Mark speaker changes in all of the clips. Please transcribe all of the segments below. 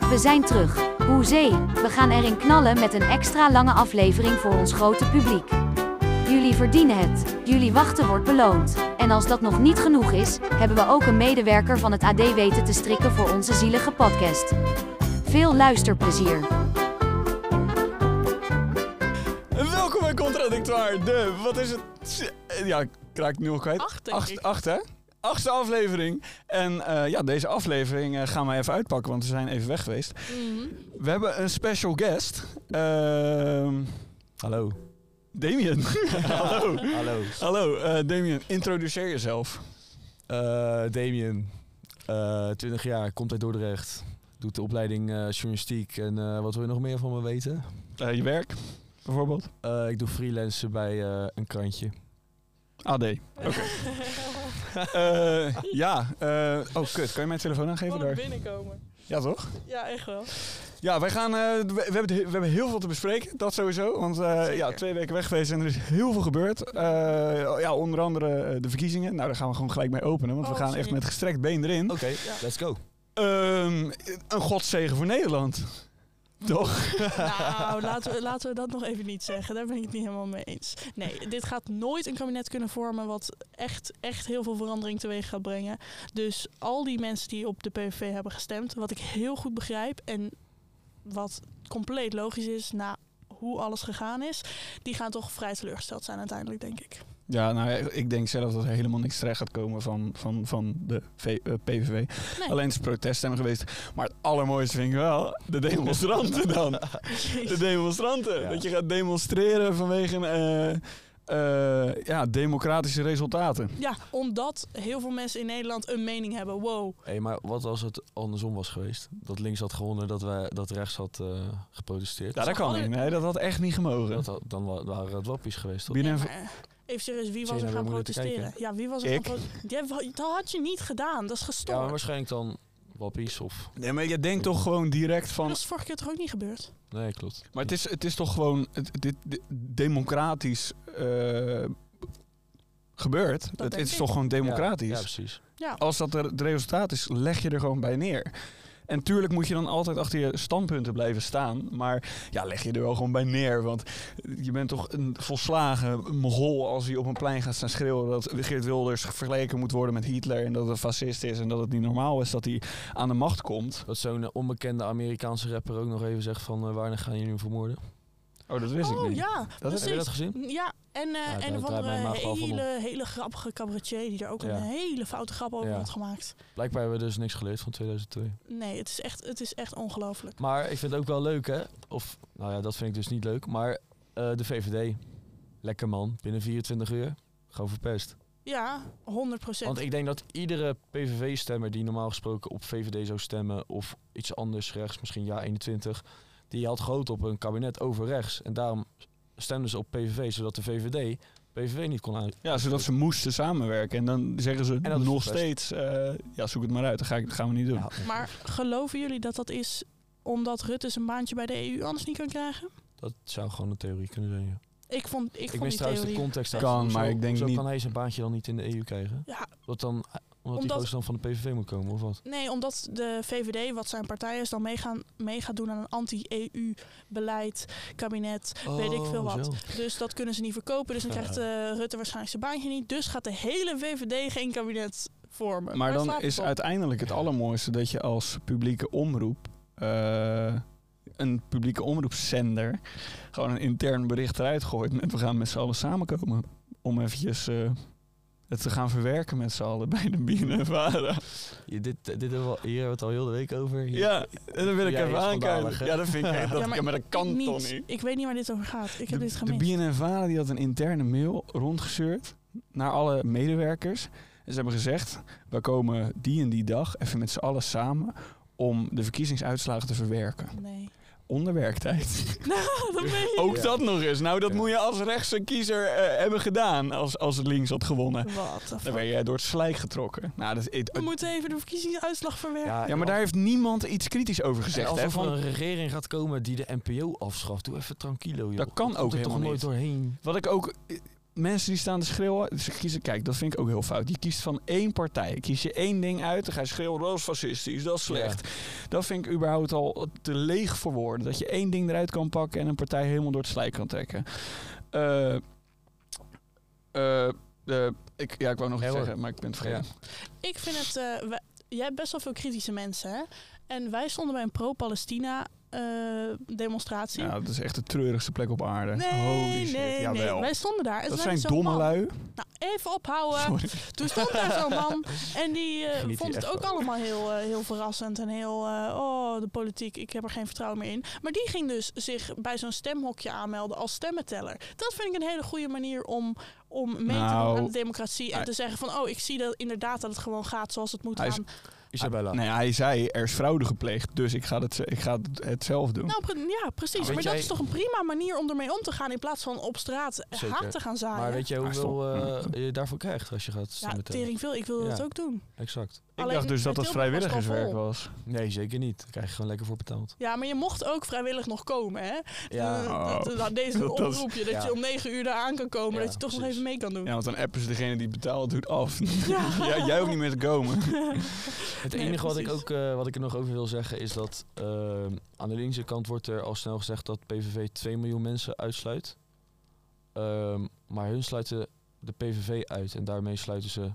Speaker 1: We zijn terug. Hoezee, we gaan erin knallen met een extra lange aflevering voor ons grote publiek. Jullie verdienen het. Jullie wachten wordt beloond. En als dat nog niet genoeg is, hebben we ook een medewerker van het AD weten te strikken voor onze zielige podcast. Veel luisterplezier.
Speaker 2: Welkom bij Contradictoire, de, wat is het? Ja, ik raak het nu al kwijt.
Speaker 3: Acht, denk ik.
Speaker 2: acht, hè? Achtste aflevering. En eh, ja, deze aflevering eh, gaan we even uitpakken, want we zijn even weg geweest.
Speaker 3: Mhm.
Speaker 2: We hebben een special guest. Ehm,
Speaker 4: Hallo.
Speaker 2: Damien. Hallo.
Speaker 4: Hallo.
Speaker 2: Hallo, eh, Damien. Introduceer jezelf.
Speaker 4: Eh Damien, eh 20 jaar, komt uit Dordrecht. Doet de opleiding eh, journalistiek. En eh, wat wil je nog meer van me weten?
Speaker 2: Eh, je werk, bijvoorbeeld.
Speaker 4: Eh, ik doe freelancen bij eh, een krantje.
Speaker 2: AD. Oké. Eh, ja. eh, oh, kut. Kan je mijn telefoon aangeven
Speaker 3: Gewoon
Speaker 2: daar?
Speaker 3: binnenkomen.
Speaker 2: Ja, toch?
Speaker 3: Ja, echt wel.
Speaker 2: Ja, wij gaan, eh, we, we hebben, he- we hebben heel veel te bespreken, dat sowieso. Want eh, ja, twee weken weg geweest en er is heel veel gebeurd. Eh, ja, onder andere eh, de verkiezingen. Nou, daar gaan we gewoon gelijk mee openen, want we
Speaker 3: Oh,
Speaker 2: gaan echt
Speaker 3: zeker.
Speaker 2: met gestrekt been erin.
Speaker 4: Oké, let's go.
Speaker 2: Ehm, een godszegen voor Nederland. Toch?
Speaker 3: Nou, laten we, laten we dat nog even niet zeggen. Daar ben ik het niet helemaal mee eens. Nee, dit gaat nooit een kabinet kunnen vormen wat echt, echt heel veel verandering teweeg gaat brengen. Dus al die mensen die op de PVV hebben gestemd, wat ik heel goed begrijp en wat compleet logisch is na hoe alles gegaan is, die gaan toch vrij teleurgesteld zijn uiteindelijk, denk ik.
Speaker 2: Ja, nou, ik denk zelf dat er helemaal niks terecht gaat komen van, van, van de v, eh, PVV.
Speaker 3: Nee.
Speaker 2: Alleen is protest zijn geweest. Maar het allermooiste vind ik wel de demonstranten dan. De demonstranten.
Speaker 4: Ja.
Speaker 2: Dat je gaat demonstreren vanwege eh, eh, ja, democratische resultaten.
Speaker 3: Ja, omdat heel veel mensen in Nederland een mening hebben. Wow,
Speaker 4: Hé, maar wat als het andersom was geweest? Dat links had gewonnen, dat, wij, dat rechts had eh, geprotesteerd.
Speaker 2: Ja, dat kan niet. Nee, dat had echt niet gemogen.
Speaker 4: Dat had- dan wa- waren het wappies geweest, toch?
Speaker 2: Wie neemt-
Speaker 3: Ja, maar, eh, even serieus, wie
Speaker 4: Zit
Speaker 3: was
Speaker 4: je
Speaker 3: er gaan
Speaker 4: nou weer moeilijk te
Speaker 3: protesteren? Ja, wie was er
Speaker 2: Ik.
Speaker 3: gaan protesteren? Dat had je niet gedaan, dat is
Speaker 4: Ja, maar
Speaker 3: gestoord.
Speaker 4: waarschijnlijk dan wappies of...
Speaker 2: Nee, maar je denkt toch gewoon direct van...
Speaker 3: dat is vorige keer toch ook niet gebeurd?
Speaker 4: Nee, klopt.
Speaker 2: Maar het is, het is toch gewoon het, dit, dit- democratisch eh, gebeurd. Het- het
Speaker 3: denk
Speaker 2: is
Speaker 3: ik.
Speaker 2: toch gewoon democratisch.
Speaker 4: Ja, ja, precies.
Speaker 3: Ja.
Speaker 2: Als dat er- het resultaat is, leg je er gewoon bij neer. En tuurlijk moet je dan altijd achter je standpunten blijven staan. Maar ja, leg je er wel gewoon bij neer. Want je bent toch een volslagen mogol als hij op een plein gaat staan schreeuwen... dat Geert Wilders vergeleken moet worden met Hitler... en dat het fascist is en dat het niet normaal is dat hij aan de macht komt.
Speaker 4: Dat zo'n eh, onbekende Amerikaanse rapper ook nog even zegt van... eh, waarna gaan jullie hem vermoorden?
Speaker 2: Oh, dat wist ik
Speaker 3: Oh
Speaker 2: niet.
Speaker 3: ja,
Speaker 4: Heb je dat
Speaker 3: precies.
Speaker 4: gezien?
Speaker 3: Ja, en, eh
Speaker 4: daar
Speaker 3: en
Speaker 4: draait
Speaker 3: een of andere
Speaker 4: mijn maag wel van om.
Speaker 3: hele, hele grappige cabaretier die daar ook
Speaker 4: Ja.
Speaker 3: een hele foute grap over
Speaker 4: Ja.
Speaker 3: had gemaakt.
Speaker 4: Blijkbaar hebben we dus niks geleerd van 2002.
Speaker 3: Nee, het is echt, het is echt ongelooflijk.
Speaker 4: Maar ik vind het ook wel leuk, hè? Of, nou ja, dat vind ik dus niet leuk. Maar eh, de VVD, lekker man, binnen 24 uur, gewoon verpest.
Speaker 3: Ja, 100 procent.
Speaker 4: Want ik denk dat iedere PVV-stemmer die normaal gesproken op VVD zou stemmen... of iets anders rechts, misschien ja 21... die had gehoopt op een kabinet over rechts. En daarom stemden ze op PVV, zodat de VVD PVV niet kon aan...
Speaker 2: Ja, zodat ze moesten samenwerken. En dan zeggen ze
Speaker 4: dat is
Speaker 2: nog
Speaker 4: best.
Speaker 2: steeds... eh, ja, zoek het maar uit. Dat, ga ik, dat gaan we niet doen.
Speaker 4: Ja,
Speaker 3: Maar geloven jullie dat dat is omdat Rutte zijn baantje bij de EU anders niet kan krijgen?
Speaker 4: dat zou gewoon een theorie kunnen zijn, ja.
Speaker 3: Ik vond, ik
Speaker 4: Ik,
Speaker 3: vond
Speaker 4: mis
Speaker 3: die
Speaker 4: trouwens
Speaker 3: theorie...
Speaker 4: de context.
Speaker 2: Kan,
Speaker 4: daarvan. Hoezo-
Speaker 2: maar ik denk
Speaker 4: hoezo
Speaker 2: niet-
Speaker 4: kan hij zijn baantje dan niet in de EU krijgen?
Speaker 3: Ja,
Speaker 4: Wat dan, eh, omdat, die
Speaker 3: Omdat-
Speaker 4: gozer dan van de PVV moet komen, of wat?
Speaker 3: Nee, omdat de VVD, wat zijn partij is, dan mee, gaan, mee gaat doen aan een anti-EU-beleid, kabinet, weet ik
Speaker 4: Oh,
Speaker 3: veel wat. Dus dat kunnen ze niet verkopen, dus dan
Speaker 4: Ja.
Speaker 3: krijgt eh, Rutte waarschijnlijk zijn baantje niet. Dus gaat de hele VVD geen kabinet vormen.
Speaker 2: Maar
Speaker 3: Waar
Speaker 2: dan
Speaker 3: slaat het
Speaker 2: is
Speaker 3: op?
Speaker 2: uiteindelijk het allermooiste dat je als publieke omroep, eh, een publieke omroepzender, gewoon een intern bericht eruit gooit met we gaan met z'n allen samenkomen. Om eventjes eh, het te gaan verwerken met z'n allen bij de BNNVARA.
Speaker 4: Je, dit, dit hebben we al, hier hebben we het al heel de week over. Hier.
Speaker 2: Ja, en dan wil ik
Speaker 4: Jij
Speaker 2: even
Speaker 4: is
Speaker 2: aankaarten.
Speaker 4: schandalig, hè?
Speaker 2: Ja, dat vind ik echt. Dat,
Speaker 3: Ja,
Speaker 2: ja, maar,
Speaker 3: maar
Speaker 2: dat kan
Speaker 3: niet.
Speaker 2: toch niet?
Speaker 3: Ik weet niet waar dit over gaat. Ik heb dit
Speaker 2: De, de
Speaker 3: gemist.
Speaker 2: BNNVARA die had een interne mail rondgestuurd naar alle medewerkers. En ze hebben gezegd, we komen die en die dag even met z'n allen samen om de verkiezingsuitslagen te verwerken.
Speaker 3: Nee.
Speaker 2: Onder werktijd.
Speaker 3: Nou, dat meen je
Speaker 2: Ook
Speaker 4: Ja.
Speaker 2: dat nog eens. Nou, dat
Speaker 4: Ja.
Speaker 2: moet je als rechtse kiezer eh, hebben gedaan als, als links had gewonnen.
Speaker 3: niet. Wat de
Speaker 2: Dan
Speaker 3: fuck.
Speaker 2: ben jij door het slijk getrokken. Nou, dat, is-
Speaker 3: We moeten even de verkiezingsuitslag verwerken.
Speaker 2: ja, maar daar heeft niemand iets kritisch over
Speaker 4: en
Speaker 2: gezegd.
Speaker 4: als
Speaker 2: Hè,
Speaker 4: er van
Speaker 2: van,
Speaker 4: een regering gaat komen die de NPO afschaft, doe even tranquilo, joh.
Speaker 2: Dat kan ook
Speaker 4: komt er toch
Speaker 2: helemaal
Speaker 4: nooit doorheen.
Speaker 2: wat ik ook eh, mensen die staan te schreeuwen, ze kiezen, kijk, dat vind ik ook heel fout. Je kiest van één partij. Kies je één ding uit, dan ga je schreeuwen, dat is fascistisch, dat is slecht. Dat vind ik überhaupt al te leeg voor woorden. Dat je één ding eruit kan pakken en een partij helemaal door het slijk kan trekken. Eh, eh, eh, ik, ja, ik wou nog
Speaker 4: Ja,
Speaker 2: iets
Speaker 4: hoor.
Speaker 2: zeggen, maar ik ben het vergeten.
Speaker 3: Ik vind het. eh, wij- jij hebt best wel veel kritische mensen, hè? En wij stonden bij een eh, pro-Palestina-demonstratie.
Speaker 2: Ja, dat is echt de treurigste plek op aarde.
Speaker 3: nee,
Speaker 2: Holy shit.
Speaker 3: nee,
Speaker 2: Jawel.
Speaker 3: nee. Wij stonden daar. En
Speaker 2: dat
Speaker 3: toen
Speaker 2: zijn
Speaker 3: zei zo'n
Speaker 2: domme
Speaker 3: man-
Speaker 2: lui.
Speaker 3: Nou, even ophouden.
Speaker 2: Sorry.
Speaker 3: Toen stond daar zo'n man en die eh,
Speaker 4: Geniet
Speaker 3: vond
Speaker 4: hier
Speaker 3: het
Speaker 4: echt
Speaker 3: ook
Speaker 4: van.
Speaker 3: allemaal heel, eh, heel verrassend en heel, eh, oh, de politiek, ik heb er geen vertrouwen meer in. Maar die ging dus zich bij zo'n stemhokje aanmelden als stemmenteller. Dat vind ik een hele goede manier om, om mee te
Speaker 2: Nou,
Speaker 3: doen aan de democratie en
Speaker 2: hij-
Speaker 3: te zeggen van, oh, ik zie dat inderdaad dat het gewoon gaat zoals het moet
Speaker 2: Hij is-
Speaker 3: gaan.
Speaker 4: Isabella.
Speaker 2: Nee, hij zei, er is fraude gepleegd, dus ik ga het, ik ga het- het zelf doen.
Speaker 3: Nou, pre- ja, precies.
Speaker 4: Nou,
Speaker 3: maar
Speaker 4: weet
Speaker 3: dat
Speaker 4: jij-
Speaker 3: is toch een prima manier om ermee om te gaan in plaats van op straat
Speaker 4: Zeker.
Speaker 3: haat te gaan zaaien.
Speaker 4: Maar weet je
Speaker 2: Ah, stop.
Speaker 4: hoeveel eh, je daarvoor krijgt als je gaat
Speaker 3: ja,
Speaker 4: stemmen tellen?
Speaker 3: tering veel. Ik wilde
Speaker 4: Ja.
Speaker 3: dat ook doen.
Speaker 4: Exact.
Speaker 2: ik
Speaker 3: alleen
Speaker 2: dacht dus dat
Speaker 3: het
Speaker 2: dat
Speaker 3: Tilburg was al
Speaker 2: vrijwilligerswerk
Speaker 3: vol.
Speaker 2: was.
Speaker 4: Nee, zeker niet. Daar krijg je gewoon lekker voor betaald.
Speaker 3: Ja, maar je mocht ook vrijwillig nog komen, hè?
Speaker 4: Ja.
Speaker 3: Eh,
Speaker 2: Oh.
Speaker 3: dat- dat- deze
Speaker 2: Dat- dat is-
Speaker 3: oproepje, dat
Speaker 4: ja.
Speaker 3: je om negen uur daar aan kan komen,
Speaker 4: Ja,
Speaker 3: dat je toch nog
Speaker 4: precies.
Speaker 3: even mee kan doen.
Speaker 2: Ja, want dan appen ze degene die betaalt, doet af. Ja, jij hoeft niet meer te komen.
Speaker 4: Het
Speaker 3: Nee,
Speaker 4: enige wat ik,
Speaker 3: precies.
Speaker 4: ook, eh, wat ik er nog over wil zeggen is dat eh, aan de linkse kant wordt er al snel gezegd dat PVV 2 miljoen mensen uitsluit. Ehm, maar hun sluiten de PVV uit en daarmee sluiten ze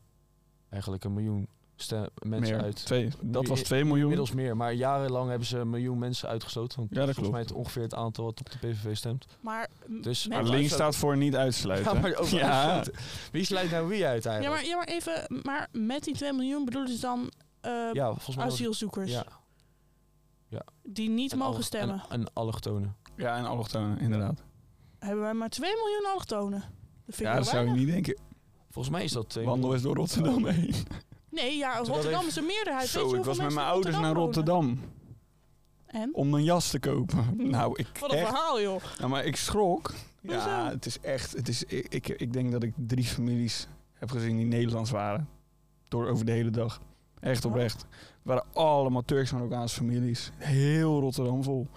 Speaker 4: eigenlijk een miljoen stem- mensen
Speaker 2: Meer,
Speaker 4: uit.
Speaker 2: twee, dat was
Speaker 4: Mi-
Speaker 2: 2 miljoen.
Speaker 4: Inmiddels meer, maar jarenlang hebben ze een miljoen mensen uitgesloten. Want
Speaker 2: Ja, dat
Speaker 4: volgens
Speaker 2: klopt.
Speaker 4: mij het ongeveer het aantal wat op de PVV stemt.
Speaker 3: Maar, mm, m-
Speaker 4: Dus-
Speaker 3: met-
Speaker 2: Maar
Speaker 4: Ja,
Speaker 2: links
Speaker 4: uitsluiten.
Speaker 2: staat voor niet uitsluiten.
Speaker 4: Ja, maar ook
Speaker 2: ja.
Speaker 4: uitsluiten. Wie sluit nou wie uit
Speaker 3: ja,
Speaker 4: eigenlijk?
Speaker 3: maar, ja, maar even, maar met die 2 miljoen bedoelen ze dan eh,
Speaker 4: Ja, volgens mij was-
Speaker 3: asielzoekers
Speaker 4: ja,
Speaker 3: die niet
Speaker 4: en
Speaker 3: mogen
Speaker 4: alle-
Speaker 3: stemmen.
Speaker 4: En, en allochtonen.
Speaker 2: ja, en allochtonen, inderdaad.
Speaker 3: Hebben wij maar 2 miljoen allochtonen? Dat vind ik
Speaker 2: Ja,
Speaker 3: wel
Speaker 2: dat zou je
Speaker 3: weinig.
Speaker 2: niet denken.
Speaker 4: Volgens mij is dat... twee
Speaker 2: Wandel
Speaker 4: miljoen.
Speaker 2: eens door Rotterdam heen.
Speaker 3: Nee, ja,
Speaker 4: Terwijl
Speaker 3: Rotterdam is een meerderheid. Weet
Speaker 2: Zo,
Speaker 3: je
Speaker 2: ik
Speaker 3: hoeveel
Speaker 2: was met
Speaker 3: mensen
Speaker 2: mijn
Speaker 3: in
Speaker 2: ouders naar Rotterdam
Speaker 3: wonen? En?
Speaker 2: om een jas te kopen. Nou, ik
Speaker 3: Hm. Wat een
Speaker 2: echt
Speaker 3: verhaal, joh.
Speaker 2: Ja, maar ik schrok.
Speaker 3: Hoezo?
Speaker 2: Ja, het is echt. Het is, ik, ik, ik denk dat ik drie families heb gezien die Nederlands waren. Door over de hele dag. Echt
Speaker 3: Oh.
Speaker 2: oprecht. Het waren allemaal Turks-Marokkaanse families. Heel Rotterdam vol.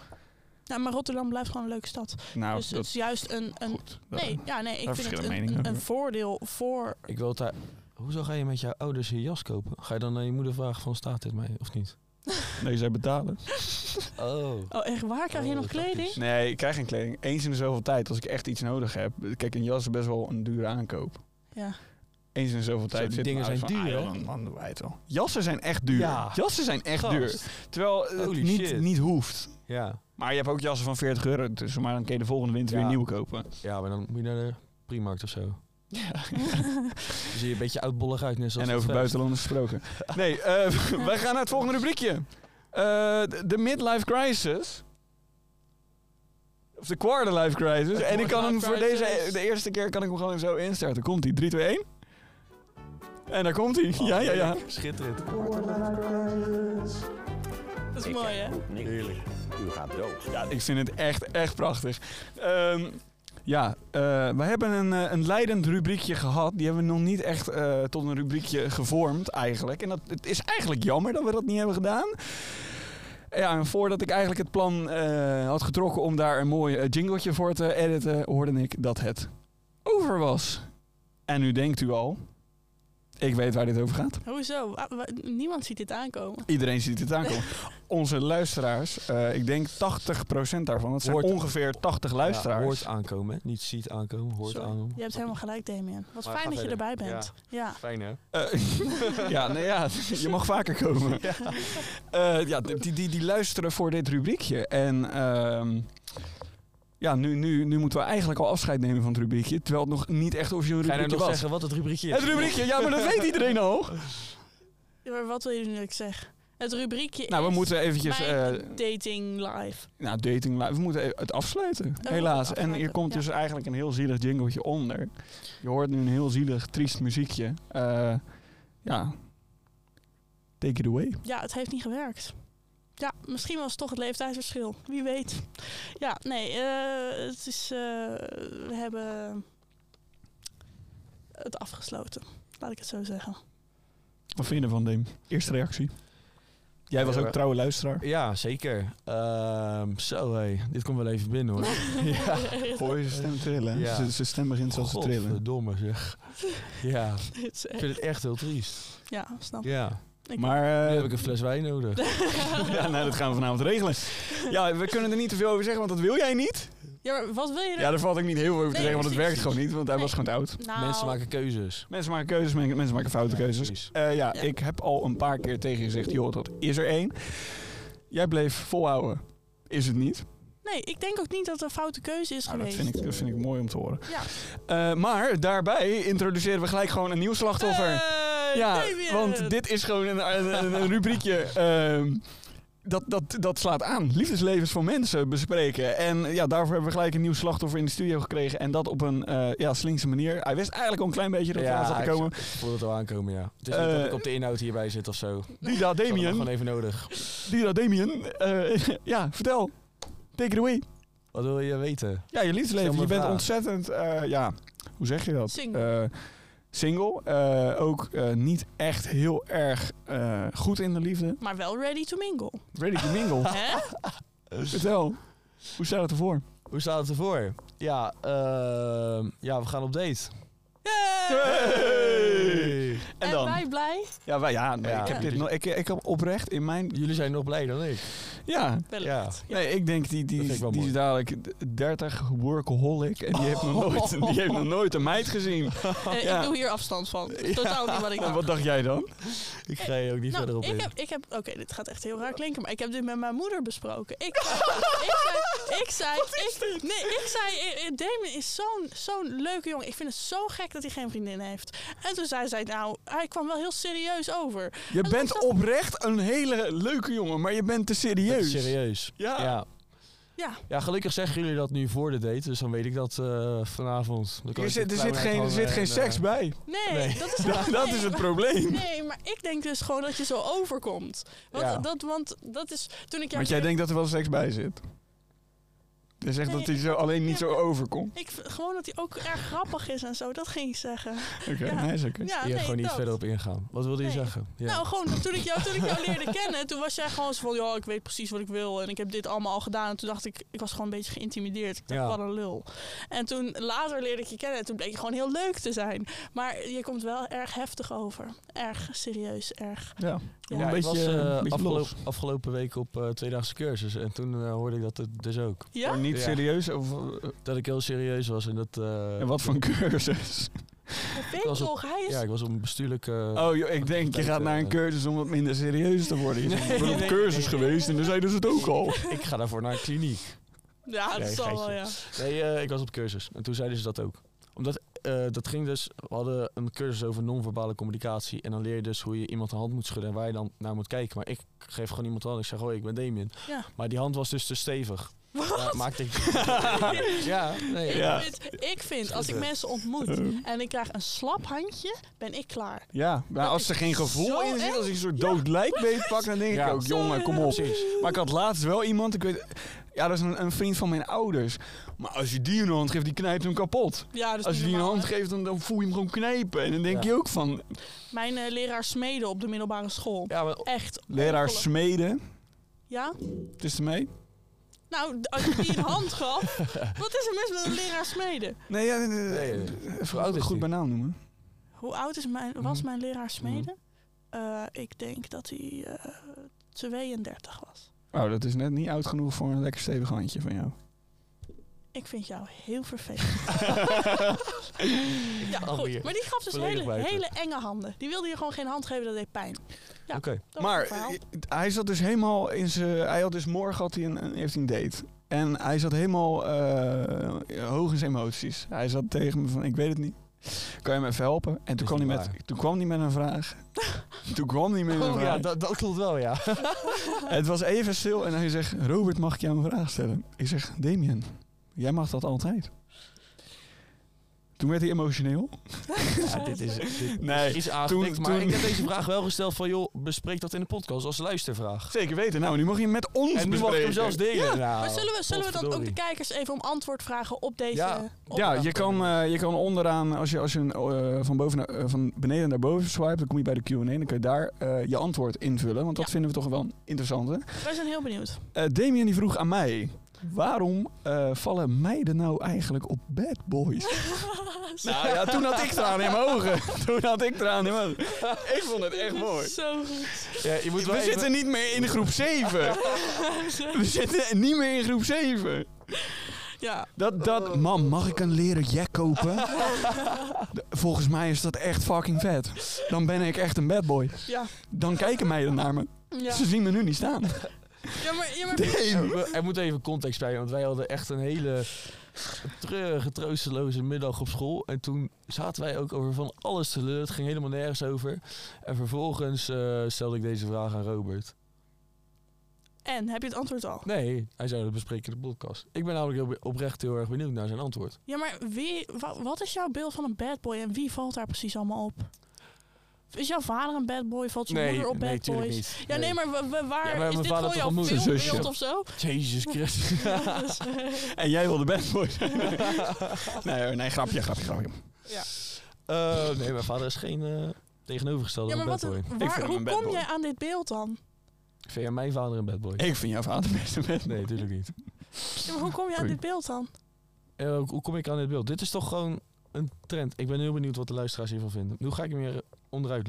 Speaker 3: Nou, maar Rotterdam blijft gewoon een leuke stad.
Speaker 2: Nou,
Speaker 3: dus
Speaker 2: dat
Speaker 3: het is juist een... een
Speaker 2: goed. dat-
Speaker 3: nee, ja, nee,
Speaker 2: daar
Speaker 3: ik vind het
Speaker 2: verschillen
Speaker 3: een,
Speaker 2: meningen
Speaker 3: een-
Speaker 2: over.
Speaker 3: een voordeel voor
Speaker 4: Ik wil het daar... Hoezo ga je met jouw ouders je jas kopen? Ga je dan aan je moeder vragen van staat dit mij of niet?
Speaker 2: Nee, zij betalen.
Speaker 4: Oh.
Speaker 3: Oh, echt waar? Krijg je
Speaker 4: Oh,
Speaker 3: nog
Speaker 4: tactisch.
Speaker 3: kleding?
Speaker 2: Nee, ik krijg geen kleding. Eens in de zoveel tijd, als ik echt iets nodig heb. Kijk, een jas is best wel een dure aankoop.
Speaker 3: Ja.
Speaker 2: Eens in de zoveel tijd.
Speaker 4: die
Speaker 2: zit mijn
Speaker 4: dingen zijn
Speaker 2: ouders van,
Speaker 4: duur,
Speaker 2: "Ah,
Speaker 4: hè?"
Speaker 2: joh, dan- dan doen wij het wel. Jassen zijn echt duur.
Speaker 4: Ja.
Speaker 2: Jassen zijn echt duur.
Speaker 4: Gast.
Speaker 2: Terwijl het
Speaker 4: Holy
Speaker 2: niet,
Speaker 4: shit.
Speaker 2: niet hoeft.
Speaker 4: Ja.
Speaker 2: Maar je hebt ook jassen van 40 euro tussen, maar dan kun je de volgende winter
Speaker 4: Ja.
Speaker 2: weer nieuwe kopen.
Speaker 4: ja, maar dan moet je naar de Primarkt of zo. Dan zie je een beetje oudbollig uit. Net zoals
Speaker 2: en
Speaker 4: het
Speaker 2: over
Speaker 4: vest.
Speaker 2: buitenlanders gesproken. Nee, eh, wij gaan naar het volgende rubriekje. Eh, de- de midlife crisis. Of de quarterlife crisis.
Speaker 4: De
Speaker 2: En ik kan hem
Speaker 4: quarterlife
Speaker 2: voor deze, e-,
Speaker 4: crisis.
Speaker 2: de eerste keer kan ik hem gewoon zo instarten. Komt hij? 3, 2, 1. En daar komt hij. ja, ja, ja.
Speaker 4: Schitterend.
Speaker 3: Dat is
Speaker 5: Ik
Speaker 3: mooi, hè?
Speaker 5: heb goed nieuws. U gaat dood.
Speaker 2: Ja, ik vind het echt, echt prachtig. Ehm, ja, eh, we hebben een, eh, een leidend rubriekje gehad. Die hebben we nog niet echt eh, tot een rubriekje gevormd eigenlijk. En dat, het is eigenlijk jammer dat we dat niet hebben gedaan. Ja, en voordat ik eigenlijk het plan eh, had getrokken om daar een mooi eh, jingletje voor te editen, hoorde ik dat het over was. En nu denkt u al, ik weet waar dit over gaat.
Speaker 3: Hoezo? Wa- wa- Niemand ziet dit aankomen.
Speaker 2: Iedereen ziet het aankomen. Onze luisteraars, eh, ik denk 80% daarvan, dat zijn
Speaker 4: Hoort-
Speaker 2: ongeveer 80 luisteraars.
Speaker 4: Ja, hoort aankomen. hè. Niet ziet aankomen, hoort
Speaker 3: Sorry.
Speaker 4: aankomen.
Speaker 3: Je hebt helemaal gelijk, Damien. Wat
Speaker 4: Maar
Speaker 3: fijn
Speaker 4: ga
Speaker 3: dat je
Speaker 4: verder.
Speaker 3: erbij bent. Ja.
Speaker 4: Fijn hè?
Speaker 2: Eh, ja, nou ja, je mag vaker komen. Ja, ja die, die, die luisteren voor dit rubriekje. En ehm, ja, nu, nu, nu moeten we eigenlijk al afscheid nemen van het rubriekje. Terwijl het nog niet echt officieel
Speaker 4: Ga je
Speaker 2: rubriekje
Speaker 4: nou nog
Speaker 2: was.
Speaker 4: zeggen wat het rubriekje is?
Speaker 2: Het rubriekje, ja, maar dat weet iedereen al.
Speaker 3: Ja, maar wat wil je nu dat ik zeg? Het rubriekje
Speaker 2: Nou, we
Speaker 3: is
Speaker 2: moeten eventjes...
Speaker 3: mijn
Speaker 2: eh,
Speaker 3: dating live.
Speaker 2: Nou, dating live. We moeten e- het afsluiten.
Speaker 3: moeten
Speaker 2: Helaas.
Speaker 3: het
Speaker 2: En hier
Speaker 3: afsluiten,
Speaker 2: komt
Speaker 3: ja.
Speaker 2: dus eigenlijk een heel zielig jingletje onder. Je hoort nu een heel zielig, triest muziekje. Eh, ja. Take it away.
Speaker 3: Ja, het heeft niet gewerkt. Ja, misschien was het toch het leeftijdsverschil. Wie weet. Ja, nee, eh, het is... eh, we hebben het afgesloten. Laat ik het zo zeggen.
Speaker 2: Wat vind je ervan, Deem? Eerste reactie. Jij was
Speaker 4: Ja,
Speaker 2: ook
Speaker 4: maar-
Speaker 2: trouwe luisteraar.
Speaker 4: Ja, zeker. Ehm, zo, hé. Dit komt wel even binnen, hoor. ja.
Speaker 2: Hoor je stem trillen?
Speaker 4: Ja.
Speaker 2: Zijn stem begint zelfs te trillen.
Speaker 4: Godverdomme, zeg. ja,
Speaker 3: Dit is
Speaker 4: ik
Speaker 3: echt-
Speaker 4: vind het echt heel triest.
Speaker 3: ja, snap ik.
Speaker 4: Ja.
Speaker 3: Ik-
Speaker 2: Maar
Speaker 4: Nu
Speaker 2: eh,
Speaker 4: heb ik een fles wijn nodig.
Speaker 2: ja, nou, dat gaan we vanavond regelen. Ja, we kunnen er niet te veel over zeggen, want dat wil jij niet.
Speaker 3: Ja, maar wat wil je er-
Speaker 2: Ja, daar valt ook niet heel veel over te
Speaker 3: Nee,
Speaker 2: zeggen, want het werkt
Speaker 3: precies.
Speaker 2: gewoon niet, want hij
Speaker 3: Nee.
Speaker 2: was gewoon te oud.
Speaker 3: Nou,
Speaker 4: Mensen maken keuzes.
Speaker 2: Mensen maken keuzes, men- mensen maken foute
Speaker 4: Ja,
Speaker 2: keuzes.
Speaker 4: precies.
Speaker 2: Eh, ja,
Speaker 3: Ja.
Speaker 2: ik heb al een paar keer tegen je gezegd, joh, dat is er één. Jij bleef volhouden. Is het niet?
Speaker 3: Nee, ik denk ook niet dat het een foute keuze is
Speaker 2: Nou, dat,
Speaker 3: geweest.
Speaker 2: vind ik, dat vind ik mooi om te horen.
Speaker 3: Ja.
Speaker 2: Eh, maar daarbij introduceren we gelijk gewoon een nieuw slachtoffer.
Speaker 3: Hey,
Speaker 2: Ja,
Speaker 3: Eh, Damien!
Speaker 2: want dit is gewoon een, een, een- een rubriekje. ehm, dat, dat, dat slaat aan. Liefdeslevens van mensen bespreken. En ja, daarvoor hebben we gelijk een nieuw slachtoffer in de studio gekregen. En dat op een eh, ja, slinkse manier. Hij wist eigenlijk al een klein beetje dat we aan zat te
Speaker 4: ik-
Speaker 2: komen.
Speaker 4: Ik voel het al aankomen, ja. Het is niet
Speaker 2: Eh,
Speaker 4: dat ik op de inhoud hierbij zit of zo. Ik had het
Speaker 2: Dida
Speaker 4: nog
Speaker 2: Damien.
Speaker 4: gewoon even nodig.
Speaker 2: Dida Damien. eh, ja, vertel. Take it away.
Speaker 4: Wat wil je weten?
Speaker 2: Ja, je liefdesleven.
Speaker 4: Stel
Speaker 2: Je
Speaker 4: me
Speaker 2: bent
Speaker 4: vraag.
Speaker 2: ontzettend, eh, ja, hoe zeg je dat?
Speaker 3: Single.
Speaker 2: Eh, single. Eh, ook eh, niet echt heel erg eh, goed in de liefde.
Speaker 3: Maar wel ready to mingle.
Speaker 2: Ready to mingle.
Speaker 3: Hè?
Speaker 2: Vertel, hoe staat het ervoor?
Speaker 4: Hoe staat het ervoor? Ja, ehm, ja we gaan op date.
Speaker 2: Hey!
Speaker 3: En, wij blij?
Speaker 2: Ja, wij, ja, nee,
Speaker 4: Ja.
Speaker 2: ik, heb dit, nog- ik, ik heb oprecht in mijn...
Speaker 4: Jullie zijn nog blij dan ik.
Speaker 2: Ja,
Speaker 3: Wellicht. Ja.
Speaker 2: nee, ik denk die, die,
Speaker 4: vind
Speaker 2: is-
Speaker 4: ik wel
Speaker 2: die is
Speaker 4: mooi.
Speaker 2: dadelijk d- 30 workaholic en die heeft, nog nooit, die heeft nog nooit een meid gezien.
Speaker 3: Eh,
Speaker 2: Ja.
Speaker 3: Ik doe hier afstand van.
Speaker 2: Ja.
Speaker 3: Totaal niet wat ik
Speaker 2: En
Speaker 3: dacht.
Speaker 2: wat dacht jij dan?
Speaker 4: Ik ga je ook niet verder
Speaker 3: Nou,
Speaker 4: op in.
Speaker 3: ik heb, ik heb, oké, dit gaat echt heel raar klinken, maar ik heb dit met mijn moeder besproken. Ik, zei, ik zei, ik zei, ik, nee, ik zei, eh, eh, Damon is zo'n zo'n leuke jongen. Ik vind het zo gek dat hij geen vriendin heeft. En toen zei zij, nou, hij kwam wel heel serieus over.
Speaker 2: Je
Speaker 3: Dat is
Speaker 2: bent
Speaker 3: toch-
Speaker 2: oprecht een hele leuke jongen, maar je bent te
Speaker 4: Het is
Speaker 2: serieus. Ah.
Speaker 4: Serieus.
Speaker 2: Ja.
Speaker 4: ja.
Speaker 3: Ja,
Speaker 4: Ja, gelukkig zeggen jullie dat nu voor de date, dus dan weet ik dat eh, vanavond. Dan kan
Speaker 2: Er
Speaker 4: ik
Speaker 2: zit,
Speaker 4: de
Speaker 2: er zit
Speaker 4: klauwen
Speaker 2: geen, er zit
Speaker 4: uithangen
Speaker 2: geen
Speaker 4: en,
Speaker 2: seks
Speaker 4: eh,
Speaker 2: bij.
Speaker 3: nee,
Speaker 4: Nee.
Speaker 3: dat is,
Speaker 2: Dat, dat
Speaker 3: nee,
Speaker 2: is het
Speaker 3: maar-
Speaker 2: probleem.
Speaker 3: Nee, maar ik denk dus gewoon dat je zo overkomt. Want,
Speaker 4: Ja.
Speaker 3: dat, want dat is, toen ik jou
Speaker 2: Want jij
Speaker 3: keer-
Speaker 2: denkt dat er wel seks bij zit. Je zegt dat hij zo alleen niet zo overkomt.
Speaker 3: Ik, vind gewoon dat hij ook erg grappig is en zo, dat ging ik zeggen.
Speaker 2: Oké,
Speaker 3: Ja.
Speaker 2: nee, is oké.
Speaker 3: Ja,
Speaker 4: Hier
Speaker 3: nee,
Speaker 4: gewoon niet
Speaker 3: dat.
Speaker 4: verder op ingaan. Wat wilde je
Speaker 3: Nee.
Speaker 4: zeggen? Ja.
Speaker 3: Nou, gewoon dat toen ik, jou, toen ik jou leerde kennen, toen was jij gewoon zo van, ja, ik weet precies wat ik wil en ik heb dit allemaal al gedaan. En toen dacht ik, ik was gewoon een beetje geïntimideerd. Ik dacht,
Speaker 4: Ja.
Speaker 3: wat een lul. En toen later leerde ik je kennen en toen bleek je gewoon heel leuk te zijn. Maar je komt wel erg heftig over. Erg serieus, erg.
Speaker 2: Ja.
Speaker 4: Ja,
Speaker 2: een
Speaker 4: ik
Speaker 2: beetje,
Speaker 4: was eh,
Speaker 2: een beetje
Speaker 4: afgelopen,
Speaker 2: los.
Speaker 4: afgelopen week op eh, tweedaagse cursus en toen eh, hoorde ik dat het dus ook.
Speaker 3: Ja?
Speaker 2: niet
Speaker 4: Ja.
Speaker 2: serieus? Of, eh,
Speaker 4: Dat ik heel serieus was en dat... eh,
Speaker 2: en wat voor een cursus?
Speaker 3: Weet
Speaker 4: was op-
Speaker 3: nog, hij is...
Speaker 4: Ja, ik was op een bestuurlijke...
Speaker 2: Oh, joh, ik denk, je gaat naar een cursus om wat minder serieus te worden. Je bent
Speaker 4: Nee,
Speaker 2: op een
Speaker 4: nee,
Speaker 2: cursus
Speaker 4: nee.
Speaker 2: geweest en dan zijn dus het ook al.
Speaker 4: Ik ga daarvoor naar een kliniek.
Speaker 3: Ja, dat
Speaker 4: Nee,
Speaker 3: zal wel,
Speaker 4: geitje.
Speaker 3: ja.
Speaker 4: Nee, eh, ik was op cursus en toen zeiden ze dat ook. Omdat, eh, dat ging dus... We hadden een cursus over non-verbale communicatie en dan leer je dus hoe je iemand de hand moet schudden en waar je dan naar moet kijken. Maar ik geef gewoon iemand de hand ik zeg, hoi, ik ben Damien.
Speaker 3: Ja.
Speaker 4: Maar die hand was dus te stevig. Ja, maakte ik... ja, nee.
Speaker 2: Ja.
Speaker 3: Ik vind- ik vind, als ik mensen ontmoet en ik krijg een slap handje, ben ik klaar.
Speaker 2: Ja, maar als er geen gevoel
Speaker 3: zo
Speaker 2: in zit,
Speaker 3: eng.
Speaker 2: als ik een soort dood lijk beetpak, dan denk ik
Speaker 4: Ja.
Speaker 2: ook, jongen, kom op.
Speaker 4: Precies.
Speaker 2: Maar ik had laatst wel iemand, ik weet, ja, dat is een, een vriend van mijn ouders. Maar als je die een hand geeft, die knijpt hem kapot.
Speaker 3: Ja, dat is
Speaker 2: Als je die
Speaker 3: niet
Speaker 2: een
Speaker 3: normaal,
Speaker 2: hand
Speaker 3: hè.
Speaker 2: geeft, dan, dan voel je hem gewoon knijpen. En dan denk
Speaker 4: Ja.
Speaker 2: je ook van,
Speaker 3: Mijn eh, leraar smeden op de middelbare school.
Speaker 4: Ja, maar
Speaker 3: Echt.
Speaker 2: leraar
Speaker 3: ongelooflijk.
Speaker 2: smeden,
Speaker 3: Ja?
Speaker 2: het is ermee.
Speaker 3: Nou, d- als je die een hand gaf. Wat is er mis met een leraar smeden?
Speaker 2: Nee, ja, nee, nee,
Speaker 4: Nee,
Speaker 2: nee.
Speaker 4: nee.
Speaker 2: Even
Speaker 4: Hoe oud is
Speaker 2: goed
Speaker 4: die?
Speaker 2: bij naam noemen.
Speaker 3: Hoe oud is mijn, was mijn leraar smeden? Eh, ik denk dat hij eh, 32 was.
Speaker 2: Oh, dat is net niet oud genoeg voor een lekker stevig handje van jou.
Speaker 3: Ik vind jou heel vervelend. ja,
Speaker 4: hou hier
Speaker 3: goed. Maar die gaf dus
Speaker 4: volledig
Speaker 3: hele,
Speaker 4: buiten.
Speaker 3: hele enge handen. Die wilde je gewoon geen hand geven, dat deed pijn. Ja.
Speaker 4: Oké.
Speaker 3: Dat was
Speaker 2: maar
Speaker 3: het verhaal.
Speaker 2: eh, hij zat dus helemaal in zijn. Hij had dus morgen had hij een, een- heeft hij een date. En hij zat helemaal eh, hoog in zijn emoties. Hij zat tegen me van: Ik weet het niet. Kan je me even helpen? En toen,
Speaker 4: Is
Speaker 2: kwam hij,
Speaker 4: niet
Speaker 2: met,
Speaker 4: waar.
Speaker 2: toen kwam hij met een vraag. toen kwam hij met een
Speaker 4: Oh,
Speaker 2: vraag.
Speaker 4: ja, dat, dat klopt wel, ja.
Speaker 2: Het was even stil en hij zegt: Robert, mag ik jou een vraag stellen? Ik zeg: Damien, jij mag dat altijd. Toen werd hij emotioneel.
Speaker 4: Ja, dit is, dit
Speaker 2: Nee,
Speaker 4: is aangetikt,
Speaker 2: toen-
Speaker 4: maar
Speaker 2: toen-
Speaker 4: ik heb deze vraag wel gesteld van... joh, bespreek dat in de podcast als luistervraag.
Speaker 2: Zeker weten. Nou, nu mag je hem met ons
Speaker 4: En nu mag ik hem
Speaker 2: bespreken.
Speaker 4: zelfs delen.
Speaker 3: Ja,
Speaker 4: Nou,
Speaker 3: maar zullen we, zullen we dan ook de
Speaker 4: potverdorie.
Speaker 3: kijkers even om antwoord vragen op deze...
Speaker 4: Ja.
Speaker 3: op-
Speaker 2: Ja, je kan, eh, je kan onderaan, als je, als je een, eh, van, boven naar, eh, van beneden naar boven swipe, dan kom je bij de Q&A. Dan kun je daar eh, je antwoord invullen, want dat
Speaker 3: Ja.
Speaker 2: vinden we toch wel een interessante.
Speaker 3: Wij zijn heel benieuwd.
Speaker 2: Eh Damien die vroeg aan mij, waarom eh, vallen meiden nou eigenlijk op bad boys? nou ja, toen had ik tranen in mijn ogen. Toen had ik tranen in mijn ogen. Ik vond het echt mooi.
Speaker 3: Zo goed.
Speaker 4: Ja, je moet wel
Speaker 2: We
Speaker 4: even-
Speaker 2: zitten niet meer in groep 7. We zitten niet meer in groep 7.
Speaker 3: Ja,
Speaker 2: Dat,
Speaker 3: Oh.
Speaker 2: dat, mam, mag ik een leren jack kopen? De- Volgens mij is dat echt fucking vet. Dan ben ik echt een bad boy.
Speaker 3: ja,
Speaker 2: Dan kijken meiden naar me.
Speaker 3: ja.
Speaker 2: Ze zien me nu niet staan.
Speaker 3: Ja, maar, ja, maar
Speaker 2: Damn.
Speaker 4: We- Er moet even context bij, want wij hadden echt een hele treurige, troosteloze middag op school. En toen zaten wij ook over van alles te lullen. Het ging helemaal nergens over. En vervolgens eh, stelde ik deze vraag aan Robert.
Speaker 3: En, heb je het antwoord al?
Speaker 4: Nee, hij zei dat bespreken in de podcast. Ik ben namelijk heel be- oprecht heel erg benieuwd naar zijn antwoord.
Speaker 3: Ja, maar wie, wa- wat is jouw beeld van een bad boy en wie valt daar precies allemaal op? Is jouw vader een bad boy? Valt je moeder op bad boys?
Speaker 4: niet.
Speaker 3: Ja, nee, maar wa- wa- waar
Speaker 4: Ja, maar
Speaker 3: is dit
Speaker 4: mijn vader
Speaker 3: gewoon
Speaker 4: toch
Speaker 3: jouw
Speaker 4: een moeder?
Speaker 3: filmbeeld
Speaker 2: Zusje.
Speaker 3: of zo?
Speaker 4: Jezus Christus.
Speaker 3: Ja, dus, eh,
Speaker 2: En jij wil de bad boy zijn. Nee, hoor, nee, grapje, grapje, grapje.
Speaker 4: Eh, nee, mijn vader is geen eh, tegenovergestelde
Speaker 3: ja, maar
Speaker 4: van
Speaker 3: wat,
Speaker 4: bad boy.
Speaker 2: vind
Speaker 3: waar,
Speaker 2: hem
Speaker 3: hoe
Speaker 2: een bad
Speaker 3: kom
Speaker 2: boy.
Speaker 3: jij aan dit beeld dan?
Speaker 4: Vind jij mijn vader een bad boy?
Speaker 2: Ik vind jouw vader best een bad boy.
Speaker 4: Nee, natuurlijk niet.
Speaker 3: Ja, maar hoe kom je aan
Speaker 2: Oei.
Speaker 3: dit beeld dan?
Speaker 4: Eh, hoe hoe kom ik aan dit beeld? Dit is toch gewoon een trend. Ik ben heel benieuwd wat de luisteraars hiervan vinden. Nu ga ik hem weer onderuit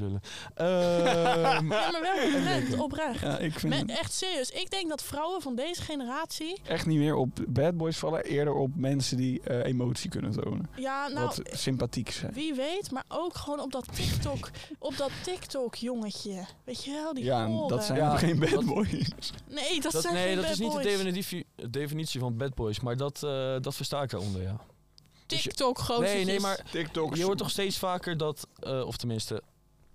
Speaker 4: lullen. Ehm,
Speaker 3: Ja, maar welke trend oprecht?
Speaker 2: Ja, ik vind
Speaker 3: Me-
Speaker 2: hem
Speaker 3: echt serieus, ik denk dat vrouwen van deze generatie...
Speaker 2: echt niet meer op bad boys vallen. Eerder op mensen die eh, emotie kunnen tonen.
Speaker 3: Ja, nou,
Speaker 2: wat sympathiek zijn.
Speaker 3: Wie weet, maar ook gewoon op dat TikTok, op dat TikTok jongetje. Weet je wel, die
Speaker 2: Ja, en
Speaker 3: horen.
Speaker 2: dat zijn
Speaker 4: Ja,
Speaker 2: geen bad
Speaker 4: dat-
Speaker 2: boys.
Speaker 3: Nee, dat,
Speaker 4: dat,
Speaker 3: zijn
Speaker 4: nee,
Speaker 3: geen
Speaker 4: dat
Speaker 3: bad
Speaker 4: is niet de
Speaker 3: boys.
Speaker 4: definitie, definitie van bad boys, maar dat, eh, dat versta ik daaronder, ja. Dus je-
Speaker 3: TikTok gozer.
Speaker 4: Nee, nee, maar
Speaker 2: TikTok.
Speaker 4: je hoort toch steeds vaker dat, eh, of tenminste,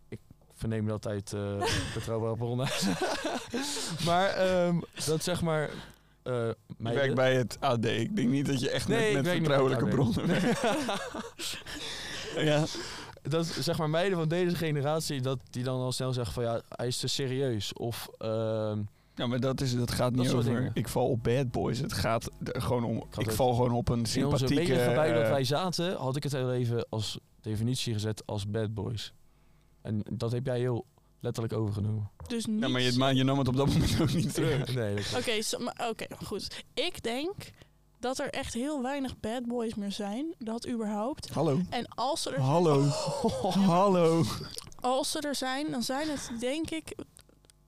Speaker 4: ik verneem dat uit eh, betrouwbare bronnen. maar ehm, dat zeg maar... eh
Speaker 2: Ik
Speaker 4: meiden-
Speaker 2: werk bij het AD. Ik denk niet dat je echt
Speaker 4: Nee,
Speaker 2: met,
Speaker 4: ik
Speaker 2: met
Speaker 4: werk niet
Speaker 2: vertrouwelijke
Speaker 4: bij het AD.
Speaker 2: bronnen werkt. ja.
Speaker 4: dat zeg maar meiden van deze generatie, dat die dan al snel zeggen van ja, hij is te serieus. Of ehm,
Speaker 2: ja, maar dat, is, dat gaat niet
Speaker 4: soort
Speaker 2: over
Speaker 4: dingen.
Speaker 2: ik val op bad boys. Het gaat er gewoon om,
Speaker 4: had
Speaker 2: ik
Speaker 4: het-
Speaker 2: val gewoon op een
Speaker 4: in onze
Speaker 2: sympathieke...
Speaker 4: megagebui dat
Speaker 2: eh,
Speaker 4: wij zaten, had ik het heel even als definitie gezet als bad boys. En dat heb jij heel letterlijk overgenomen.
Speaker 3: Dus niet...
Speaker 2: ja, maar je, maar je nam het op dat moment ook niet terug.
Speaker 4: Nee, dat
Speaker 3: Oké, so- maar- oké, goed. Ik denk dat er echt heel weinig bad boys meer zijn. Dat überhaupt.
Speaker 2: Hallo.
Speaker 3: En als ze er,
Speaker 2: Hallo.
Speaker 4: Oh.
Speaker 2: Hallo.
Speaker 3: als ze er zijn, dan zijn het denk ik...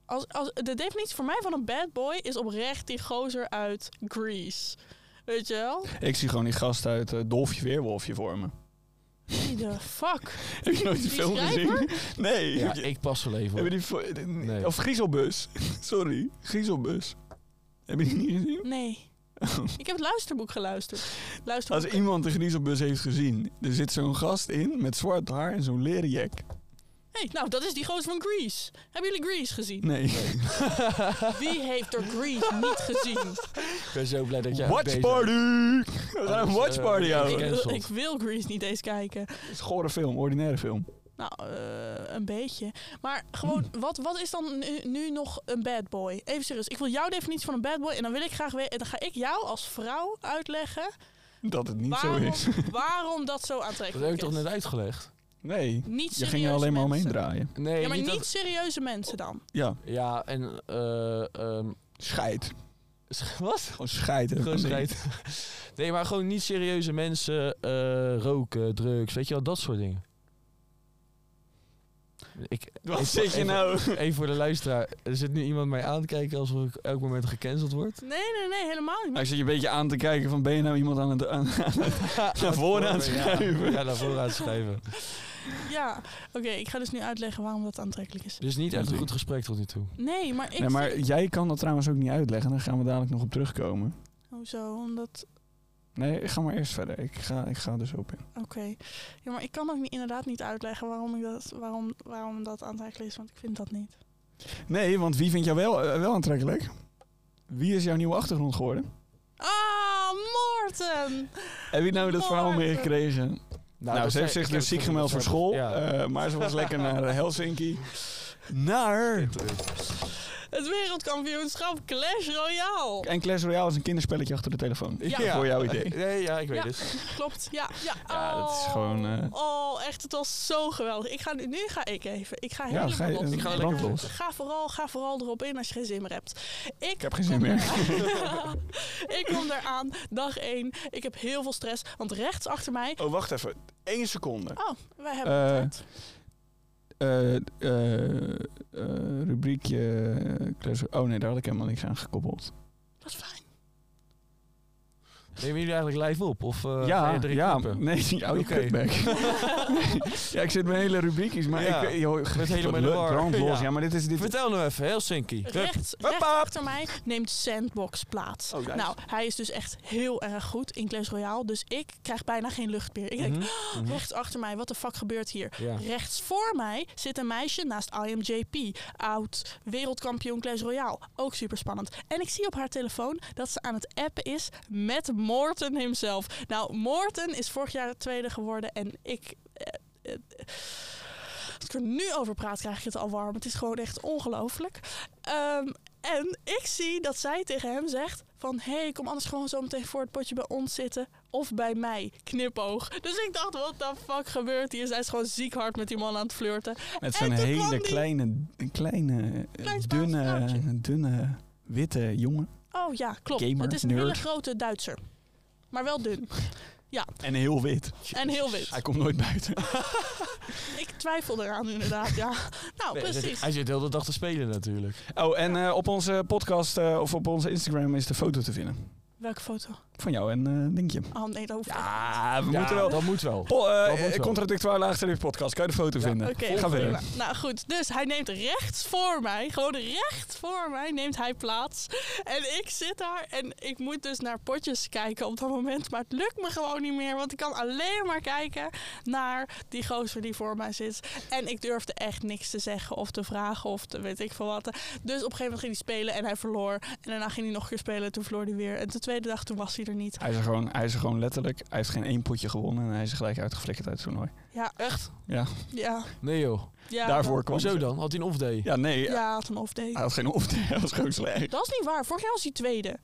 Speaker 3: Als, als, de definitie voor mij van een bad boy is oprecht die gozer uit Grease. Weet je wel?
Speaker 2: Ik zie gewoon die gast uit eh, Dolfje Weerwolfje voor me.
Speaker 3: Wie de fuck?
Speaker 2: Heb je nooit die
Speaker 3: Die
Speaker 2: film
Speaker 3: schrijver?
Speaker 2: gezien? Nee.
Speaker 4: Ja,
Speaker 2: Heb je-
Speaker 4: ik pas wel even.
Speaker 2: heb je
Speaker 4: hoor.
Speaker 2: die fo-
Speaker 4: Nee.
Speaker 2: Of Griezelbus. Sorry. Griezelbus. Heb je die niet gezien?
Speaker 3: Nee. ik heb het luisterboek geluisterd.
Speaker 2: Als
Speaker 3: Luisterboek.
Speaker 2: iemand de griezelbus heeft gezien, er zit zo'n gast in met zwart haar en zo'n leren jack.
Speaker 3: hey, nou, dat is die gozer van Grease. Hebben jullie Grease gezien?
Speaker 2: Nee.
Speaker 3: Wie heeft er Grease niet gezien?
Speaker 4: Ik ben zo blij dat jij
Speaker 2: watch
Speaker 4: bezig
Speaker 2: party!
Speaker 4: bent.
Speaker 2: We gaan een
Speaker 4: Anders,
Speaker 2: watch
Speaker 4: eh,
Speaker 2: party houden.
Speaker 4: ik-
Speaker 2: Het
Speaker 3: ik,
Speaker 4: Cancelled.
Speaker 3: ik wil Grease niet eens kijken.
Speaker 2: is een gore film, ordinaire film.
Speaker 3: Nou, eh, een beetje. Maar gewoon,
Speaker 2: Hmm.
Speaker 3: wat, wat is dan nu, nu nog een bad boy? Even serieus. Ik wil jouw definitie van een bad boy. En dan wil ik graag weten. En dan ga ik jou als vrouw uitleggen
Speaker 2: Dat het niet
Speaker 3: waarom,
Speaker 2: zo is.
Speaker 3: waarom dat zo
Speaker 4: Dat heb ik
Speaker 3: aantrekkelijk
Speaker 4: toch
Speaker 3: is.
Speaker 4: net uitgelegd?
Speaker 2: Nee.
Speaker 3: Niet
Speaker 2: Je
Speaker 3: serieuze
Speaker 2: ging er alleen maar omheen
Speaker 3: mensen.
Speaker 2: draaien.
Speaker 4: Nee,
Speaker 3: Ja, maar
Speaker 4: niet,
Speaker 3: niet,
Speaker 4: dat...
Speaker 3: serieuze mensen dan.
Speaker 2: Ja,
Speaker 4: Ja, en... eh ehm
Speaker 2: scheid.
Speaker 4: wat?
Speaker 2: Gewoon scheid. hè,
Speaker 4: Gewoon
Speaker 2: van dingen.
Speaker 4: strijd. Nee, maar gewoon niet serieuze mensen eh, roken, drugs, weet je wel, dat soort dingen. Ik,
Speaker 2: Wat
Speaker 4: even-
Speaker 2: zit je
Speaker 4: even-
Speaker 2: nou?
Speaker 4: Even voor de luisteraar. Er zit nu iemand mij aan te kijken alsof ik elk moment gecanceld word.
Speaker 3: Nee, nee, nee, helemaal niet.
Speaker 2: Hij zit je een beetje aan te kijken van ben je nou iemand aan het... Aan, naar voren aan het schuiven.
Speaker 4: Ja, naar voren aan het schuiven.
Speaker 3: Ja, oké, ik ga dus nu uitleggen waarom dat aantrekkelijk is.
Speaker 4: Dus niet echt een goed gesprek tot nu toe.
Speaker 3: Nee, maar ik.
Speaker 2: nee, maar
Speaker 3: vind-
Speaker 2: jij kan dat trouwens ook niet uitleggen. Daar gaan we dadelijk nog op terugkomen.
Speaker 3: Hoezo? Omdat.
Speaker 2: Nee, ga maar eerst verder. Ik ga, ik ga dus op in.
Speaker 3: Oké. Ja, maar ik kan ook niet, inderdaad niet uitleggen waarom, ik dat, waarom, waarom dat aantrekkelijk is, want ik vind dat niet.
Speaker 2: Nee, want wie vindt jou wel, eh, wel aantrekkelijk? Wie is jouw nieuwe achtergrond geworden?
Speaker 3: Ah, Morten!
Speaker 2: Heb je nou dat verhaal
Speaker 3: Morten.
Speaker 2: meegekregen Nou,
Speaker 4: dat
Speaker 2: ze
Speaker 4: zei-
Speaker 2: heeft zich
Speaker 4: ik heb
Speaker 2: dus
Speaker 4: het
Speaker 2: ziek
Speaker 4: gezien,
Speaker 2: gemeld
Speaker 4: dat
Speaker 2: voor
Speaker 4: zei-
Speaker 2: school.
Speaker 4: ja.
Speaker 2: eh, maar ze was lekker naar eh, Helsinki. Naar...
Speaker 3: Het wereldkampioenschap Clash Royale.
Speaker 2: En Clash Royale is een kinderspelletje achter de telefoon.
Speaker 3: Ja.
Speaker 2: Voor jouw idee.
Speaker 4: Nee, ja, ik weet
Speaker 3: Ja.
Speaker 4: het.
Speaker 3: Klopt, ja. Ja,
Speaker 2: Ja,
Speaker 3: oh.
Speaker 2: dat is gewoon, eh,
Speaker 3: Oh, echt, het was zo geweldig. Ik ga, nu- nu ga ik even. Ik ga
Speaker 2: Ja,
Speaker 3: helemaal
Speaker 2: ga je,
Speaker 3: los.
Speaker 2: ik
Speaker 4: Ik ga
Speaker 2: ga
Speaker 4: lekker-
Speaker 3: Ga vooral, ga vooral erop in als je geen zin meer hebt. Ik,
Speaker 2: Ik heb geen zin meer.
Speaker 3: ik kom eraan, dag één. Ik heb heel veel stress, want rechts achter mij...
Speaker 2: Oh, wacht even. Eén seconde.
Speaker 3: Oh, wij hebben
Speaker 2: Eh,
Speaker 3: het.
Speaker 2: Eh, eh, eh, rubriekje... eh, Clash- Oh nee, daar had ik helemaal niks aan gekoppeld.
Speaker 3: Dat is fijn.
Speaker 4: Nemen jullie eigenlijk live op? Of eh, ga
Speaker 2: ja,
Speaker 4: je erin
Speaker 2: ja.
Speaker 4: knippen?
Speaker 2: Nee, oh, je
Speaker 4: Oké.
Speaker 2: kutbek. ja, ik zit met hele rubriekjes, maar
Speaker 4: Ja.
Speaker 2: ik... eh, Joh,
Speaker 4: Met helemaal in de war.
Speaker 2: Brandlos, ja.
Speaker 4: Ja.
Speaker 2: maar dit is... Dit,
Speaker 4: Vertel nou even, Helsinki. Hup.
Speaker 3: Rechts,
Speaker 4: Hup,
Speaker 3: rechts
Speaker 4: hup.
Speaker 3: achter mij neemt Sandbox plaats.
Speaker 2: Oh, nice.
Speaker 3: Nou, hij is dus echt heel erg goed in Clash Royale. Dus ik krijg bijna geen lucht meer. Ik denk,
Speaker 4: Mhm, mhm.
Speaker 3: rechts achter mij, wat de fuck gebeurt hier?
Speaker 4: Ja.
Speaker 3: Rechts voor mij zit een meisje naast IMJP, oud wereldkampioen Clash Royale. Ook super spannend. En ik zie op haar telefoon dat ze aan het appen is met Morten himself. Nou, Morten is vorig jaar tweede geworden en ik. eh, eh, Als ik er nu over praat, krijg ik het al warm. Het is gewoon echt ongelooflijk. Ehm, en ik zie dat zij tegen hem zegt van... hé, hey, kom anders gewoon zo meteen voor het potje bij ons zitten. Of bij mij. Knipoog. Dus ik dacht, wat de fuck gebeurt hier? Zij is gewoon ziek hard met die man aan het flirten.
Speaker 2: Met
Speaker 3: En
Speaker 2: zo'n
Speaker 3: toen kwam
Speaker 2: hele
Speaker 3: die-
Speaker 2: kleine, kleine, eh,
Speaker 3: Klein Spaans
Speaker 2: dunne,
Speaker 3: vrouwtje.
Speaker 2: dunne, witte jongen.
Speaker 3: Oh ja, klopt.
Speaker 2: Gamer,
Speaker 3: het is een
Speaker 2: nerd.
Speaker 3: hele grote Duitser. Maar wel dun.
Speaker 2: En heel wit.
Speaker 3: En heel wit.
Speaker 2: Hij komt nooit buiten.
Speaker 3: Ik twijfel eraan inderdaad, ja. Nou,
Speaker 4: Nee,
Speaker 3: precies.
Speaker 4: Hij zit de hele dag te spelen natuurlijk.
Speaker 2: Oh, en eh, op onze podcast eh, of op onze Instagram is de foto te vinden.
Speaker 3: Welke foto?
Speaker 2: Van jou en eh Linkje.
Speaker 3: Oh nee, dat hoeft niet.
Speaker 2: Ja, we
Speaker 4: Ja,
Speaker 2: moeten wel.
Speaker 4: Dat moet wel.
Speaker 2: Po- eh,
Speaker 4: dat moet wel.
Speaker 2: contradictoire laagste podcast. Kan je de foto vinden?
Speaker 3: Oké,
Speaker 2: Ga
Speaker 3: prima.
Speaker 2: verder.
Speaker 3: Nou goed, dus hij neemt rechts voor mij, gewoon recht voor mij neemt hij plaats. En ik zit daar en ik moet dus naar potjes kijken op dat moment. Maar het lukt me gewoon niet meer, want ik kan alleen maar kijken naar die gozer die voor mij zit. En ik durfde echt niks te zeggen of te vragen of te weet ik veel wat. Dus op een gegeven moment ging hij spelen en hij verloor. En daarna ging hij nog een keer spelen, toen verloor hij weer. En de tweede dag, toen was hij er niet.
Speaker 2: Hij is, er gewoon, hij is er gewoon letterlijk. Hij heeft geen één potje gewonnen en hij is gelijk uitgeflikkerd uit het toernooi.
Speaker 3: Ja, echt?
Speaker 2: Ja.
Speaker 3: Ja.
Speaker 4: Nee joh.
Speaker 3: ja
Speaker 2: Daarvoor Ah. kwam
Speaker 4: Hoezo
Speaker 2: ze.
Speaker 4: dan? Had hij een off day?
Speaker 2: Ja, nee.
Speaker 3: Ja, had een off day.
Speaker 2: Hij had geen off Hij was gewoon slecht.
Speaker 3: Dat is niet waar. Vorig jaar was hij tweede.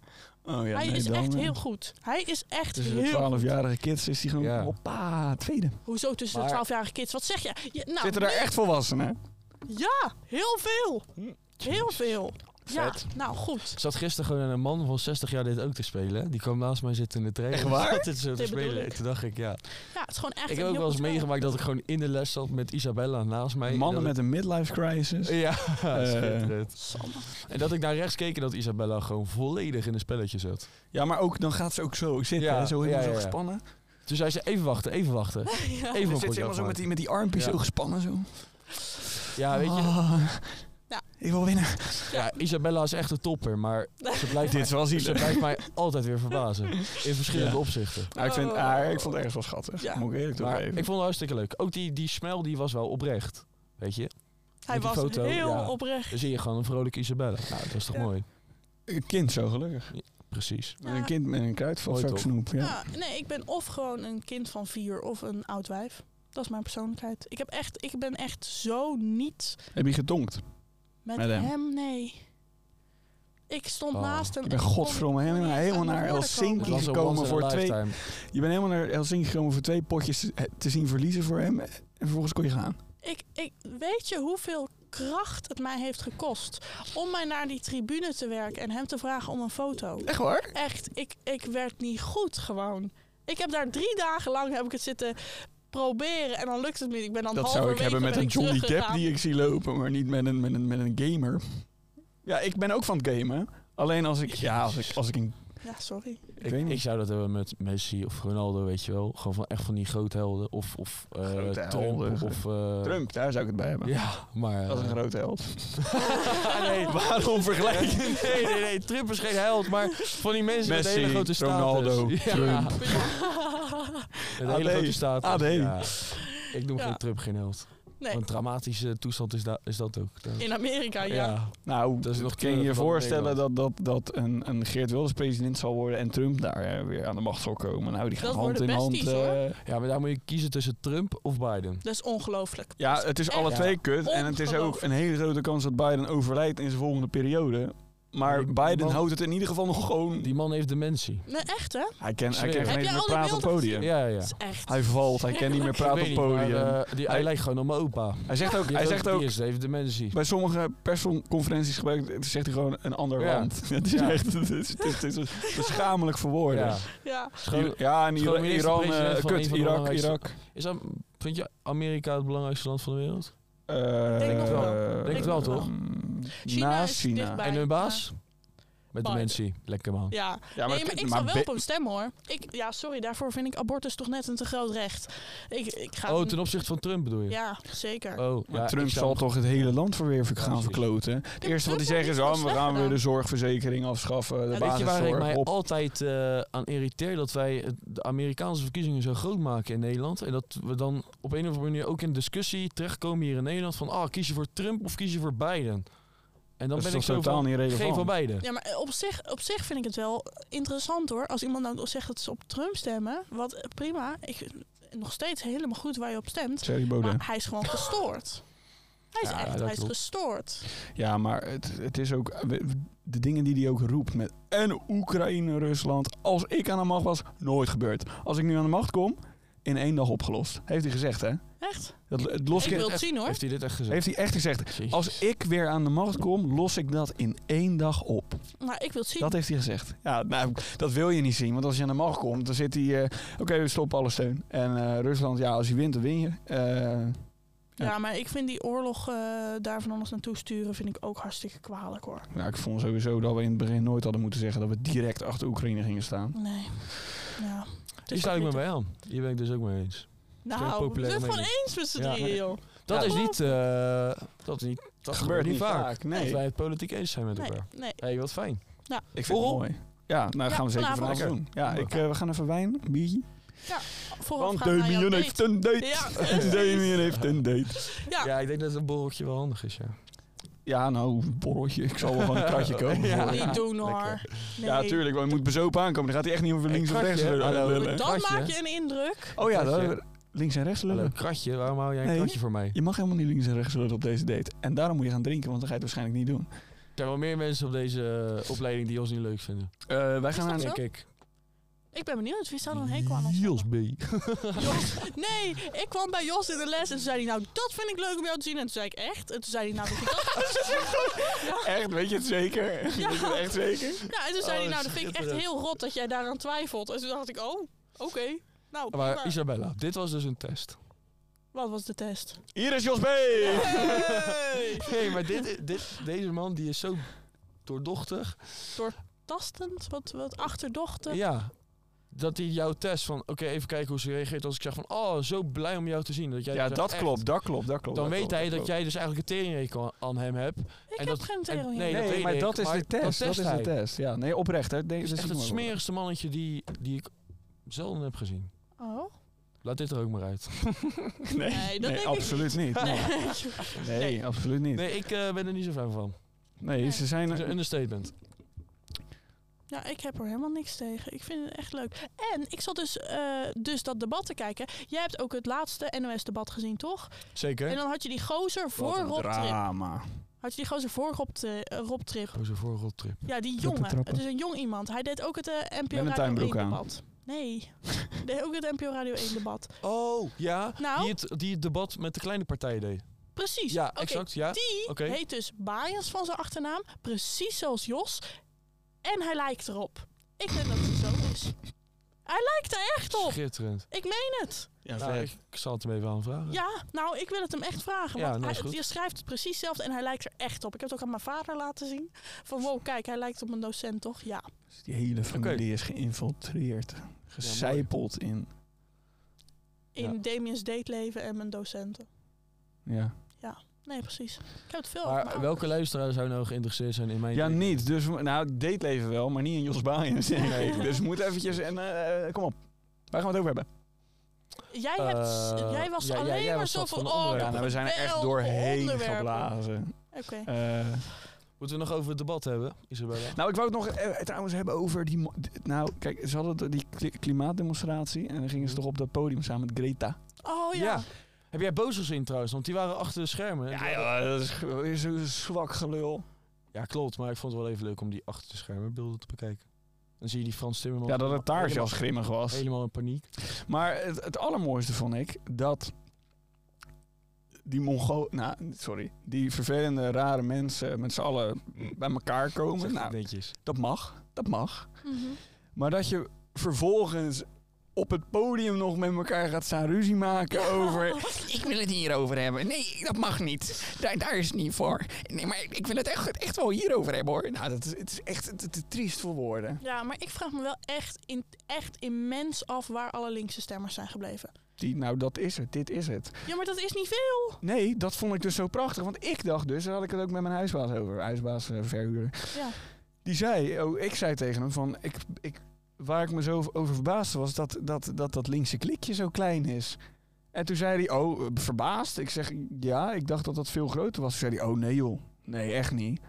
Speaker 2: Oh, ja,
Speaker 3: hij
Speaker 2: nee,
Speaker 3: is
Speaker 2: dan,
Speaker 3: echt
Speaker 2: eh,
Speaker 3: heel goed. Hij is echt
Speaker 2: Tussen de
Speaker 3: heel... Nou,
Speaker 2: 12-jarige kids is hij gewoon.
Speaker 4: Ja.
Speaker 2: Hoppa, tweede.
Speaker 3: Hoezo tussen
Speaker 4: Maar-
Speaker 3: de 12-jarige kids? Wat zeg je? Je- nou,
Speaker 2: Zitten daar echt volwassenen?
Speaker 3: Ja, heel veel.
Speaker 4: Hm,
Speaker 3: Heel veel. Ja,
Speaker 2: Vet.
Speaker 3: nou goed.
Speaker 4: Ik zat gisteren gewoon een man van 60 jaar dit ook te spelen. Die kwam naast mij zitten in de trein.
Speaker 2: Echt waar?
Speaker 4: En zat dit zo te
Speaker 3: Dit bedoel
Speaker 4: spelen.
Speaker 3: ik.
Speaker 4: Toen dacht ik, ja.
Speaker 3: Ja, het is gewoon echt
Speaker 4: ik
Speaker 3: een
Speaker 4: heb ook
Speaker 3: heel
Speaker 4: wel eens
Speaker 3: goed spel.
Speaker 4: meegemaakt dat ik gewoon in de les zat met Isabella naast mij.
Speaker 2: Mannen
Speaker 4: En
Speaker 2: met
Speaker 4: dat
Speaker 2: een midlife crisis.
Speaker 4: ik- Ja,
Speaker 2: Eh.
Speaker 4: schitterend.
Speaker 3: Sander.
Speaker 4: En dat ik naar rechts keek en dat Isabella gewoon volledig in een spelletje zat.
Speaker 2: Ja, maar ook, dan gaat ze ook zo zitten.
Speaker 4: Ja,
Speaker 2: hè, zo helemaal
Speaker 4: ja, ja,
Speaker 2: zo
Speaker 4: ja.
Speaker 2: gespannen.
Speaker 4: Toen zei ze, even wachten, even wachten.
Speaker 3: Ja.
Speaker 4: Even
Speaker 2: Dan
Speaker 4: een
Speaker 2: zit ze
Speaker 4: potje
Speaker 2: helemaal zo met
Speaker 4: afmaken.
Speaker 2: die, met die armpjes
Speaker 4: Ja.
Speaker 2: zo gespannen. Zo.
Speaker 4: Ja, weet je.
Speaker 2: Ah,
Speaker 3: Ja.
Speaker 2: Ik wil winnen.
Speaker 4: Ja, Isabella is echt een topper, maar ze blijft,
Speaker 2: Dit is wel
Speaker 4: ze
Speaker 2: zielig.
Speaker 4: blijft mij altijd weer verbazen. In verschillende
Speaker 2: Ja.
Speaker 4: opzichten.
Speaker 2: Nou, ik, vind,
Speaker 3: Oh.
Speaker 2: ah, ik vond het ergens wel schattig.
Speaker 3: Ja.
Speaker 2: Moet ik eerlijk
Speaker 4: Maar
Speaker 2: toegeven.
Speaker 4: ik vond het hartstikke leuk. Ook die, die smel die was wel oprecht. Weet je?
Speaker 3: Hij
Speaker 4: Met die
Speaker 3: was
Speaker 4: foto,
Speaker 3: heel
Speaker 4: ja.
Speaker 3: oprecht.
Speaker 4: Dan zie je gewoon een vrolijke Isabella. Nou, dat is toch
Speaker 3: Ja.
Speaker 4: mooi.
Speaker 2: Een kind zo gelukkig.
Speaker 4: Precies.
Speaker 2: Met Een kind met een
Speaker 4: Mooi
Speaker 2: kruidvat
Speaker 4: toch?
Speaker 2: snoep. Ja.
Speaker 3: Ja, nee, ik ben of gewoon een kind van vier of een oud wijf. Dat is mijn persoonlijkheid. Ik, heb echt, ik ben echt zo niet
Speaker 2: Heb je gedonkt?
Speaker 3: met,
Speaker 2: Met hem.
Speaker 3: hem. Nee. Ik stond
Speaker 4: Oh,
Speaker 3: naast hem.
Speaker 2: Ik ben
Speaker 3: kon
Speaker 2: godverdomme helemaal,
Speaker 3: niet
Speaker 2: helemaal
Speaker 3: aan mijn
Speaker 2: naar
Speaker 3: woorden
Speaker 2: Helsinki
Speaker 3: komen.
Speaker 4: was een
Speaker 2: gekomen
Speaker 4: once in a
Speaker 2: voor twee-
Speaker 4: lifetime.
Speaker 2: Je bent helemaal naar Helsinki gekomen voor twee potjes te- eh, te zien verliezen voor hem. En vervolgens kon je gaan.
Speaker 3: Ik, ik, weet je hoeveel kracht het mij heeft gekost om mij naar die tribune te werken en hem te vragen om een foto?
Speaker 2: Echt waar?
Speaker 3: Echt, ik, ik werd niet goed gewoon. Ik heb daar drie dagen lang heb ik het zitten proberen en dan lukt het niet. Ik ben dan
Speaker 2: Dat zou ik
Speaker 3: halverwege
Speaker 2: hebben met
Speaker 3: ben
Speaker 2: een
Speaker 3: ik
Speaker 2: Johnny Depp
Speaker 3: teruggegaan.
Speaker 2: die ik zie lopen, maar niet met een, met een, met een gamer. Ja, ik ben ook van het gamen. Alleen als ik, ja, als ik, als ik een...
Speaker 3: Ja, sorry.
Speaker 2: Ik, weet
Speaker 4: Ik, ik
Speaker 2: niet.
Speaker 4: zou dat hebben met Messi of Ronaldo, weet je wel. Gewoon van, echt van die groothelden. Of, of eh,
Speaker 2: Grote
Speaker 4: Trump.
Speaker 2: helden.
Speaker 4: Of, eh,
Speaker 2: Trump, daar zou ik het bij hebben.
Speaker 4: Ja, maar... eh,
Speaker 2: Dat is een grote held.
Speaker 4: nee,
Speaker 2: Waarom vergelijk je?
Speaker 4: nee, nee, nee. Trump is geen held, maar van die mensen met
Speaker 2: Messi,
Speaker 4: een hele grote status.
Speaker 2: Ronaldo,
Speaker 4: Ja,
Speaker 2: Trump.
Speaker 4: Met een hele
Speaker 2: AD.
Speaker 4: grote status.
Speaker 2: AD.
Speaker 4: Ja. Ik noem
Speaker 3: Ja.
Speaker 4: geen Trump geen held.
Speaker 3: Nee.
Speaker 4: Een dramatische toestand is, da- is dat ook. Dat-
Speaker 3: In Amerika, ja.
Speaker 2: Nou,
Speaker 4: Dat is nog
Speaker 2: kun je je
Speaker 4: terug van
Speaker 2: voorstellen dat, dat, dat een, een Geert Wilders president zal worden en Trump daar eh, weer aan de macht zal komen. Nou, die gaan
Speaker 3: Dat
Speaker 2: hand
Speaker 3: worden
Speaker 2: in
Speaker 3: best
Speaker 2: hand.
Speaker 3: iets, hoor.
Speaker 2: eh,
Speaker 4: Ja, maar daar moet je kiezen tussen Trump of Biden.
Speaker 3: Dat is ongelooflijk.
Speaker 2: ja, het is
Speaker 3: echt
Speaker 2: alle twee kut. En het is ook
Speaker 3: ongelooflijk.
Speaker 2: een hele grote kans dat Biden overlijdt in zijn volgende periode. Maar
Speaker 4: Die
Speaker 2: Biden
Speaker 4: man-
Speaker 2: houdt het in ieder geval nog gewoon.
Speaker 4: Die man heeft dementie.
Speaker 3: Nee, echt hè?
Speaker 2: hij kan hij
Speaker 4: Heb
Speaker 2: kan
Speaker 4: jij
Speaker 2: geen eens
Speaker 3: al
Speaker 2: meer
Speaker 3: die
Speaker 2: praten op het
Speaker 3: beelden
Speaker 2: podium.
Speaker 4: Ja, ja.
Speaker 3: Dat is echt.
Speaker 2: Hij vervalt, hij kan niet meer praten op het
Speaker 4: Ik weet niet, maar,
Speaker 2: podium.
Speaker 4: eh, die, hij
Speaker 2: Hij-
Speaker 4: lijkt gewoon op mijn opa.
Speaker 2: hij zegt ook,
Speaker 4: Die
Speaker 2: hij
Speaker 4: heeft
Speaker 2: zegt ook
Speaker 4: die is- heeft dementie.
Speaker 2: bij sommige persconferenties gebruikt, zegt hij gewoon een ander
Speaker 4: Ja.
Speaker 2: land. Het is
Speaker 4: Ja.
Speaker 2: echt het is, het is, het is een schamelijk verwoorden.
Speaker 4: Ja.
Speaker 2: Ja.
Speaker 3: Ja.
Speaker 4: Schoon-
Speaker 2: en
Speaker 4: Schoon
Speaker 2: Iran,
Speaker 4: minister-
Speaker 2: Iran
Speaker 4: president
Speaker 2: eh,
Speaker 4: van een
Speaker 2: kut,
Speaker 4: van de
Speaker 2: Irak,
Speaker 4: belangrijkste-
Speaker 2: Irak.
Speaker 4: Is dat, vind je Amerika het belangrijkste land van de wereld?
Speaker 2: Eh,
Speaker 3: Denk het
Speaker 4: wel. Denk het wel, toch?
Speaker 2: mm,
Speaker 3: China
Speaker 2: Naast
Speaker 3: is
Speaker 2: China.
Speaker 3: dichtbij.
Speaker 4: en hun baas? Met
Speaker 3: Biden.
Speaker 4: dementie. Lekker man.
Speaker 3: Ja,
Speaker 2: Ja,
Speaker 3: nee, maar
Speaker 2: het-
Speaker 3: ik zou wel
Speaker 2: be-
Speaker 3: op hem stemmen hoor. Ik, ja, sorry, daarvoor vind ik abortus toch net een te groot recht. Ik, ik ga
Speaker 4: Oh, ten opzichte van Trump bedoel je?
Speaker 3: Ja, zeker.
Speaker 4: Oh,
Speaker 2: maar
Speaker 4: ja,
Speaker 2: Trump
Speaker 4: ik zou-
Speaker 2: zal toch het hele land voor weer
Speaker 4: Ja,
Speaker 2: gaan
Speaker 4: precies.
Speaker 2: verkloten. Het eerste wat hij
Speaker 3: Trump
Speaker 2: zegt
Speaker 3: heeft
Speaker 2: is,
Speaker 3: iets
Speaker 2: oh, we
Speaker 3: slecht
Speaker 2: gaan weer de
Speaker 3: gedaan.
Speaker 2: zorgverzekering afschaffen, de
Speaker 4: Weet je waar ik
Speaker 2: basiszorg
Speaker 4: mij
Speaker 2: op.
Speaker 4: altijd eh, aan irriteer? Dat wij het- de Amerikaanse verkiezingen zo groot maken in Nederland. En dat we dan op een of andere manier ook in discussie terechtkomen hier in Nederland. Van, ah, kies je voor Trump of kies je voor Biden? En dan
Speaker 2: Dat is
Speaker 4: ben ik
Speaker 2: toch
Speaker 4: zo
Speaker 2: totaal
Speaker 4: van,
Speaker 2: niet relevant.
Speaker 4: geen van beide.
Speaker 3: Ja, maar op zich, op zich vind ik het wel interessant hoor. Als iemand nou zegt dat ze op Trump stemmen, wat eh, prima. Ik, nog steeds helemaal goed waar je op stemt.
Speaker 2: Thierry Baudet.
Speaker 3: Maar hij is gewoon gestoord. Hij is
Speaker 4: Ja,
Speaker 3: echt,
Speaker 4: dat
Speaker 3: hij is
Speaker 4: klopt.
Speaker 3: gestoord.
Speaker 2: Ja, maar het, het is ook... we- De dingen die hij ook roept met en Oekraïne, Rusland. Als ik aan de macht was, nooit gebeurd. Als ik nu aan de macht kom, in één dag opgelost. Heeft hij gezegd, hè?
Speaker 3: Echt?
Speaker 2: Dat, het los
Speaker 3: Ik
Speaker 2: ik-
Speaker 3: wil het zien hoor.
Speaker 4: Heeft hij dit echt gezegd?
Speaker 2: heeft hij echt gezegd.
Speaker 4: Jezus.
Speaker 2: Als ik weer aan de macht kom, los ik dat in één dag op.
Speaker 3: Maar ik wil het zien.
Speaker 2: Dat heeft hij gezegd. Ja, nou, dat wil je niet zien, want als je aan de macht komt, dan zit hij... eh, Oké, we stoppen alle steun. En eh, Rusland, ja, als je wint, dan win je. Eh,
Speaker 3: ja.
Speaker 2: Ja.
Speaker 3: maar ik vind die oorlog eh daar van alles naartoe sturen vind ik ook hartstikke kwalijk hoor.
Speaker 2: nou, ik vond sowieso dat we in het begin nooit hadden moeten zeggen dat we direct achter Oekraïne gingen staan.
Speaker 3: Nee. Nou, Ja.
Speaker 4: Hier sluit ik me bij aan. Hier ben ik dus ook mee eens. Twee
Speaker 3: Nou, we
Speaker 4: populaire
Speaker 3: zijn het gewoon
Speaker 4: meningen.
Speaker 3: eens met z'n
Speaker 4: Ja.
Speaker 3: drieën joh.
Speaker 4: Dat
Speaker 2: Ja.
Speaker 4: is niet... eh, dat is niet... Dat gebeurt niet vaak. Dat wij
Speaker 2: Nee.
Speaker 4: het politiek eens zijn met
Speaker 3: Nee,
Speaker 4: elkaar.
Speaker 3: nee.
Speaker 4: Hé, hey, wat fijn.
Speaker 2: Ik
Speaker 4: vind het
Speaker 2: mooi. Ja, nou
Speaker 3: Ja,
Speaker 2: gaan we zeker
Speaker 3: vanavond.
Speaker 2: vanavond doen. Ja, ik, eh, we gaan even wijn, biertje.
Speaker 3: Vooraf gaan naar jouw date.
Speaker 2: een date.
Speaker 3: Ja,
Speaker 2: Damien heeft een date.
Speaker 3: Ja.
Speaker 4: Ja. ik denk dat een borreltje wel handig is, ja.
Speaker 2: Ja, nou, borreltje. Ik zal wel gewoon een kratje kopen.
Speaker 4: Ja.
Speaker 2: voor je.
Speaker 3: Niet doen hoor.
Speaker 4: Lekker.
Speaker 3: Nee.
Speaker 2: Ja, tuurlijk. Want je moet bezopen aankomen. Dan gaat hij echt niet over links of
Speaker 4: kratje,
Speaker 2: rechts
Speaker 4: hè? Hallo.
Speaker 2: lullen.
Speaker 3: Dan
Speaker 4: Kratje,
Speaker 3: maak
Speaker 4: hè?
Speaker 3: je een indruk.
Speaker 2: Oh ja,
Speaker 4: Kratje.
Speaker 2: dan- links en rechts
Speaker 4: Hallo,
Speaker 2: lullen.
Speaker 4: kratje. Waarom hou jij een
Speaker 2: Nee.
Speaker 4: kratje voor mij?
Speaker 2: Je mag helemaal niet links en rechts lullen op deze date. En daarom moet je gaan drinken, want dan ga je het waarschijnlijk niet doen.
Speaker 4: Er zijn wel meer mensen op deze eh, opleiding die ons niet leuk vinden.
Speaker 2: Eh, wij
Speaker 3: gaan dat
Speaker 2: gaan
Speaker 3: naar-
Speaker 2: naar...
Speaker 3: zo?
Speaker 4: Denk ik.
Speaker 3: Ik ben benieuwd wie zou dan een hekel aan ons hebben?
Speaker 4: Jos B.
Speaker 3: Jos. Nee, ik kwam bij Jos in de les en toen zei hij nou dat vind ik leuk om jou te zien. En toen zei ik echt. En toen zei hij nou dat vind ik dat
Speaker 2: Echt, weet je het zeker?
Speaker 3: Ja.
Speaker 2: Weet je het echt zeker?
Speaker 3: Ja, en toen zei
Speaker 4: Oh,
Speaker 3: hij nou dat vind ik echt
Speaker 4: schitterend.
Speaker 3: heel rot dat jij daaraan twijfelt. En toen dacht ik oh, oké. Nou,
Speaker 4: Maar
Speaker 3: prima.
Speaker 4: Isabella, dit was dus een test.
Speaker 3: Wat was de test?
Speaker 2: Hier is Jos B!
Speaker 3: Hey!
Speaker 4: Nee, maar dit, dit, deze man die is zo doordochtig.
Speaker 3: Tastend, wat, wat achterdochtig.
Speaker 4: Ja. Dat hij jouw test van, oké, even kijken hoe ze reageert als ik zeg van, oh, zo blij om jou te zien. Dat jij
Speaker 2: Ja,
Speaker 4: zegt,
Speaker 2: dat
Speaker 4: echt.
Speaker 2: klopt, dat klopt, dat klopt.
Speaker 4: Dan
Speaker 2: dat
Speaker 4: weet
Speaker 2: klopt,
Speaker 4: hij dat
Speaker 2: klopt.
Speaker 4: jij dus eigenlijk een teringrekel aan hem hebt.
Speaker 3: Ik
Speaker 4: en
Speaker 3: heb
Speaker 4: dat-
Speaker 3: geen
Speaker 4: en-
Speaker 3: theorie.
Speaker 4: nee, dat
Speaker 2: Nee,
Speaker 4: weet
Speaker 2: maar
Speaker 4: ik,
Speaker 2: dat is
Speaker 4: maar
Speaker 2: de
Speaker 4: dat
Speaker 2: test. Dat
Speaker 4: test
Speaker 2: is de
Speaker 4: hij.
Speaker 2: test. Ja, nee, oprecht. Hè. Deze
Speaker 4: is
Speaker 2: zie
Speaker 4: echt
Speaker 2: ik
Speaker 4: het
Speaker 2: nog wel.
Speaker 4: smerigste mannetje die, die ik zelden heb gezien.
Speaker 3: Oh.
Speaker 4: Laat dit er ook maar uit.
Speaker 2: Nee,
Speaker 3: Nee, dat
Speaker 2: nee,
Speaker 3: denk ik
Speaker 2: absoluut niet. Nee, Nee,
Speaker 3: Nee.
Speaker 2: absoluut niet. Nee,
Speaker 4: Nee, ik eh, ben er niet zo fan van.
Speaker 2: ze
Speaker 4: Dat is een
Speaker 2: zijn...
Speaker 4: understatement.
Speaker 3: Ja, ik heb er helemaal niks tegen. Ik vind het echt leuk. En ik zat dus, eh, dus dat debat te kijken. Jij hebt ook het laatste NOS-debat gezien, toch? En
Speaker 4: Zeker.
Speaker 3: dan had je die gozer voor
Speaker 2: Wat een
Speaker 3: Rob Trip.
Speaker 2: drama.
Speaker 3: Had je die gozer voor Rob, Tri- eh, Rob Trip.
Speaker 4: Gewoon zo'n voorroltrip.
Speaker 3: Ja, die
Speaker 2: Trappen,
Speaker 3: jongen.
Speaker 2: trappen.
Speaker 3: Het is een jong iemand. Hij deed ook het eh, NPO
Speaker 2: een
Speaker 3: Radio
Speaker 2: tuinbroek
Speaker 3: 1-debat. Nee, Hij deed ook het NPO Radio 1-debat.
Speaker 4: Oh, ja.
Speaker 3: Nou?
Speaker 4: Die, het, die het debat met de kleine partij deed.
Speaker 3: Precies.
Speaker 4: Ja,
Speaker 3: Oké,
Speaker 4: exact. Ja.
Speaker 3: Die
Speaker 4: Oké.
Speaker 3: heet dus Baaiens van zijn achternaam. Precies zoals Jos. En hij lijkt erop. Ik denk dat het zo is. Hij lijkt er echt op.
Speaker 4: Schitterend.
Speaker 3: Ik meen het.
Speaker 2: Ja,
Speaker 4: Nou, ik, ik zal het hem even aanvragen.
Speaker 3: Ja, nou, ik wil het hem echt vragen.
Speaker 4: Ja,
Speaker 3: Want
Speaker 4: nou, is
Speaker 3: hij,
Speaker 4: goed.
Speaker 3: je schrijft het precies zelf en hij lijkt er echt op. Ik heb het ook aan mijn vader laten zien. Van wow, kijk, hij lijkt op een docent, toch? Ja.
Speaker 2: Dus Die hele familie is geïnfiltreerd, gecijpeld in.
Speaker 3: In Damien's dateleven en mijn docenten.
Speaker 2: Ja,
Speaker 3: Nee, precies. Ik heb het veel over
Speaker 4: Maar
Speaker 3: mijn
Speaker 4: welke luisteraar zou nou geïnteresseerd zijn in mijn...
Speaker 2: ja niet. Dus, we- nou, dateleven wel, maar niet in Jos Baaien, zeg ik. Dus we moeten eventjes... En, eh, kom op, waar gaan we het over hebben?
Speaker 3: Jij, hebt,
Speaker 4: Eh,
Speaker 3: jij was
Speaker 4: ja, ja,
Speaker 3: alleen
Speaker 4: jij
Speaker 3: maar
Speaker 4: was
Speaker 3: zo
Speaker 4: dat
Speaker 3: van...
Speaker 4: van
Speaker 3: oh,
Speaker 4: onderwerpen.
Speaker 2: Ja, nou, we zijn er echt
Speaker 3: wel
Speaker 2: doorheen
Speaker 3: onderwerpen.
Speaker 2: geblazen.
Speaker 3: Oké.
Speaker 2: Eh,
Speaker 4: Moeten we nog over het debat hebben, Isabella?
Speaker 2: nou, ik wou het nog eh, trouwens hebben over die... mo- d- Nou, kijk, ze hadden die kli- klimaatdemonstratie en dan gingen ze toch op dat podium samen met Greta.
Speaker 3: Oh ja.
Speaker 4: Heb jij boos gezien trouwens? Want die waren achter de schermen.
Speaker 2: Ja, joh, dat is g- is een zwak gelul.
Speaker 4: Ja, klopt. Maar ik vond het wel even leuk om die achter de schermen beelden te bekijken. Dan zie je die Frans Timmermans.
Speaker 2: Ja, dat het taartjas
Speaker 4: helemaal,
Speaker 2: grimmig was.
Speaker 4: helemaal in paniek.
Speaker 2: Maar het, het allermooiste vond ik dat die Mongo, nou sorry, die vervelende rare mensen met z'n allen bij elkaar komen.
Speaker 4: Zegt het
Speaker 2: Nou,
Speaker 4: netjes.
Speaker 2: dat mag, dat mag.
Speaker 3: Mhm.
Speaker 2: Maar dat je vervolgens op het podium nog met elkaar gaat staan ruzie maken over. Ik wil het hierover hebben. Nee, dat mag niet. Daar, daar is het niet voor. Nee, maar ik, ik wil het echt, echt wel hierover hebben hoor. Nou, dat is, het is echt te, te triest voor woorden.
Speaker 3: Ja, maar ik vraag me wel echt, in, echt immens af waar alle linkse stemmers zijn gebleven.
Speaker 2: Die, nou, dat is het. Dit is het.
Speaker 3: Ja, maar dat is niet veel.
Speaker 2: Nee, dat vond ik dus zo prachtig. Want ik dacht dus, daar had ik het ook met mijn huisbaas over. Huisbaas eh, verhuren.
Speaker 3: Ja.
Speaker 2: Die zei, oh, ik zei tegen hem van... Ik, ik, waar ik me zo over verbaasde was dat dat, dat dat linkse klikje zo klein is. En toen zei hij, oh, eh, verbaasd? Ik zeg, ja, ik dacht dat dat veel groter was. Toen zei hij, oh nee joh, nee echt niet.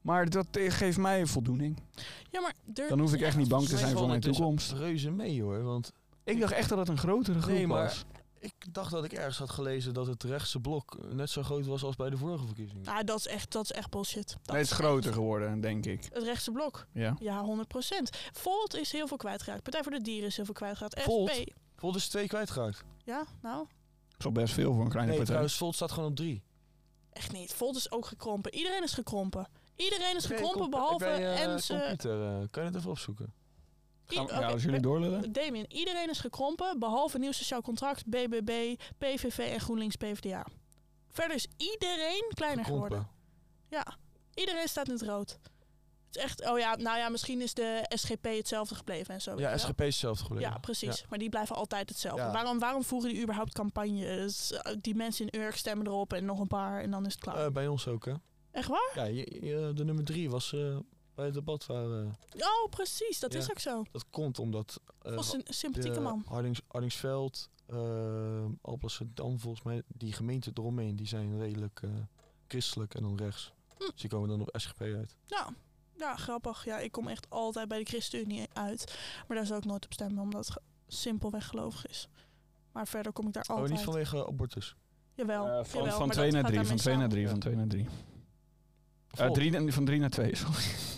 Speaker 2: Maar dat eh, geeft mij voldoening.
Speaker 3: Ja, maar er,
Speaker 2: Dan hoef ik echt niet bang te zijn voor mijn
Speaker 4: Het is
Speaker 2: toekomst.
Speaker 4: Reuze mee hoor. Want
Speaker 2: Ik dacht echt dat het een grotere groep
Speaker 4: Nee, maar-
Speaker 2: was.
Speaker 4: ik dacht dat ik ergens had gelezen dat het rechtse blok net zo groot was als bij de vorige verkiezingen.
Speaker 3: Ah, dat, is echt, dat is echt bullshit. Dat
Speaker 2: Nee, het is
Speaker 3: echt-
Speaker 2: groter geworden, denk ik.
Speaker 3: Het rechtse blok.
Speaker 2: Ja.
Speaker 3: Ja, 100%. Volt is heel veel kwijtgeraakt. Partij voor de Dieren is heel veel kwijtgeraakt.
Speaker 4: Volt?
Speaker 3: SP.
Speaker 4: Volt is twee kwijtgeraakt.
Speaker 3: Ja, nou,
Speaker 2: Dat is al best veel voor een kleine partij.
Speaker 4: Nee, trouwens, Volt staat gewoon op drie.
Speaker 3: echt niet. Volt is ook gekrompen. Iedereen is gekrompen. Iedereen is
Speaker 4: Oké,
Speaker 3: gekrompen,
Speaker 4: comp-
Speaker 3: behalve
Speaker 4: bij, eh,
Speaker 3: Enze.
Speaker 4: computer, eh, kan je het even opzoeken?
Speaker 2: Gaan we-
Speaker 3: Oké, eh,
Speaker 2: ja, als jullie doorlullen.
Speaker 3: Damien, iedereen is gekrompen, behalve Nieuw Sociaal Contract, BBB, PVV en GroenLinks PvdA. Verder is iedereen kleiner
Speaker 4: Gekrompen.
Speaker 3: geworden. Ja, iedereen staat in het rood. Het is echt, oh ja, nou ja, misschien is de SGP hetzelfde gebleven en zo. weet je
Speaker 4: Ja,
Speaker 3: wel.
Speaker 4: SGP is hetzelfde gebleven.
Speaker 3: Oh, Ja, precies. Maar die blijven altijd hetzelfde.
Speaker 4: Ja.
Speaker 3: Waarom, waarom voeren die überhaupt campagne? Dus, eh, die mensen in Urk stemmen erop en nog een paar en dan is het klaar.
Speaker 4: Eh, bij ons ook, hè?
Speaker 3: Echt waar?
Speaker 4: Ja, je- je- de nummer drie was eh, bij het debat waar... eh,
Speaker 3: Oh, precies. Dat
Speaker 4: Ja.
Speaker 3: is ook zo.
Speaker 4: dat komt omdat... eh,
Speaker 3: Volgens een sympathieke
Speaker 4: de
Speaker 3: man.
Speaker 4: Hardings, Hardingsveld, eh Alblasserdam, volgens mij, die gemeenten eromheen, die zijn redelijk eh, christelijk en dan rechts.
Speaker 3: Hm.
Speaker 4: Dus die komen dan op SGP uit.
Speaker 3: Ja. ja, grappig. Ja, ik kom echt altijd bij de ChristenUnie uit. Maar daar zou ik nooit op stemmen, omdat het ge- simpelweg gelovig is. Maar verder kom ik daar altijd.
Speaker 4: Oh, niet vanwege abortus.
Speaker 3: Jawel.
Speaker 2: Eh, van,
Speaker 3: jawel,
Speaker 2: van
Speaker 3: maar
Speaker 2: 2
Speaker 3: dat
Speaker 2: naar
Speaker 3: gaat
Speaker 2: 3, van
Speaker 3: daarmee
Speaker 2: 2 naar
Speaker 3: samen.
Speaker 2: 3, van 2 naar 3. Eh,
Speaker 4: Volt.
Speaker 2: drie na- van 3 naar 2.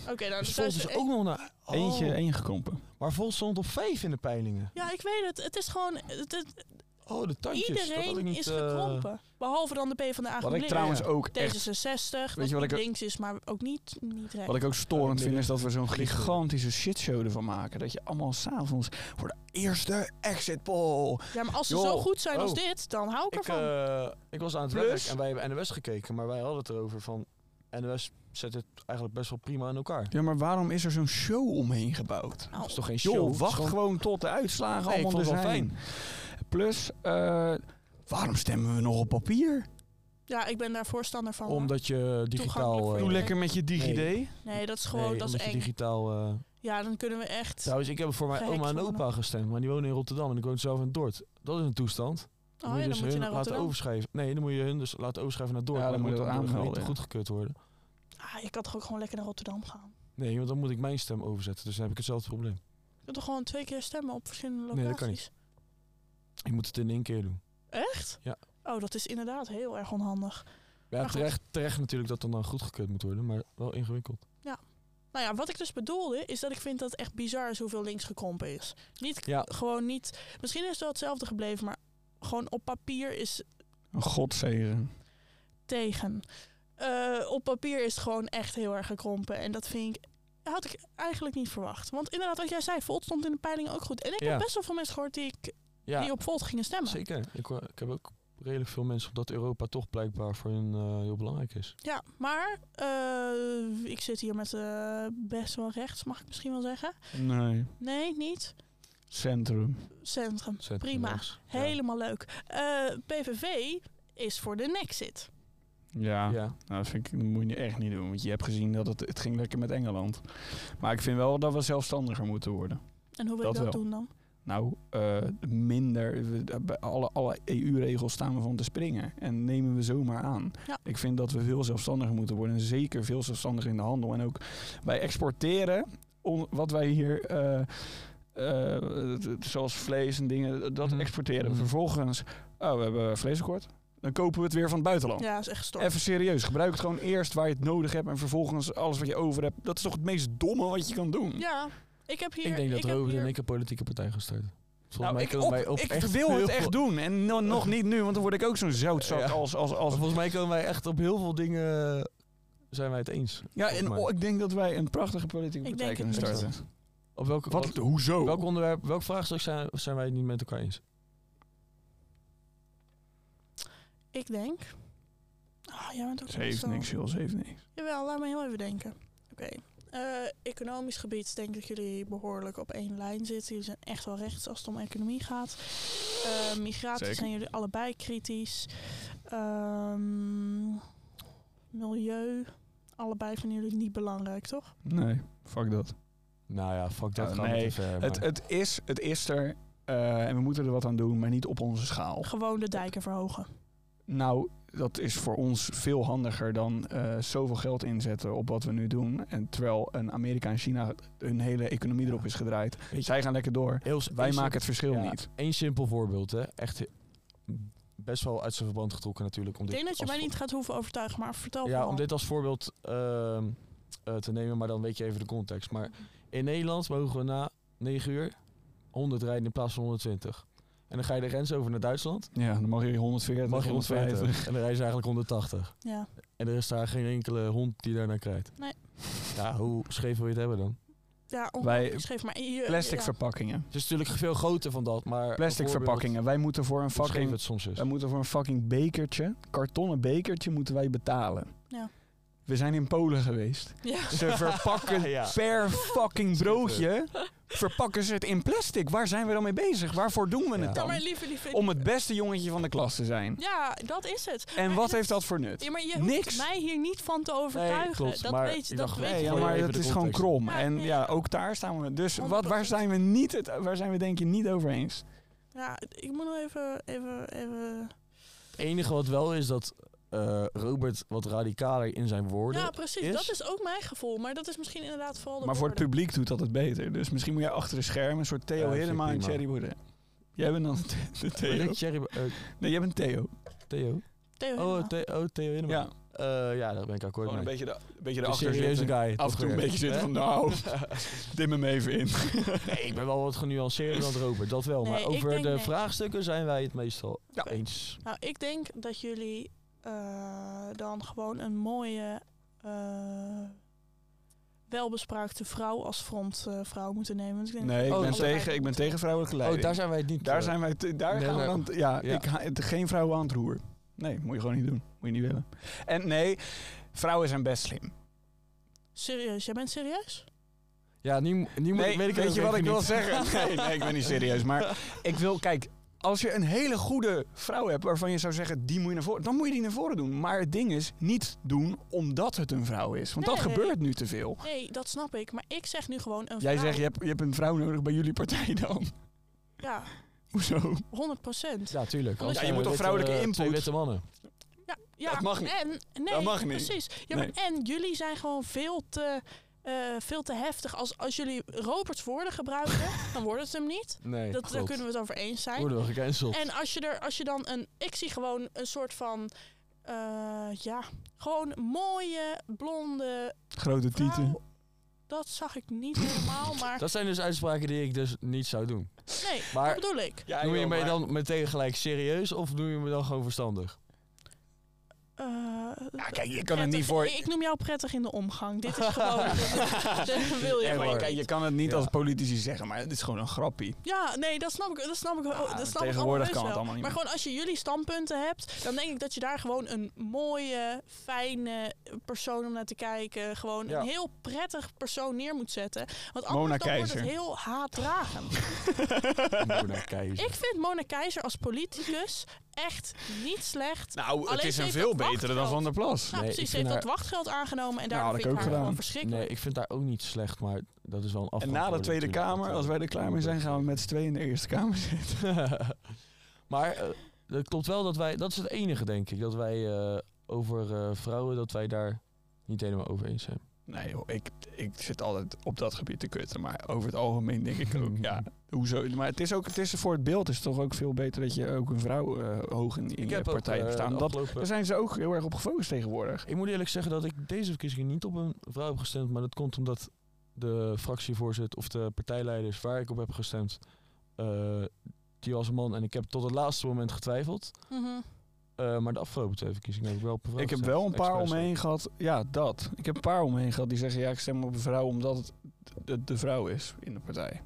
Speaker 3: Oké, nou,
Speaker 4: Dus
Speaker 3: dus
Speaker 4: Volt
Speaker 3: daar
Speaker 4: is
Speaker 3: is-
Speaker 4: ook nog naar... Oh,
Speaker 2: Eentje, één
Speaker 3: Ah,
Speaker 2: gekrompen.
Speaker 4: Maar Volt stond op vijf in de peilingen.
Speaker 3: Ja, ik weet het. Het is gewoon... het- het-
Speaker 4: Oh, de tandjes. dat had
Speaker 3: iedereen
Speaker 4: ik niet,
Speaker 3: is
Speaker 4: eh,
Speaker 3: gekrompen. Behalve dan de P van de A
Speaker 2: Wat ik trouwens ook echt,
Speaker 3: D66,
Speaker 2: Weet je wat
Speaker 3: wat
Speaker 2: ik er-
Speaker 3: links is, maar ook niet, niet rechts.
Speaker 2: wat ik ook storend vind, is dat we zo'n
Speaker 4: Links.
Speaker 2: gigantische shitshow ervan maken. Dat je allemaal s'avonds voor de eerste exit poll.
Speaker 3: Ja, maar als ze
Speaker 2: Joh,
Speaker 3: zo goed zijn als
Speaker 4: oh.
Speaker 3: dit, dan hou ik,
Speaker 4: Ik,
Speaker 3: ervan.
Speaker 4: eh, ik was aan het
Speaker 2: Plus-
Speaker 4: werk en wij hebben NOS gekeken, maar wij hadden het erover van... NOS zet het eigenlijk best wel prima in elkaar.
Speaker 2: Ja, maar waarom is er zo'n show omheen gebouwd?
Speaker 3: Nou,
Speaker 4: Dat is toch geen show?
Speaker 2: Joh,
Speaker 4: Het is
Speaker 2: wacht
Speaker 4: gewoon-
Speaker 2: gewoon tot de uitslagen
Speaker 4: Nee, ik
Speaker 2: allemaal er
Speaker 4: vond
Speaker 2: zijn.
Speaker 4: het wel
Speaker 2: Plus, eh, waarom stemmen we nog op papier?
Speaker 3: ja, ik ben daar voorstander van. hoor.
Speaker 4: Omdat je
Speaker 3: Toegankelijk
Speaker 4: digitaal...
Speaker 3: voor
Speaker 4: eh,
Speaker 2: Doe
Speaker 3: je.
Speaker 2: lekker met je DigiD.
Speaker 4: Nee.
Speaker 3: nee, dat is gewoon,
Speaker 4: nee,
Speaker 3: dat is
Speaker 4: omdat je
Speaker 3: eng.
Speaker 4: digitaal... eh,
Speaker 3: Ja, dan kunnen we echt... Oh,
Speaker 4: Trouwens, ik heb voor mijn
Speaker 3: Gehackt
Speaker 4: oma en
Speaker 3: worden.
Speaker 4: opa gestemd, maar die wonen in Rotterdam en ik woon zelf in Dordt. Dat is een toestand.
Speaker 3: oh ja, dan moet je
Speaker 4: dus hun
Speaker 3: naar
Speaker 4: laten
Speaker 3: Rotterdam.
Speaker 4: overschrijven. Nee, dan moet je hun dus laten overschrijven naar Dordt.
Speaker 2: Ja, dan
Speaker 4: maar
Speaker 2: moet je dat
Speaker 4: door de
Speaker 2: aanmelden,
Speaker 4: gemeente
Speaker 2: ja.
Speaker 4: goedgekeurd worden.
Speaker 3: Ah, je kan toch ook gewoon lekker naar Rotterdam gaan?
Speaker 4: Nee, want dan moet ik mijn stem overzetten, dus dan heb ik hetzelfde probleem.
Speaker 3: Je kunt toch gewoon twee keer stemmen op verschillende locaties?
Speaker 4: Nee, dat kan niet. Ik moet het in één keer doen.
Speaker 3: Echt?
Speaker 4: Ja.
Speaker 3: Oh, dat is inderdaad heel erg onhandig.
Speaker 4: Ja,
Speaker 3: Maar goed.
Speaker 4: terecht, terecht natuurlijk dat dan dan goedgekeurd moet worden, maar wel ingewikkeld.
Speaker 3: Nou ja, wat ik dus bedoelde, is dat ik vind dat het echt bizar is hoeveel links gekrompen is. Niet,
Speaker 4: Ja,
Speaker 3: gewoon niet... Misschien is het wel hetzelfde gebleven, maar gewoon op papier is
Speaker 2: Een godzegen.
Speaker 3: tegen. Eh, op papier is het gewoon echt heel erg gekrompen. En dat vind ik, had ik eigenlijk niet verwacht. Want inderdaad, wat jij zei, Volt stond in de peiling ook goed. En ik
Speaker 4: Ja.
Speaker 3: heb best wel veel mensen gehoord die, ik, die
Speaker 4: ja
Speaker 3: op Volt gingen stemmen.
Speaker 4: zeker. Ik, hoor- ik heb ook redelijk veel mensen op dat Europa toch blijkbaar voor hun eh, heel belangrijk is.
Speaker 3: Ja, maar eh, ik zit hier met eh, best wel rechts, mag ik misschien wel zeggen.
Speaker 2: Nee,
Speaker 3: Nee, niet.
Speaker 2: centrum.
Speaker 3: Centrum.
Speaker 4: Zet
Speaker 3: Prima.
Speaker 4: links. Ja.
Speaker 3: Helemaal leuk. Eh, PVV is voor de Nexit.
Speaker 2: Ja.
Speaker 4: ja.
Speaker 2: Nou, dat, vind ik, dat moet je echt niet doen. Want je hebt gezien dat het, het ging lekker met Engeland. Maar ik vind wel dat we zelfstandiger moeten worden.
Speaker 3: En hoe wil
Speaker 2: Dat
Speaker 3: ik dat
Speaker 2: wel.
Speaker 3: doen dan?
Speaker 2: Nou, eh, minder. We- Bij alle, alle EU-regels staan we van te springen. En nemen we zomaar aan.
Speaker 3: Ja.
Speaker 2: Ik vind dat we veel zelfstandiger moeten worden. En zeker veel zelfstandiger in de handel. En ook bij exporteren. on- wat wij hier. eh, eh, het- het- zoals vlees en dingen. Dat
Speaker 4: Mhm.
Speaker 2: exporteren.
Speaker 4: Mhm.
Speaker 2: Vervolgens. Oh, we hebben vleesakkoord. Dan kopen we het weer van het
Speaker 4: Oh.
Speaker 2: buitenland.
Speaker 3: Ja, is echt storm.
Speaker 2: Even serieus. Gebruik het gewoon eerst waar je het nodig hebt. En vervolgens alles wat je over hebt. Dat is toch het meest domme wat je kan doen?
Speaker 3: Ja, ik heb hier...
Speaker 4: ik denk dat
Speaker 3: heb
Speaker 4: Robert
Speaker 3: hier-
Speaker 4: en ik een politieke partij gaan starten. Volgens
Speaker 2: Nou,
Speaker 4: mij
Speaker 2: ik,
Speaker 4: komen
Speaker 2: op-
Speaker 4: wij op
Speaker 2: ik
Speaker 4: echt
Speaker 2: wil
Speaker 4: heel
Speaker 2: het
Speaker 4: veel-
Speaker 2: echt doen. En no- nog niet nu, want dan word ik ook zo'n zoutzak
Speaker 4: Ja.
Speaker 2: als... als, als
Speaker 4: Volgens mij komen wij echt op heel veel dingen zijn wij het eens.
Speaker 2: ja,
Speaker 4: volgens
Speaker 2: en
Speaker 4: mij.
Speaker 2: oh, ik denk dat wij een prachtige politieke
Speaker 3: Ik
Speaker 2: partij
Speaker 3: denk
Speaker 2: kunnen
Speaker 3: het
Speaker 2: starten.
Speaker 4: Op welke,
Speaker 2: Wat,
Speaker 4: wat-
Speaker 2: hoezo?
Speaker 4: welk onderwerp, welk vraagstuk zijn, zijn wij het niet met elkaar eens?
Speaker 3: Ik denk... Ah, jij bent ook
Speaker 2: Ze heeft
Speaker 3: zo-
Speaker 2: niks, joh. Ze heeft niks.
Speaker 3: Jawel, laat me heel even denken. Oké. Eh, economisch gebied denk ik dat jullie behoorlijk op één lijn zitten. Jullie zijn echt wel rechts als het om economie gaat. Eh, migratie
Speaker 2: Zeker.
Speaker 3: zijn jullie allebei kritisch. Ehm, milieu, allebei vinden jullie niet belangrijk, toch?
Speaker 2: Nee, fuck dat.
Speaker 4: Nou ja, fuck dat
Speaker 2: Ja,
Speaker 4: gaat
Speaker 2: nee,
Speaker 4: te ver.
Speaker 2: Het,
Speaker 4: maar-
Speaker 2: het, is, het is er eh, en we moeten er wat aan doen, maar niet op onze schaal.
Speaker 3: Gewoon de dijken verhogen.
Speaker 2: Nou, dat is voor ons veel handiger dan eh, zoveel geld inzetten op wat we nu doen. En terwijl een Amerika en China hun hele economie erop is gedraaid.
Speaker 4: Weet je,
Speaker 2: Zij gaan lekker door.
Speaker 4: heel-
Speaker 2: Wij
Speaker 4: heel
Speaker 2: maken het verschil
Speaker 4: Ja,
Speaker 2: niet.
Speaker 4: Eén simpel voorbeeld, hè. Echt he- best wel uit zijn verband getrokken natuurlijk. Om
Speaker 3: Ik
Speaker 4: dit
Speaker 3: denk dat je
Speaker 4: als
Speaker 3: mij
Speaker 4: vo-
Speaker 3: niet gaat hoeven overtuigen, maar vertel
Speaker 4: Ja,
Speaker 3: vooral.
Speaker 4: om dit als voorbeeld ehm, eh, te nemen, maar dan weet je even de context. Maar in Nederland mogen we na 9 uur 100 rijden in plaats van 120. En dan ga je de grens over naar Duitsland.
Speaker 2: Ja, dan mag je
Speaker 4: Dan
Speaker 2: 140,
Speaker 4: mag je 120. En dan rijden ze eigenlijk 180.
Speaker 3: Ja,
Speaker 4: En er is daar geen enkele hond die daarnaar krijgt.
Speaker 3: Nee.
Speaker 4: Ja, hoe scheef wil je het hebben dan?
Speaker 3: ja
Speaker 2: Wij-
Speaker 3: ongeveer schreef maar. je-
Speaker 2: Plastic
Speaker 3: ja.
Speaker 2: verpakkingen.
Speaker 4: Het is natuurlijk veel groter van dat, maar... een
Speaker 2: Plastic
Speaker 4: voorbeeld
Speaker 2: verpakkingen. Wij moeten voor een
Speaker 4: hoe scheef
Speaker 2: fucking,
Speaker 4: het soms is.
Speaker 2: wij moeten voor een fucking bekertje, kartonnen bekertje, moeten wij betalen.
Speaker 3: Ja.
Speaker 2: We zijn in Polen geweest.
Speaker 3: Ja.
Speaker 2: Ze verpakken
Speaker 4: Ja.
Speaker 2: per fucking broodje, verpakken ze het in plastic. Waar zijn we dan mee bezig? Waarvoor doen we
Speaker 4: Ja.
Speaker 2: het
Speaker 3: Ja, maar
Speaker 2: dan?
Speaker 3: lieve, lieve.
Speaker 2: Om het beste jongetje van de klas te zijn.
Speaker 3: Ja, dat is het.
Speaker 2: En
Speaker 3: Maar
Speaker 2: wat
Speaker 3: het-
Speaker 2: heeft dat voor nut?
Speaker 3: Ja, maar je hoeft
Speaker 2: Niks.
Speaker 3: mij hier niet van te overtuigen.
Speaker 4: klopt,
Speaker 3: dat
Speaker 4: maar
Speaker 3: weet je,
Speaker 4: ik
Speaker 3: dat
Speaker 4: dacht,
Speaker 3: weet
Speaker 4: nee,
Speaker 2: Nee,
Speaker 3: je.
Speaker 2: ja,
Speaker 4: Gooi
Speaker 2: maar
Speaker 4: even
Speaker 2: dat
Speaker 4: de
Speaker 2: is gewoon
Speaker 4: context
Speaker 2: krom.
Speaker 3: Ja,
Speaker 2: En
Speaker 3: ja.
Speaker 2: ja, ook daar staan we. Dus wat, waar
Speaker 3: 100%.
Speaker 2: zijn we niet het, waar zijn we denk je niet over eens?
Speaker 3: Ja, ik moet nog even, even, even...
Speaker 4: Het enige wat wel is dat eh, Robert wat radicaler in zijn woorden
Speaker 3: Ja, precies.
Speaker 4: is-
Speaker 3: Dat is ook mijn gevoel. Maar dat is misschien inderdaad vooral de
Speaker 2: Maar voor het
Speaker 3: woorden.
Speaker 2: publiek doet dat het beter. Dus misschien moet jij achter de schermen een soort
Speaker 4: Ja,
Speaker 2: Theo
Speaker 4: dat vind
Speaker 2: helemaal
Speaker 4: ik
Speaker 2: en
Speaker 4: prima.
Speaker 2: Thierry Baudet. Jij bent dan de
Speaker 4: Ben
Speaker 2: Theo.
Speaker 4: ik Thierry- eh,
Speaker 2: Nee, jij bent Theo.
Speaker 4: Theo?
Speaker 3: Theo
Speaker 4: Oh,
Speaker 3: Hiddema.
Speaker 4: Theo, oh, Theo Hiddema.
Speaker 2: Ja,
Speaker 4: Eh, ja, daar ben ik akkoord
Speaker 2: gewoon een
Speaker 4: mee.
Speaker 2: beetje, de, een beetje
Speaker 4: De
Speaker 2: erachter
Speaker 4: serieuze
Speaker 2: zitten.
Speaker 4: guy.
Speaker 2: Af en
Speaker 4: toch
Speaker 2: toe een
Speaker 4: weer.
Speaker 2: beetje zitten
Speaker 4: Hè?
Speaker 2: van nou, dim hem even in.
Speaker 4: Nee, ik ben wel wat genuanceerder dan Robert, dat wel.
Speaker 3: Nee,
Speaker 4: maar
Speaker 3: ik
Speaker 4: over
Speaker 3: denk
Speaker 4: de
Speaker 3: nee.
Speaker 4: vraagstukken zijn wij het meestal
Speaker 3: Oké.
Speaker 2: Oh,
Speaker 4: eens.
Speaker 3: Nou, ik denk dat jullie eh, dan gewoon een mooie, eh, welbespraakte vrouw als frontvrouw vrouw moeten nemen. Want ik denk
Speaker 2: Nee, ik
Speaker 4: Oh,
Speaker 2: ben,
Speaker 4: dat-
Speaker 2: tegen, ik ben tegen vrouwelijke leiding.
Speaker 4: Oh, daar zijn wij het niet.
Speaker 2: Daar
Speaker 4: eh,
Speaker 2: zijn wij, te- daar
Speaker 4: Nee,
Speaker 2: gaan we
Speaker 4: nee.
Speaker 2: dan, ja,
Speaker 4: Ja.
Speaker 2: Ik ha- het- geen vrouwen aan het roer. Nee, moet je gewoon niet doen. Moet je niet willen. En nee, vrouwen zijn best slim.
Speaker 3: Serieus, jij bent serieus?
Speaker 4: Ja, nu, nu moet
Speaker 2: Nee,
Speaker 4: ik- weet ik
Speaker 2: weet
Speaker 4: ook
Speaker 2: je wat ik
Speaker 4: even
Speaker 2: wil
Speaker 4: niet.
Speaker 2: zeggen? Nee, nee, ik ben niet serieus. Maar ik wil, kijk, als je een hele goede vrouw hebt waarvan je zou zeggen, die moet je naar voren, dan moet je die naar voren doen. Maar het ding is, niet doen omdat het een vrouw is. Want dat
Speaker 3: Nee.
Speaker 2: gebeurt nu te veel.
Speaker 3: Nee, dat snap ik. Maar ik zeg nu gewoon een
Speaker 2: Jij
Speaker 3: vrouw.
Speaker 2: zegt, je hebt, je hebt een vrouw nodig bij jullie partij dan.
Speaker 3: Ja,
Speaker 2: Hoezo?
Speaker 3: 100 procent.
Speaker 4: Ja, tuurlijk.
Speaker 3: Ja, je
Speaker 4: zijn
Speaker 2: moet
Speaker 4: we
Speaker 2: toch
Speaker 4: witte,
Speaker 2: vrouwelijke
Speaker 4: eh, Twee
Speaker 2: input?
Speaker 4: witte mannen.
Speaker 3: Ja, ja
Speaker 2: Dat mag niet.
Speaker 3: En, nee,
Speaker 2: Dat mag niet.
Speaker 3: precies. Ja, maar En jullie zijn gewoon veel te, eh, veel te heftig. Als, als jullie Roberts woorden gebruiken, dan wordt het hem niet.
Speaker 4: Nee,
Speaker 3: Dat, daar kunnen we het over eens zijn.
Speaker 4: Worden we gecanceld.
Speaker 3: En als je, er, als je dan een... Ik zie gewoon een soort van... eh, ja, gewoon mooie, blonde
Speaker 2: Grote
Speaker 3: vrouw.
Speaker 2: tieten.
Speaker 3: Dat zag ik niet helemaal, maar...
Speaker 4: Dat zijn dus uitspraken die ik dus niet zou doen.
Speaker 3: nee,
Speaker 4: maar-
Speaker 3: dat bedoel ik.
Speaker 2: Ja,
Speaker 4: Noem je
Speaker 2: joh,
Speaker 4: mij
Speaker 2: maar-
Speaker 4: dan meteen gelijk serieus of noem je me dan gewoon verstandig?
Speaker 3: Eh,
Speaker 2: Ja, kijk, je kan het
Speaker 3: prettig-
Speaker 2: niet voor...
Speaker 3: Ik noem jou prettig in de omgang. Dit is gewoon... dat wil
Speaker 2: Nee,
Speaker 3: je
Speaker 2: maar
Speaker 3: gewoon
Speaker 2: kijk,
Speaker 3: niet.
Speaker 2: je kan het niet
Speaker 4: Ja.
Speaker 2: als politici zeggen, maar het is gewoon een grappie.
Speaker 3: Ja, nee, dat snap ik. Dat snap ik, wel-
Speaker 2: maar
Speaker 3: dat snap ik
Speaker 2: tegenwoordig
Speaker 3: allemaal
Speaker 2: kan het
Speaker 3: wel.
Speaker 2: allemaal niet
Speaker 3: Maar
Speaker 2: meer.
Speaker 3: gewoon als je jullie standpunten hebt, dan denk ik dat je daar gewoon een mooie, fijne persoon om naar te kijken. Gewoon
Speaker 4: Ja.
Speaker 3: een heel prettig persoon neer moet zetten. Want anders
Speaker 2: Mona
Speaker 3: dan wordt het
Speaker 2: Keizer.
Speaker 3: heel haatdragend.
Speaker 4: Nou, Mona Keizer.
Speaker 3: ik vind Mona Keizer als politicus echt niet slecht.
Speaker 2: Nou, het
Speaker 3: Alleen
Speaker 2: is
Speaker 3: ze
Speaker 2: een
Speaker 3: heeft
Speaker 2: veel
Speaker 3: dat
Speaker 2: betere dan
Speaker 3: wachtgeld.
Speaker 2: Van der Plas.
Speaker 3: Nou,
Speaker 4: Nee, ik
Speaker 3: precies, ze
Speaker 4: vind
Speaker 3: heeft dat
Speaker 4: haar-
Speaker 3: waardgeld aangenomen
Speaker 2: Nou,
Speaker 3: en daardoor
Speaker 2: had ik
Speaker 3: vind ik
Speaker 2: ook
Speaker 3: haar gewoon
Speaker 2: gedaan.
Speaker 3: verschrikkelijk.
Speaker 4: Nee, ik vind daar ook niet slecht, maar dat is wel een
Speaker 2: En
Speaker 4: afgang.
Speaker 2: na de Tweede Kamer,
Speaker 4: eh,
Speaker 2: als wij er klaar mee zijn, gaan we met z'n tweeën in de Eerste Kamer zitten.
Speaker 4: maar eh, het klopt wel dat wij, dat is het enige denk ik, dat wij eh, over eh, vrouwen, dat wij daar niet helemaal over eens zijn.
Speaker 2: Nee joh, ik, ik zit altijd op dat gebied te kutten. Maar over het algemeen denk ik ook, ja, hoezo? Maar het is ook, het is voor het beeld is het toch ook veel beter dat je ook een vrouw eh, hoog in, in je
Speaker 4: ook,
Speaker 2: partij
Speaker 4: eh,
Speaker 2: hebt staan.
Speaker 4: de
Speaker 2: Dat,
Speaker 4: afgelopen-
Speaker 2: daar zijn ze ook heel erg op gefocust tegenwoordig.
Speaker 4: Ik moet eerlijk zeggen dat ik deze verkiezingen niet op een vrouw heb gestemd, maar dat komt omdat de fractievoorzitter of de partijleiders waar ik op heb gestemd, eh, die was een man en ik heb tot het laatste moment getwijfeld.
Speaker 3: Mhm.
Speaker 4: Eh, maar de afgelopen twee verkiezingen heb ik wel op een vrouw
Speaker 2: Ik heb
Speaker 4: gestemd.
Speaker 2: wel een paar
Speaker 4: Expres ook.
Speaker 2: omheen gehad. Ja, dat. Ik heb een paar omheen gehad die zeggen, ja, ik stem op een vrouw omdat het de, de vrouw is in de partij.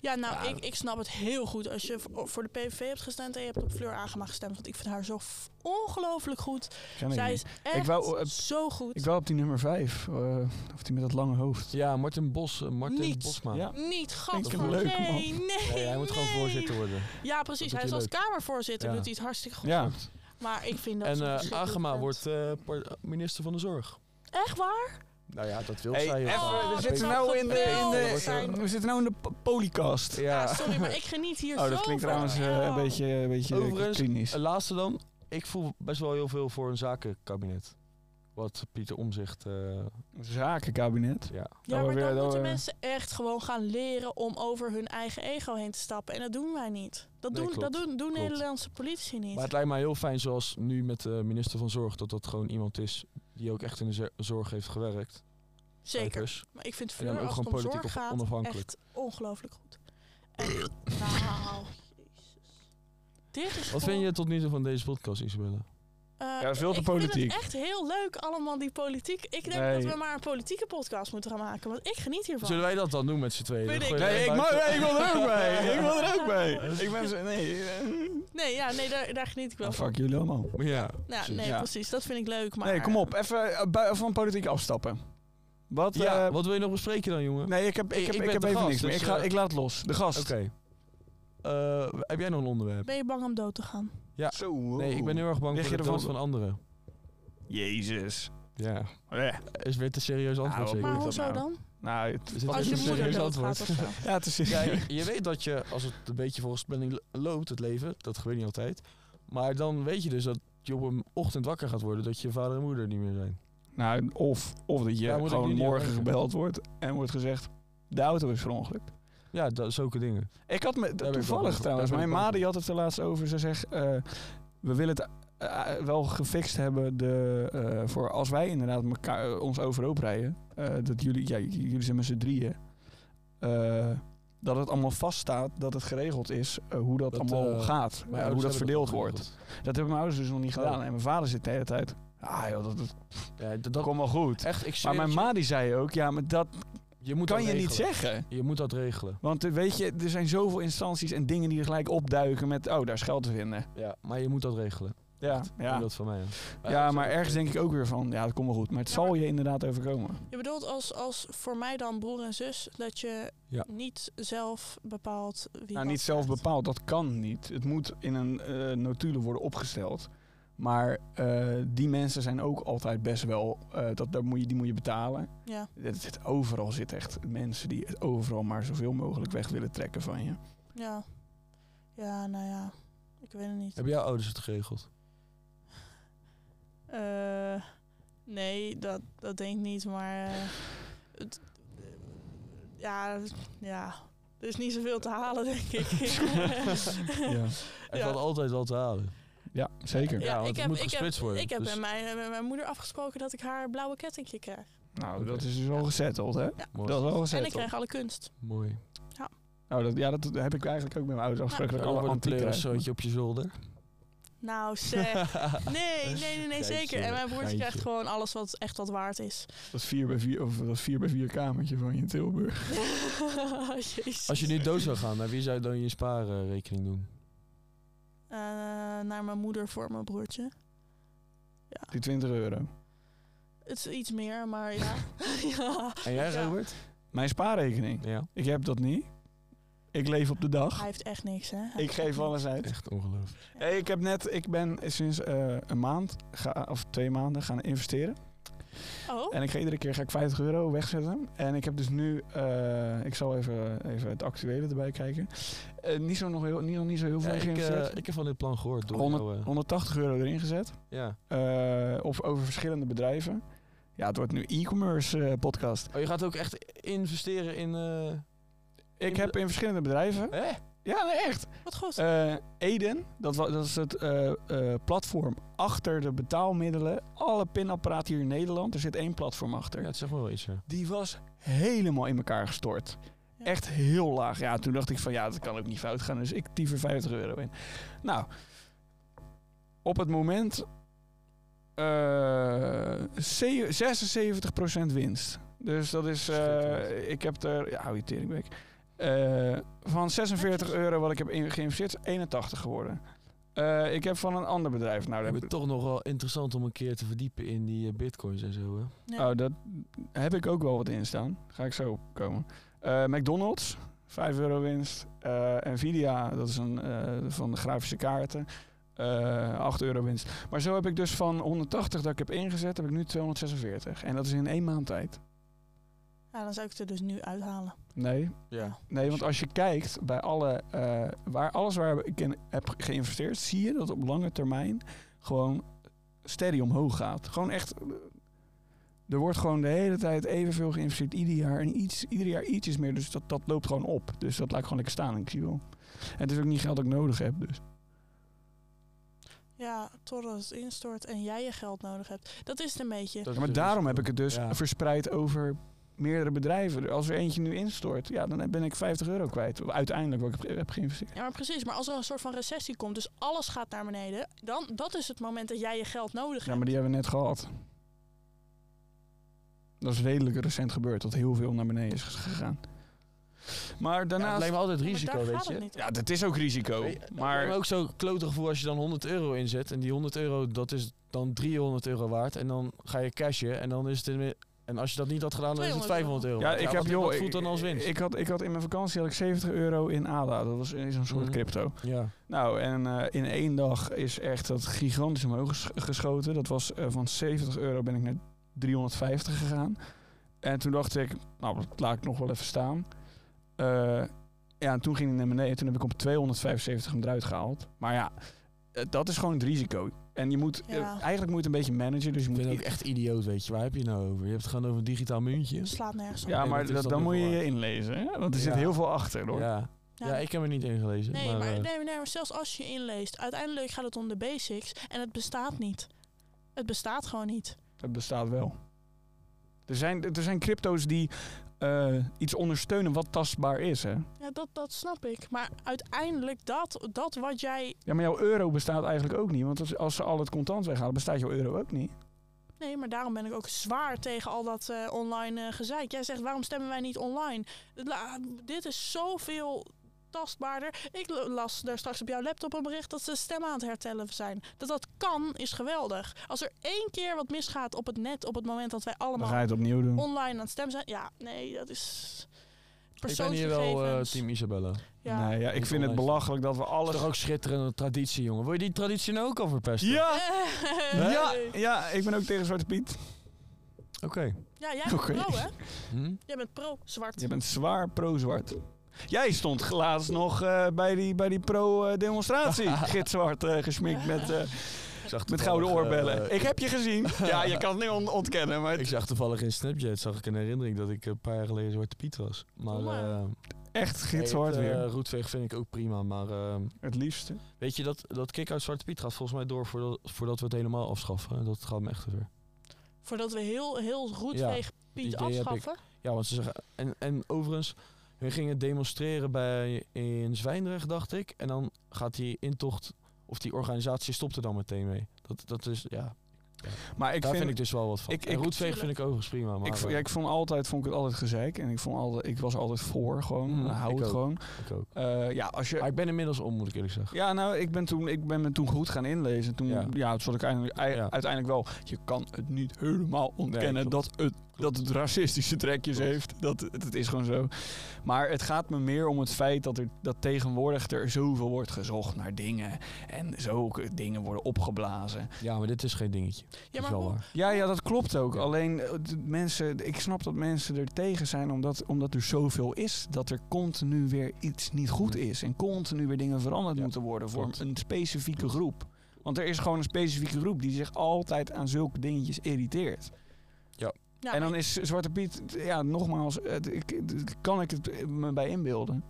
Speaker 3: Ja, nou,
Speaker 2: Ja.
Speaker 3: Ik, ik snap het heel goed. Als je voor- voor de PVV hebt gestemd en je hebt op Fleur Agema gestemd. Want ik vind haar zo f- ongelooflijk goed.
Speaker 2: Ken ik
Speaker 3: Zij
Speaker 2: niet.
Speaker 3: is echt
Speaker 2: wou, eh,
Speaker 3: zo goed.
Speaker 2: Ik wou op die nummer 5. of die met dat lange hoofd.
Speaker 4: Ja, Martin Bos, eh, Martin
Speaker 3: Niets.
Speaker 4: Bosma.
Speaker 2: Ja.
Speaker 3: Niet,
Speaker 2: vind
Speaker 3: gat
Speaker 2: hem leuk,
Speaker 3: nee, nee,
Speaker 2: man.
Speaker 4: Nee, hij moet gewoon
Speaker 3: nee.
Speaker 4: voorzitter worden.
Speaker 3: Ja, precies.
Speaker 4: Dat
Speaker 3: Hij
Speaker 4: doet
Speaker 3: is
Speaker 4: hij
Speaker 3: als Kamervoorzitter,
Speaker 4: Ja.
Speaker 3: doet hij het hartstikke goed.
Speaker 2: Ja.
Speaker 3: Maar ik vind dat
Speaker 4: En
Speaker 3: ze
Speaker 4: eh
Speaker 3: verschrikkelijk
Speaker 4: Agema
Speaker 3: vindt.
Speaker 4: wordt eh, par- minister van de zorg.
Speaker 3: Echt waar?
Speaker 4: Nou ja, dat wil
Speaker 2: Hey,
Speaker 4: zij. heel
Speaker 2: even,
Speaker 4: graag.
Speaker 3: Oh,
Speaker 2: we,
Speaker 3: dat
Speaker 2: zitten
Speaker 3: zou
Speaker 2: nou in de, in
Speaker 3: geweldig
Speaker 2: de,
Speaker 3: zijn.
Speaker 2: we zitten nou in de p- polycast.
Speaker 4: Ja.
Speaker 3: Ja, sorry, maar ik geniet hier zo
Speaker 2: Oh, dat klinkt
Speaker 3: van.
Speaker 2: trouwens eh,
Speaker 3: Ja.
Speaker 2: een beetje, een beetje
Speaker 4: Overigens,
Speaker 2: klinisch.
Speaker 4: Een Eh, laatste dan. Ik voel best wel heel veel voor een zakenkabinet. Wat Pieter Omzicht. eh,
Speaker 2: Zakenkabinet.
Speaker 4: ja.
Speaker 3: Ja,
Speaker 2: Dan
Speaker 3: maar
Speaker 2: weer-
Speaker 3: dan
Speaker 2: dan
Speaker 3: moeten
Speaker 4: eh.
Speaker 2: weer-
Speaker 3: mensen echt gewoon gaan leren om over hun eigen ego heen te stappen. En dat doen wij niet. Dat
Speaker 4: Nee,
Speaker 3: doen, dat
Speaker 4: klopt.
Speaker 3: doen, doen
Speaker 4: Klopt.
Speaker 3: Nederlandse politici niet.
Speaker 4: Maar het lijkt mij heel fijn, zoals nu met de minister van Zorg, dat dat gewoon iemand is die ook echt in de zor- zorg heeft gewerkt.
Speaker 3: Zeker.
Speaker 4: Cijfers.
Speaker 3: Maar ik vind
Speaker 4: En dan
Speaker 3: Fleur,
Speaker 4: ook
Speaker 3: als het
Speaker 4: gewoon
Speaker 3: om zorg
Speaker 4: politiek op-
Speaker 3: gaat,
Speaker 4: onafhankelijk.
Speaker 3: echt ongelooflijk goed. Echt. nou, jezus. Dit is
Speaker 4: Wat vind je tot nu toe van deze podcast, Isabelle?
Speaker 2: Ja, veel te
Speaker 3: Eh, Ik vind
Speaker 2: politiek.
Speaker 3: het echt heel leuk allemaal, die politiek. Ik denk
Speaker 2: Nee.
Speaker 3: dat we maar een politieke podcast moeten gaan maken, want ik geniet hiervan.
Speaker 4: Zullen wij dat dan doen met z'n tweeën?
Speaker 3: Vind
Speaker 4: Dan
Speaker 3: ik-
Speaker 4: gooien we
Speaker 2: Nee, ik,
Speaker 4: buiten-
Speaker 2: mag, nee, ik wil er ook bij. Ik wil er ook bij. Ik ben zo... Nee. eh,
Speaker 3: Nee, ja, nee daar, daar geniet ik wel
Speaker 2: ah,
Speaker 3: van.
Speaker 2: fuck jullie allemaal.
Speaker 4: Ja.
Speaker 3: Ja,
Speaker 4: precies.
Speaker 3: nee,
Speaker 2: Ja.
Speaker 3: precies. Dat vind ik leuk, maar...
Speaker 2: Nee, kom op. Even eh, bui- van politiek afstappen. Wat?
Speaker 4: Ja,
Speaker 2: eh,
Speaker 4: wat wil je nog bespreken dan, jongen?
Speaker 2: nee, ik heb, ik
Speaker 4: Ik-
Speaker 2: heb,
Speaker 4: ik
Speaker 2: ik
Speaker 4: ben
Speaker 2: heb
Speaker 4: de
Speaker 2: even
Speaker 4: gast,
Speaker 2: niks meer.
Speaker 4: dus,
Speaker 2: Ik, ga,
Speaker 4: eh,
Speaker 2: ik laat los. De gast.
Speaker 4: Oké. Eh, heb jij nog een onderwerp?
Speaker 3: Ben je bang om dood te gaan?
Speaker 2: Zo.
Speaker 4: Nee, ik ben heel erg bang
Speaker 2: Lig
Speaker 4: voor
Speaker 2: je
Speaker 4: de dood
Speaker 2: ervan-
Speaker 4: van anderen.
Speaker 2: Jezus.
Speaker 4: Ja.
Speaker 2: Eh.
Speaker 4: Is weer te serieus antwoord
Speaker 2: Ah,
Speaker 4: zeker.
Speaker 2: wat dat
Speaker 3: Maar hoezo
Speaker 2: nou?
Speaker 3: dan?
Speaker 2: Nou, het
Speaker 4: Is het
Speaker 2: was
Speaker 3: Als
Speaker 4: is
Speaker 3: je
Speaker 2: een
Speaker 3: moeder
Speaker 2: serieus
Speaker 3: doodgaat
Speaker 2: antwoord.
Speaker 3: of zo.
Speaker 2: Ja, het is
Speaker 4: Ja, je, je weet dat je, als het een beetje volgens planning lo- loopt, het leven, dat weet niet altijd. Maar dan weet je dus dat je op een ochtend wakker gaat worden dat je vader en moeder niet meer zijn.
Speaker 2: Nou, of, of dat je
Speaker 4: Daar moet ik nu
Speaker 2: gewoon
Speaker 4: niet aan
Speaker 2: morgen
Speaker 4: denken.
Speaker 2: gebeld wordt en wordt gezegd, de auto is verongelukt.
Speaker 4: Ja, dat, zulke dingen.
Speaker 2: Ik had me,
Speaker 4: ben ik wel
Speaker 2: toevallig
Speaker 4: bang-
Speaker 2: trouwens,
Speaker 4: daar ben
Speaker 2: mijn
Speaker 4: ik
Speaker 2: ma
Speaker 4: bang
Speaker 2: die
Speaker 4: voor.
Speaker 2: had het er laatst over. Ze zegt, eh, we willen het eh, eh, wel gefixt hebben de, eh, voor als wij inderdaad elkaar, ons overhoop rijden. eh, dat jullie, ja, j- jullie zijn met z'n drieën. eh, dat het allemaal vaststaat, dat het geregeld is eh, hoe dat,
Speaker 4: Dat,
Speaker 2: allemaal
Speaker 4: eh,
Speaker 2: gaat.
Speaker 4: Mijn
Speaker 2: eh, hoe
Speaker 4: ouders
Speaker 2: dat
Speaker 4: hebben
Speaker 2: verdeeld
Speaker 4: ook
Speaker 2: wordt.
Speaker 4: geregeld.
Speaker 2: Dat hebben mijn ouders dus nog niet
Speaker 4: Oh.
Speaker 2: gedaan. En mijn vader zit de hele tijd, ah joh, dat, dat,
Speaker 4: Ja, dat,
Speaker 2: dat
Speaker 4: dat-
Speaker 2: komt wel goed.
Speaker 4: echt, ik
Speaker 2: Maar
Speaker 4: zweer
Speaker 2: mijn
Speaker 4: het je,
Speaker 2: ma die zei ook, ja, maar dat
Speaker 4: je moet
Speaker 2: kan
Speaker 4: dat
Speaker 2: je niet
Speaker 4: regelen.
Speaker 2: zeggen.
Speaker 4: Je moet dat regelen.
Speaker 2: Want eh, weet je, er zijn zoveel instanties en dingen die er gelijk opduiken met, oh, daar is geld te vinden.
Speaker 4: Ja, maar je moet dat regelen.
Speaker 2: Ja,
Speaker 4: Ja.
Speaker 2: ja.
Speaker 4: Dat van mij. hè.
Speaker 2: ja maar ergens denk ik ook weer van, ja, dat komt wel goed. Maar het
Speaker 3: Ja,
Speaker 2: zal
Speaker 3: maar-
Speaker 2: je inderdaad overkomen.
Speaker 3: Je bedoelt als, als voor mij dan broer en zus, dat je
Speaker 4: Ja.
Speaker 3: niet zelf bepaalt wie.
Speaker 2: Nou,
Speaker 3: wat
Speaker 2: niet zelf
Speaker 3: krijgt.
Speaker 2: bepaald, dat kan niet. Het moet in een eh notulen worden opgesteld. Maar eh, die mensen zijn ook altijd best wel, eh, dat, daar moet je, die moet je betalen.
Speaker 3: Ja.
Speaker 2: Het, het, overal zit echt mensen die het overal maar zoveel mogelijk weg willen trekken van je.
Speaker 3: ja. Ja, nou ja. Ik weet het niet.
Speaker 4: Hebben jouw ouders het geregeld?
Speaker 3: Eh, nee, dat, dat denk ik niet, maar. eh, het, ja, ja. Er is niet zoveel te halen, denk ik.
Speaker 2: Ja,
Speaker 4: Er valt altijd wel te halen.
Speaker 2: ja zeker.
Speaker 4: Ja, want het moet
Speaker 3: ik heb,
Speaker 4: gesplitst worden,
Speaker 3: ik heb
Speaker 4: dus-
Speaker 3: met, mijn, met mijn moeder afgesproken dat ik haar blauwe kettingje krijg.
Speaker 2: Nou,
Speaker 4: Oké.
Speaker 2: dat is dus al
Speaker 3: Ja.
Speaker 2: gezetteld, hè?
Speaker 4: Mooi.
Speaker 2: Dat is wel
Speaker 3: En
Speaker 2: gezet.
Speaker 3: ik krijg alle kunst.
Speaker 4: Mooi.
Speaker 2: Nou, dat, ja, dat heb ik eigenlijk ook met mijn ouders afgesproken.
Speaker 4: Dan
Speaker 2: dat ik alle
Speaker 4: wordt een
Speaker 2: antiek krijg.
Speaker 4: kleurenzootje op je zolder.
Speaker 3: Nou, zeg. Nee, nee, nee, nee zeker. En mijn broertje krijgt
Speaker 4: Geitje.
Speaker 3: gewoon alles wat echt wat waard is.
Speaker 2: Dat 4 bij 4 of dat 4 bij 4 kamertje van je in Tilburg.
Speaker 3: Jezus.
Speaker 4: Als je nu dood zou gaan, naar wie zou je dan je spaarrekening doen?
Speaker 3: Eh, naar mijn moeder voor mijn broertje.
Speaker 2: Die 20 euro.
Speaker 3: Het is iets meer, maar ja. ja.
Speaker 4: En jij,
Speaker 3: Ja.
Speaker 4: Robert?
Speaker 2: Mijn spaarrekening.
Speaker 4: Ja.
Speaker 2: Ik heb dat niet. Ik leef op de dag.
Speaker 3: Hij heeft echt niks, hè? Hij
Speaker 2: Ik
Speaker 3: heeft echt
Speaker 2: geef alles uit.
Speaker 4: Echt ongelooflijk.
Speaker 2: Hey, ik heb net, ik ben sinds eh, een maand ga, of twee maanden gaan investeren.
Speaker 3: niks. Oh,
Speaker 2: En ik ga iedere keer ga ik 50 euro wegzetten. En ik heb dus nu, eh, ik zal even, even het actuele erbij kijken. Eh, niet, zo nog heel, niet, nog niet zo heel
Speaker 4: Ja,
Speaker 2: veel
Speaker 4: ik, eh,
Speaker 2: geïnvesteerd.
Speaker 4: ik heb van dit plan gehoord door
Speaker 2: Honderd-
Speaker 4: jou, eh,
Speaker 2: 180 euro erin gezet.
Speaker 4: ja.
Speaker 2: Eh, of over verschillende bedrijven. Ja, het wordt nu e-commerce eh, podcast.
Speaker 4: Oh, je gaat ook echt investeren in... eh,
Speaker 2: Ik heb in verschillende bedrijven.
Speaker 4: hè?
Speaker 2: Ja, nee, echt.
Speaker 3: wat goed.
Speaker 2: Eh, Eden, dat, wa- dat is het eh, eh, platform achter de betaalmiddelen. Alle pinapparaten hier in Nederland, er zit één platform achter.
Speaker 4: Ja, het zegt me wel iets, ja.
Speaker 2: Die was helemaal in elkaar gestort.
Speaker 3: Ja.
Speaker 2: Echt heel laag. Ja, toen dacht ik van ja, dat kan ook niet fout gaan. Dus ik tyf er 50 euro in. Nou, op het moment eh, ze- 76% winst. Dus dat is, eh,
Speaker 4: Schitterend.
Speaker 2: ik heb er, ja, hou je teringbek. Eh, van 46 euro wat ik heb in- geïnvesteerd, is 81 geworden. Eh, ik heb van een ander bedrijf, nou,
Speaker 4: Ik
Speaker 2: daar
Speaker 4: vind
Speaker 2: heb
Speaker 4: het toch nog wel interessant om een keer te verdiepen in die eh, bitcoins en zo, hè?
Speaker 3: Ja.
Speaker 2: Oh, dat heb ik ook wel wat in staan. Ga ik zo op komen. Eh, McDonald's, 5 euro winst. Eh, Nvidia, dat is een eh, van de grafische kaarten. eh 8 euro winst. Maar zo heb ik dus van 180 dat ik heb ingezet, heb ik nu 246. En dat is in één maand tijd.
Speaker 3: Ja, dan zou ik het er dus nu uithalen.
Speaker 2: Nee,
Speaker 4: Ja.
Speaker 2: nee want als je kijkt bij alle, eh, waar, alles waar ik in heb geïnvesteerd, zie je dat op lange termijn gewoon steady omhoog gaat. Gewoon echt. eh, Er wordt gewoon de hele tijd evenveel geïnvesteerd ieder jaar. En iets, ieder jaar ietsjes meer. Dus dat, dat loopt gewoon op. Dus dat laat ik gewoon lekker staan. Ik zie wel. En het is ook niet geld dat ik nodig heb. Dus.
Speaker 3: Ja, totdat het instort en jij je geld nodig hebt. Dat is het een beetje.
Speaker 2: Ja, maar daarom heb ik het dus
Speaker 4: Ja.
Speaker 2: verspreid over meerdere bedrijven. Als er eentje nu instort, ja, dan ben ik 50 euro kwijt. Uiteindelijk wat ik heb- heb geïnvesteerd.
Speaker 3: Ja, maar precies. Maar als er een soort van recessie komt, dus alles gaat naar beneden, dan dat is het moment dat jij je geld nodig
Speaker 2: Ja,
Speaker 3: hebt.
Speaker 2: maar die hebben we net gehad. Dat is redelijk recent gebeurd. Dat heel veel naar beneden is gegaan. Maar
Speaker 4: Ja, het
Speaker 2: daarnaast...
Speaker 4: lijkt me altijd
Speaker 3: Ja, maar
Speaker 4: risico,
Speaker 3: daar
Speaker 4: weet
Speaker 3: gaat het
Speaker 4: je.
Speaker 3: niet om.
Speaker 2: Ja, dat is ook risico.
Speaker 4: Weet je,
Speaker 2: Oh, Maar
Speaker 4: lijkt me ook zo klote gevoel als je dan 100 euro inzet. En die 100 euro, dat is dan 300 euro waard. En dan ga je cashen. En dan is het... in- En als je dat niet had gedaan, dan is het
Speaker 3: 200 euro.
Speaker 4: 500 euro.
Speaker 2: ja,
Speaker 4: waard.
Speaker 2: ik heb
Speaker 4: wat-
Speaker 2: joh,
Speaker 4: Wat voelt dan als
Speaker 2: ik-
Speaker 4: winst?
Speaker 2: Ik had, ik had in mijn vakantie had ik 70 euro in ADA. Dat was is een soort
Speaker 4: Mhm.
Speaker 2: crypto.
Speaker 4: Ja.
Speaker 2: Nou, en eh, in één dag is echt dat gigantisch omhoog ges- geschoten. Dat was eh, van 70 euro ben ik naar 350 gegaan. En toen dacht ik, nou, dat laat ik nog wel even staan. Eh, ja, en toen ging hij naar beneden. Toen heb ik op 275 hem eruit gehaald. Maar ja, eh, dat is gewoon het risico. En je moet, eh,
Speaker 3: Ja.
Speaker 2: eigenlijk moet je het een beetje managen. Dus je
Speaker 4: Ik
Speaker 2: moet
Speaker 4: ben ook echt idioot, weet je. Waar heb je nou over? Je hebt het gewoon over een digitaal muntje.
Speaker 3: Het slaat nergens op.
Speaker 2: Ja,
Speaker 4: Nee,
Speaker 2: maar
Speaker 4: dat is
Speaker 2: dat,
Speaker 4: dan
Speaker 2: dan
Speaker 4: heel
Speaker 2: moet je
Speaker 4: veel
Speaker 2: je
Speaker 4: waard.
Speaker 2: inlezen. Hè? Want er zit
Speaker 4: Ja.
Speaker 2: heel veel achter, hoor.
Speaker 4: Ja. ja, ik heb er niet ingelezen.
Speaker 3: Nee,
Speaker 4: maar,
Speaker 3: maar,
Speaker 4: eh,
Speaker 3: nee, nee, maar zelfs als je inleest, uiteindelijk gaat het om de basics en het bestaat niet. Het bestaat gewoon niet.
Speaker 2: Het bestaat wel. Er zijn, er zijn crypto's die eh, iets ondersteunen wat tastbaar is, hè?
Speaker 3: Ja, dat, dat snap ik. Maar uiteindelijk dat, dat wat jij...
Speaker 2: Ja, maar jouw euro bestaat eigenlijk ook niet. Want als, als ze al het contant weghalen, bestaat jouw euro ook niet.
Speaker 3: Nee, maar daarom ben ik ook zwaar tegen al dat eh, online eh, gezeik. Jij zegt, waarom stemmen wij niet online? La- dit is zoveel tastbaarder. Ik l- las daar straks op jouw laptop een bericht dat ze stemmen aan het hertellen zijn. Dat dat kan, is geweldig. Als er één keer wat misgaat op het net op het moment dat wij
Speaker 2: Dan
Speaker 3: allemaal
Speaker 2: ga je het opnieuw doen.
Speaker 3: online aan het stemmen zijn. Ja, nee, dat is
Speaker 4: ik ben hier wel eh,
Speaker 3: persoonsgegevens.
Speaker 4: team Isabella. Het
Speaker 3: ja.
Speaker 2: Nee, ja, ik vind het belachelijk dat we
Speaker 4: is
Speaker 2: alles...
Speaker 4: toch ook schitterende traditie, jongen. Wil je die traditie nou ook al verpesten?
Speaker 3: Eh,
Speaker 2: Ja, ja, ik ben ook tegen Zwarte Piet.
Speaker 4: Oké.
Speaker 3: Ja, jij bent
Speaker 2: Oké.
Speaker 3: pro, hè?
Speaker 4: Hm?
Speaker 3: Jij bent pro, zwart.
Speaker 2: Je bent zwaar pro-zwart. Jij stond laatst nog eh, bij die, bij die pro-demonstratie. Gitzwart eh, gesminkt met, eh,
Speaker 4: Ik zag
Speaker 2: met
Speaker 4: toevallig,
Speaker 2: gouden oorbellen.
Speaker 4: eh,
Speaker 2: ik heb je gezien. Ja, je kan het nu on- ontkennen, maar
Speaker 4: Ik
Speaker 2: het-
Speaker 4: zag toevallig in Snapchat zag ik een herinnering dat ik een paar jaar geleden Zwarte Piet was. Maar
Speaker 3: Kom maar.
Speaker 4: eh,
Speaker 2: echt
Speaker 4: nee,
Speaker 2: gitzwart
Speaker 4: het, eh,
Speaker 2: weer.
Speaker 4: Roetveeg vind ik ook prima. Maar eh,
Speaker 2: Het liefste.
Speaker 4: weet je, dat, dat kick-out Zwarte Piet gaat volgens mij door voordat, voordat we het helemaal afschaffen. Dat gaat me echt te ver.
Speaker 3: Voordat we heel, heel goed
Speaker 4: Ja,
Speaker 3: tegen Piet
Speaker 4: idee heb ik.
Speaker 3: afschaffen.
Speaker 4: Ja, want ze zeggen... En, en overigens, we gingen demonstreren bij, in Zwijndrecht, dacht ik. En dan gaat die intocht, of die organisatie stopt er dan meteen mee. Dat, dat is, ja,
Speaker 2: Maar ik
Speaker 4: daar
Speaker 2: vind,
Speaker 4: vind, ik dus wel wat van.
Speaker 2: ik-
Speaker 4: en
Speaker 2: ik-
Speaker 4: Roetveeg vind ik overigens prima. Maar eh,
Speaker 2: Ik, vo- ja, ik vond altijd vond ik het altijd gezeik en ik vond altijd ik was altijd voor gewoon
Speaker 4: Mhm,
Speaker 2: hou
Speaker 4: ik
Speaker 2: het
Speaker 4: ook.
Speaker 2: gewoon.
Speaker 4: ik ook.
Speaker 2: Eh, ja, als
Speaker 4: Maar
Speaker 2: je
Speaker 4: ik ben inmiddels om, moet ik eerlijk zeggen.
Speaker 2: ja, nou, ik ben toen ik ben me toen goed gaan inlezen. Toen ja,
Speaker 4: Ja.
Speaker 2: ja toen zat ik eindelijk, ei-
Speaker 4: Ja.
Speaker 2: uiteindelijk wel. Je kan het niet helemaal ontkennen
Speaker 4: klopt.
Speaker 2: dat het dat het racistische trekjes heeft. Dat, het, het is gewoon zo. Maar het gaat me meer om het feit dat, er, dat tegenwoordig er zoveel wordt gezocht naar dingen. En zulke dingen worden opgeblazen.
Speaker 4: Ja, maar dit is geen dingetje.
Speaker 3: Ja,
Speaker 4: dat
Speaker 3: maar
Speaker 4: is wel
Speaker 3: hoe-
Speaker 4: waar.
Speaker 2: Ja, ja, dat klopt ook. Alleen eh, de mensen, ik snap dat mensen er tegen zijn omdat, omdat er zoveel is. Dat er continu weer iets niet goed is. En continu weer dingen veranderd
Speaker 4: Ja,
Speaker 2: moeten worden voor
Speaker 4: klopt.
Speaker 2: een specifieke groep. Want er is gewoon een specifieke groep die zich altijd aan zulke dingetjes irriteert.
Speaker 3: Ja,
Speaker 2: en dan is Zwarte Piet, ja, nogmaals, het, ik, het- kan ik het me bij inbeelden.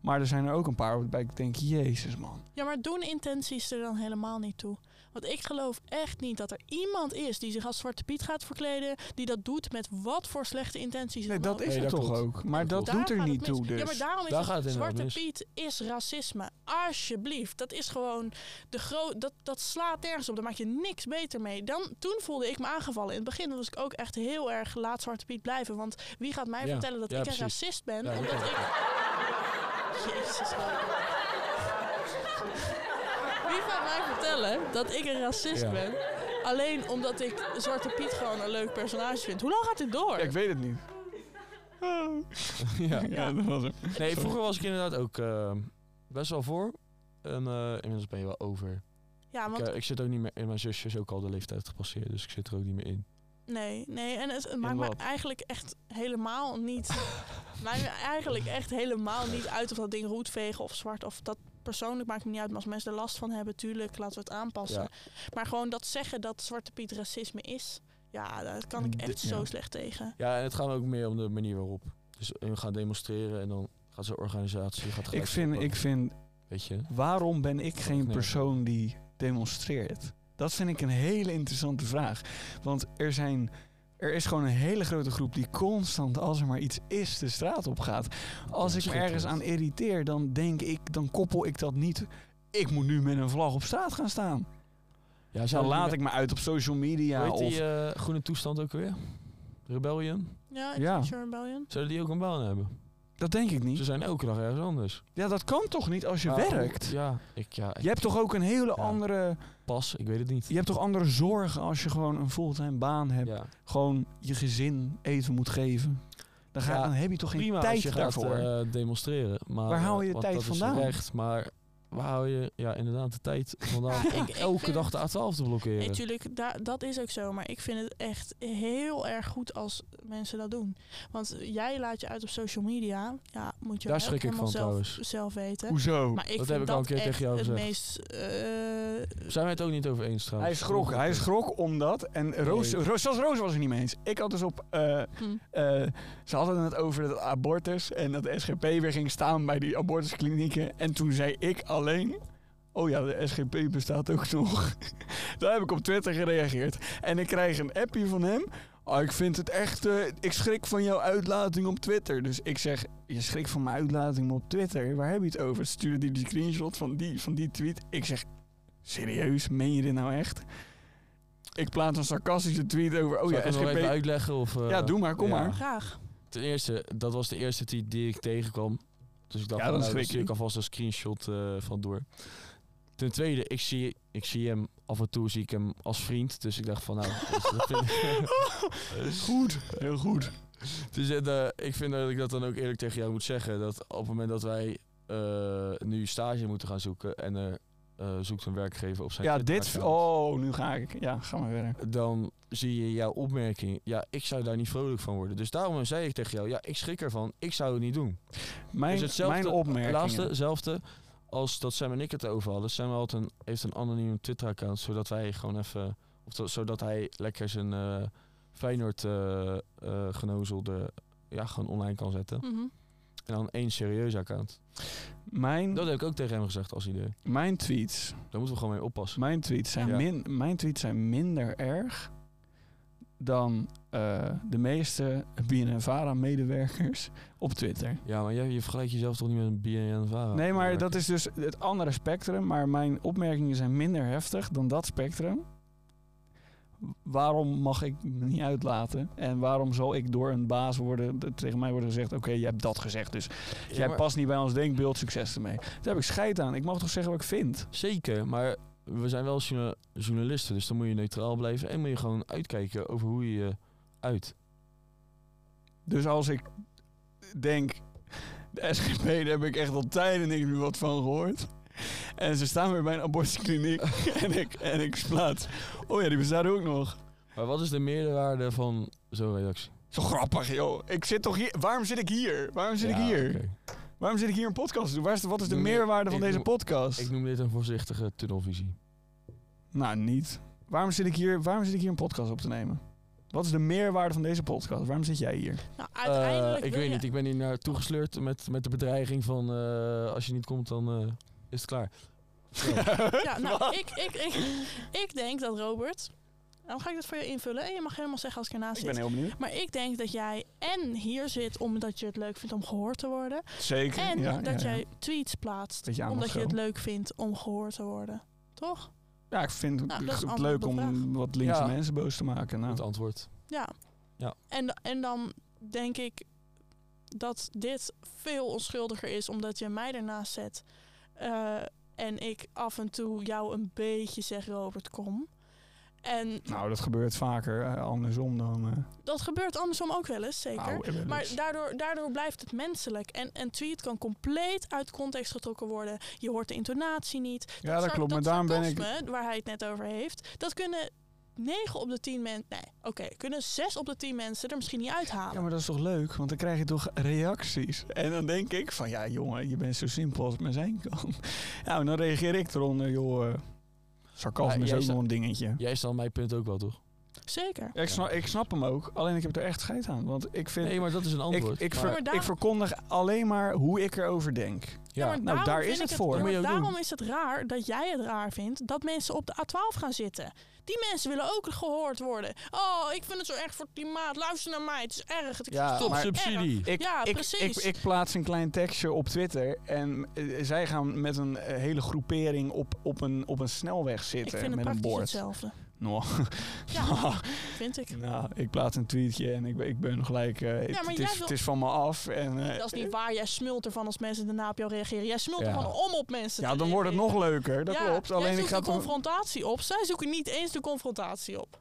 Speaker 2: Maar er zijn er ook een paar waarbij ik denk, jezus man.
Speaker 3: Ja, maar doen intenties er dan helemaal niet toe? Want ik geloof echt niet dat er iemand is die zich als Zwarte Piet gaat verkleden, die dat doet met wat voor slechte intenties.
Speaker 2: Nee,
Speaker 3: dan
Speaker 2: dat
Speaker 3: ook.
Speaker 2: is
Speaker 4: Nee,
Speaker 2: het
Speaker 4: dat
Speaker 2: toch
Speaker 4: klopt.
Speaker 2: ook. Maar
Speaker 4: Dat
Speaker 2: dat
Speaker 3: Daar
Speaker 4: klopt.
Speaker 2: doet er
Speaker 3: gaat het
Speaker 2: niet
Speaker 3: mis.
Speaker 2: toe dus.
Speaker 3: Ja, maar daarom is
Speaker 4: Daar
Speaker 3: het-
Speaker 4: gaat het inderdaad
Speaker 3: Zwarte
Speaker 4: mis.
Speaker 3: Piet is racisme. Alsjeblieft. Dat is gewoon de groot. Dat, dat slaat nergens op. Daar maak je niks beter mee. Dan, toen voelde ik me aangevallen. In het begin was ik ook echt heel erg laat Zwarte Piet blijven. Want wie gaat mij
Speaker 4: Ja,
Speaker 3: vertellen dat
Speaker 4: ja,
Speaker 3: ik
Speaker 4: precies.
Speaker 3: een racist ben?
Speaker 4: Ja,
Speaker 3: omdat
Speaker 4: dat
Speaker 3: ik. Jezus. Wie gaat mij vertellen dat ik een racist
Speaker 4: Ja.
Speaker 3: ben? Alleen omdat ik Zwarte Piet gewoon een leuk personage vind. Hoe lang gaat dit door?
Speaker 2: Ja, ik weet het niet.
Speaker 4: ja.
Speaker 2: Ja, dat was hem.
Speaker 4: Nee, vroeger was ik inderdaad ook eh, best wel voor. En eh, inmiddels ben je wel over.
Speaker 3: ja,
Speaker 4: Ik, eh, ik zit ook niet meer in. Mijn zusje is ook al de leeftijd gepasseerd, dus ik zit er ook niet meer in.
Speaker 3: Nee, nee. En het, het maakt me
Speaker 2: eh, wat?
Speaker 3: eigenlijk echt helemaal niet... maakt me eigenlijk echt helemaal niet uit of dat ding roetvegen of zwart. Of dat persoonlijk maakt me niet uit. Maar als mensen er last van hebben, tuurlijk, laten we het aanpassen.
Speaker 4: Ja.
Speaker 3: Maar gewoon dat zeggen dat Zwarte Piet racisme is... Ja, daar kan ik
Speaker 2: Mm, Dit-
Speaker 3: echt zo
Speaker 2: ja.
Speaker 3: slecht tegen.
Speaker 4: Ja, en het gaat ook meer om de manier waarop. Dus hun gaan demonstreren en dan gaat zo'n organisatie gaat gelijk
Speaker 2: Ik vind,
Speaker 4: stoppen,
Speaker 2: ik vind,
Speaker 4: Weet je?
Speaker 2: waarom ben ik geen
Speaker 4: Nee.
Speaker 2: persoon die demonstreert? Dat vind ik een hele interessante vraag. Want er, zijn, er is gewoon een hele grote groep die constant, als er maar iets is, de straat op gaat. Als
Speaker 4: Ja,
Speaker 2: ik me ergens aan
Speaker 4: schitterend.
Speaker 2: irriteer, dan denk ik, dan koppel ik dat niet. Ik moet nu met een vlag op straat gaan staan.
Speaker 4: Ja,
Speaker 2: Dan
Speaker 4: zouden
Speaker 2: laat
Speaker 4: die-
Speaker 2: ik me uit op social media.
Speaker 4: Hoe heet
Speaker 2: Of,
Speaker 4: die eh, groene toestand ook weer? Rebellion?
Speaker 3: Ja,
Speaker 2: Ja.
Speaker 3: Extinction Rebellion.
Speaker 4: Zouden die ook een baan hebben?
Speaker 2: dat denk ik
Speaker 4: Ze
Speaker 2: niet.
Speaker 4: zijn elke dag ergens anders.
Speaker 2: Ja, dat kan toch niet als je
Speaker 4: Ja,
Speaker 2: werkt?
Speaker 4: Ja, ik ja, ik
Speaker 2: Je hebt toch ook een hele
Speaker 4: Ja.
Speaker 2: andere.
Speaker 4: pas, ik weet het niet.
Speaker 2: Je hebt toch andere zorgen als je gewoon een fulltime baan hebt.
Speaker 4: Ja.
Speaker 2: gewoon je gezin even moet geven. Dan, ga,
Speaker 4: Ja,
Speaker 2: dan heb je toch geen
Speaker 4: Prima als
Speaker 2: tijd
Speaker 4: je gaat
Speaker 2: daarvoor.
Speaker 4: eh, demonstreren. Maar,
Speaker 2: Waar haal je de
Speaker 4: eh, want
Speaker 2: tijd
Speaker 4: dat is
Speaker 2: vandaan?
Speaker 4: terecht, maar waar hou je ja, inderdaad de tijd vandaan
Speaker 3: Ja,
Speaker 4: om
Speaker 3: ik- eh, ik
Speaker 4: elke
Speaker 3: vind-
Speaker 4: dag de A12 te blokkeren?
Speaker 3: Nee, tuurlijk, da- dat is ook zo. Maar ik vind het echt heel erg goed als mensen dat doen. Want jij laat je uit op social media. Ja, moet je
Speaker 4: Daar
Speaker 3: ook
Speaker 4: schrik ik
Speaker 3: helemaal
Speaker 4: van
Speaker 3: zelf,
Speaker 4: trouwens.
Speaker 3: zelf weten.
Speaker 2: Hoezo?
Speaker 3: Maar ik
Speaker 4: Dat
Speaker 3: vind
Speaker 4: heb ik
Speaker 3: dat
Speaker 4: al een keer
Speaker 3: echt
Speaker 4: tegen jou
Speaker 3: het
Speaker 4: gezegd.
Speaker 3: meest... eh,
Speaker 4: Zijn wij het ook niet over eens
Speaker 2: hij
Speaker 4: trouwens?
Speaker 2: schrok. Hij schrok omdat... En Roos,
Speaker 4: Nee.
Speaker 2: Roos, zelfs Roos was er niet mee eens. Ik had dus op... eh,
Speaker 3: hm.
Speaker 2: eh, ze hadden het over dat abortus. En dat de SGP weer ging staan bij die abortusklinieken. En toen zei ik alleen... Oh ja, de SGP bestaat ook nog. Daar heb ik op Twitter gereageerd. En ik krijg een appje van hem. Ah, ik vind het echt... eh, ik schrik van jouw uitlating op Twitter. Dus ik zeg, je schrik van mijn uitlating op Twitter. Waar heb je het over? Stuurde die die screenshot van die, van die tweet. Ik zeg, serieus? Meen je dit nou echt? Ik plaats een sarcastische tweet over... Oh
Speaker 4: Zal
Speaker 2: ja,
Speaker 4: ik het nog
Speaker 2: SGP...
Speaker 4: even uitleggen? Of, eh,
Speaker 2: Ja, doe maar, kom
Speaker 4: ja.
Speaker 2: maar.
Speaker 3: Graag.
Speaker 4: Ten eerste, dat was de eerste tweet die ik tegenkwam. Dus
Speaker 2: Ja,
Speaker 4: ik dacht,
Speaker 2: dan
Speaker 4: van, nou, daar
Speaker 2: schrik
Speaker 4: stuur
Speaker 2: je.
Speaker 4: ik alvast een screenshot eh, van door. Ten tweede, ik zie, ik zie hem af en toe zie ik hem als vriend. Dus ik dacht van nou, dus dat vind ik-
Speaker 2: Goed, heel goed.
Speaker 4: Dus eh, de- ik vind dat ik dat dan ook eerlijk tegen jou moet zeggen. Dat op het moment dat wij eh, nu stage moeten gaan zoeken en er eh, zoekt een werkgever op zijn
Speaker 2: Ja,
Speaker 4: Twitter
Speaker 2: dit.
Speaker 4: account,
Speaker 2: Oh, nu ga ik. Ja, ga maar verder.
Speaker 4: dan zie je jouw opmerking. Ja, ik zou daar niet vrolijk van worden. Dus daarom zei ik tegen jou, ja, ik schrik ervan. Ik zou het niet doen.
Speaker 2: Mijn,
Speaker 4: is hetzelfde,
Speaker 2: mijn opmerking.
Speaker 4: Laatste, hetzelfde als dat Sam en ik het over hadden. Sam had een, heeft een anoniem Twitter-account, zodat wij gewoon even... Of zo- zodat hij lekker zijn eh Feyenoord eh, eh, genozelde ja, gewoon online kan zetten.
Speaker 3: Mhm.
Speaker 4: En dan één serieus account.
Speaker 2: Mijn,
Speaker 4: Dat heb ik ook tegen hem gezegd als idee.
Speaker 2: mijn tweets.
Speaker 4: Daar moeten we gewoon mee oppassen.
Speaker 2: Mijn tweets zijn,
Speaker 4: Ja.
Speaker 2: min, mijn tweets zijn minder erg dan eh, de meeste BNNVARA-medewerkers op Twitter.
Speaker 4: Ja, maar jij, je vergelijkt jezelf toch niet met een BNN-vara?
Speaker 2: Nee, maar dat is dus het andere spectrum. Maar mijn opmerkingen zijn minder heftig dan dat spectrum. Waarom mag ik me niet uitlaten? En waarom zal ik door een baas worden dat tegen mij worden gezegd: Oké, je hebt dat gezegd, dus Jij past niet bij ons denkbeeld, succes ermee. Daar heb ik scheid aan. Ik mag toch zeggen wat ik vind?
Speaker 4: Zeker, maar we zijn wel journa- journalisten, dus dan moet je neutraal blijven en moet je gewoon uitkijken over hoe je je uit.
Speaker 2: Dus als ik denk, de SGP, daar heb ik echt al tijden niks meer wat van gehoord. En ze staan weer bij een abortuskliniek en ik, en ik plaats. Oh ja, die bestaat ook nog.
Speaker 4: Maar wat is de meerwaarde van zo'n reactie?
Speaker 2: Zo grappig, joh. Ik zit toch hier. Waarom zit ik hier? Waarom zit ik
Speaker 4: Ja,
Speaker 2: hier?
Speaker 4: oké.
Speaker 2: Waarom zit ik hier een podcast te doen? Waar is de- wat is de
Speaker 4: Noem je-
Speaker 2: meerwaarde van
Speaker 4: ik
Speaker 2: deze
Speaker 4: noem-
Speaker 2: podcast?
Speaker 4: Ik noem dit een voorzichtige tunnelvisie.
Speaker 2: Nou, niet. Waarom zit, ik hier, waarom zit ik hier een podcast op te nemen? Wat is de meerwaarde van deze podcast? Waarom zit jij hier?
Speaker 3: Nou, uiteindelijk
Speaker 4: Eh, ik
Speaker 3: wil
Speaker 4: weet
Speaker 3: je-
Speaker 4: niet, ik ben hier naartoe gesleurd met, met de bedreiging van eh, als je niet komt dan eh, is het klaar.
Speaker 3: Ja, nou, ik, ik, ik, ik denk dat Robert... Dan ga ik dat voor je invullen en je mag helemaal zeggen als ik ernaast
Speaker 2: Ik
Speaker 3: zit.
Speaker 2: ben heel benieuwd.
Speaker 3: Maar ik denk dat jij en hier zit omdat je het leuk vindt om gehoord te worden.
Speaker 2: Zeker.
Speaker 3: En
Speaker 2: ja,
Speaker 3: dat
Speaker 2: ja, ja.
Speaker 3: jij tweets plaatst
Speaker 2: Dat je aan
Speaker 3: omdat
Speaker 2: mag
Speaker 3: je het
Speaker 2: schelden.
Speaker 3: leuk vindt om gehoord te worden. Toch?
Speaker 2: Ja, ik vind
Speaker 3: Nou, dat is
Speaker 2: het
Speaker 3: een
Speaker 2: leuk om
Speaker 3: antwoord op de
Speaker 2: wat linkse
Speaker 4: Ja.
Speaker 2: mensen boos te maken. Nou.
Speaker 4: Het antwoord.
Speaker 3: Ja.
Speaker 4: Ja.
Speaker 3: En, en dan denk ik dat dit veel onschuldiger is omdat je mij ernaast zet. eh, en ik af en toe jou een beetje zeg, Robert, kom. En
Speaker 2: Nou, dat gebeurt vaker eh, andersom dan. eh,
Speaker 3: dat gebeurt andersom ook wel eens, zeker.
Speaker 2: oude wellens.
Speaker 3: Maar daardoor, daardoor blijft het menselijk. En een tweet kan compleet uit context getrokken worden. Je hoort de intonatie niet.
Speaker 2: ja, dat
Speaker 3: Sar-
Speaker 2: klopt. Maar daarom ben ik.
Speaker 3: sarcasme, waar hij het net over heeft, dat kunnen 9 op de 10 mensen. Nee, oké, kunnen 6 op de 10 mensen er misschien niet uithalen.
Speaker 2: Ja, maar dat is toch leuk? Want dan krijg je toch reacties. En dan denk ik van, ja jongen, je bent zo simpel als het maar zijn kan. Nou, dan reageer ik eronder, joh. eh, Sarcasme
Speaker 4: Ja,
Speaker 2: is
Speaker 4: jij
Speaker 2: ook
Speaker 4: sta-
Speaker 2: nog een dingetje.
Speaker 4: Jij snapt mijn punt ook wel, toch?
Speaker 3: Zeker.
Speaker 2: Ik snap, ik snap hem ook, alleen ik heb er echt scheid aan. Want ik vind...
Speaker 4: Nee, maar dat is een
Speaker 2: ik,
Speaker 4: antwoord.
Speaker 2: ik,
Speaker 4: Maar-
Speaker 2: ver-
Speaker 3: Maar daar-
Speaker 2: ik verkondig alleen maar hoe ik erover denk.
Speaker 4: ja.
Speaker 3: maar
Speaker 2: nou,
Speaker 3: daarom
Speaker 2: daar
Speaker 3: vind
Speaker 2: is
Speaker 3: ik
Speaker 2: het voor.
Speaker 3: ja,
Speaker 4: Moet je
Speaker 3: maar
Speaker 4: ook doen.
Speaker 3: daarom is het raar dat jij het raar vindt dat mensen op de A12 gaan zitten. Die mensen willen ook gehoord worden. Oh, ik vind het zo erg voor het klimaat. Luister naar mij. Het is erg. Het is
Speaker 2: Ja,
Speaker 4: Stop
Speaker 2: maar-
Speaker 4: subsidie.
Speaker 2: Ik,
Speaker 3: Ja,
Speaker 2: ik,
Speaker 3: precies.
Speaker 2: Ik, ik plaats een klein tekstje op Twitter en eh, zij gaan met een eh, hele groepering op, op, een, op een snelweg
Speaker 3: ik
Speaker 2: zitten
Speaker 3: vind het
Speaker 2: met een
Speaker 3: praktisch
Speaker 2: bord.
Speaker 3: hetzelfde.
Speaker 2: Nou,
Speaker 3: Ja, vind ik.
Speaker 2: nou, ik plaats een tweetje en ik, ik ben gelijk. eh, het-
Speaker 3: maar
Speaker 2: het,
Speaker 3: jij
Speaker 2: is,
Speaker 3: wil-
Speaker 2: het is van me af. En, eh,
Speaker 3: Dat is niet waar. Jij smult ervan als mensen daarna op jou reageren. Jij smult
Speaker 4: Ja.
Speaker 3: ervan om op mensen
Speaker 2: ja,
Speaker 3: te
Speaker 2: dan wordt het nog
Speaker 3: reageren.
Speaker 2: leuker. Dat
Speaker 3: Ja,
Speaker 2: klopt. Alleen
Speaker 3: jij
Speaker 2: ik
Speaker 3: zoekt
Speaker 2: ga
Speaker 3: de
Speaker 2: toch-
Speaker 3: confrontatie op. Zij zoeken niet eens de confrontatie op.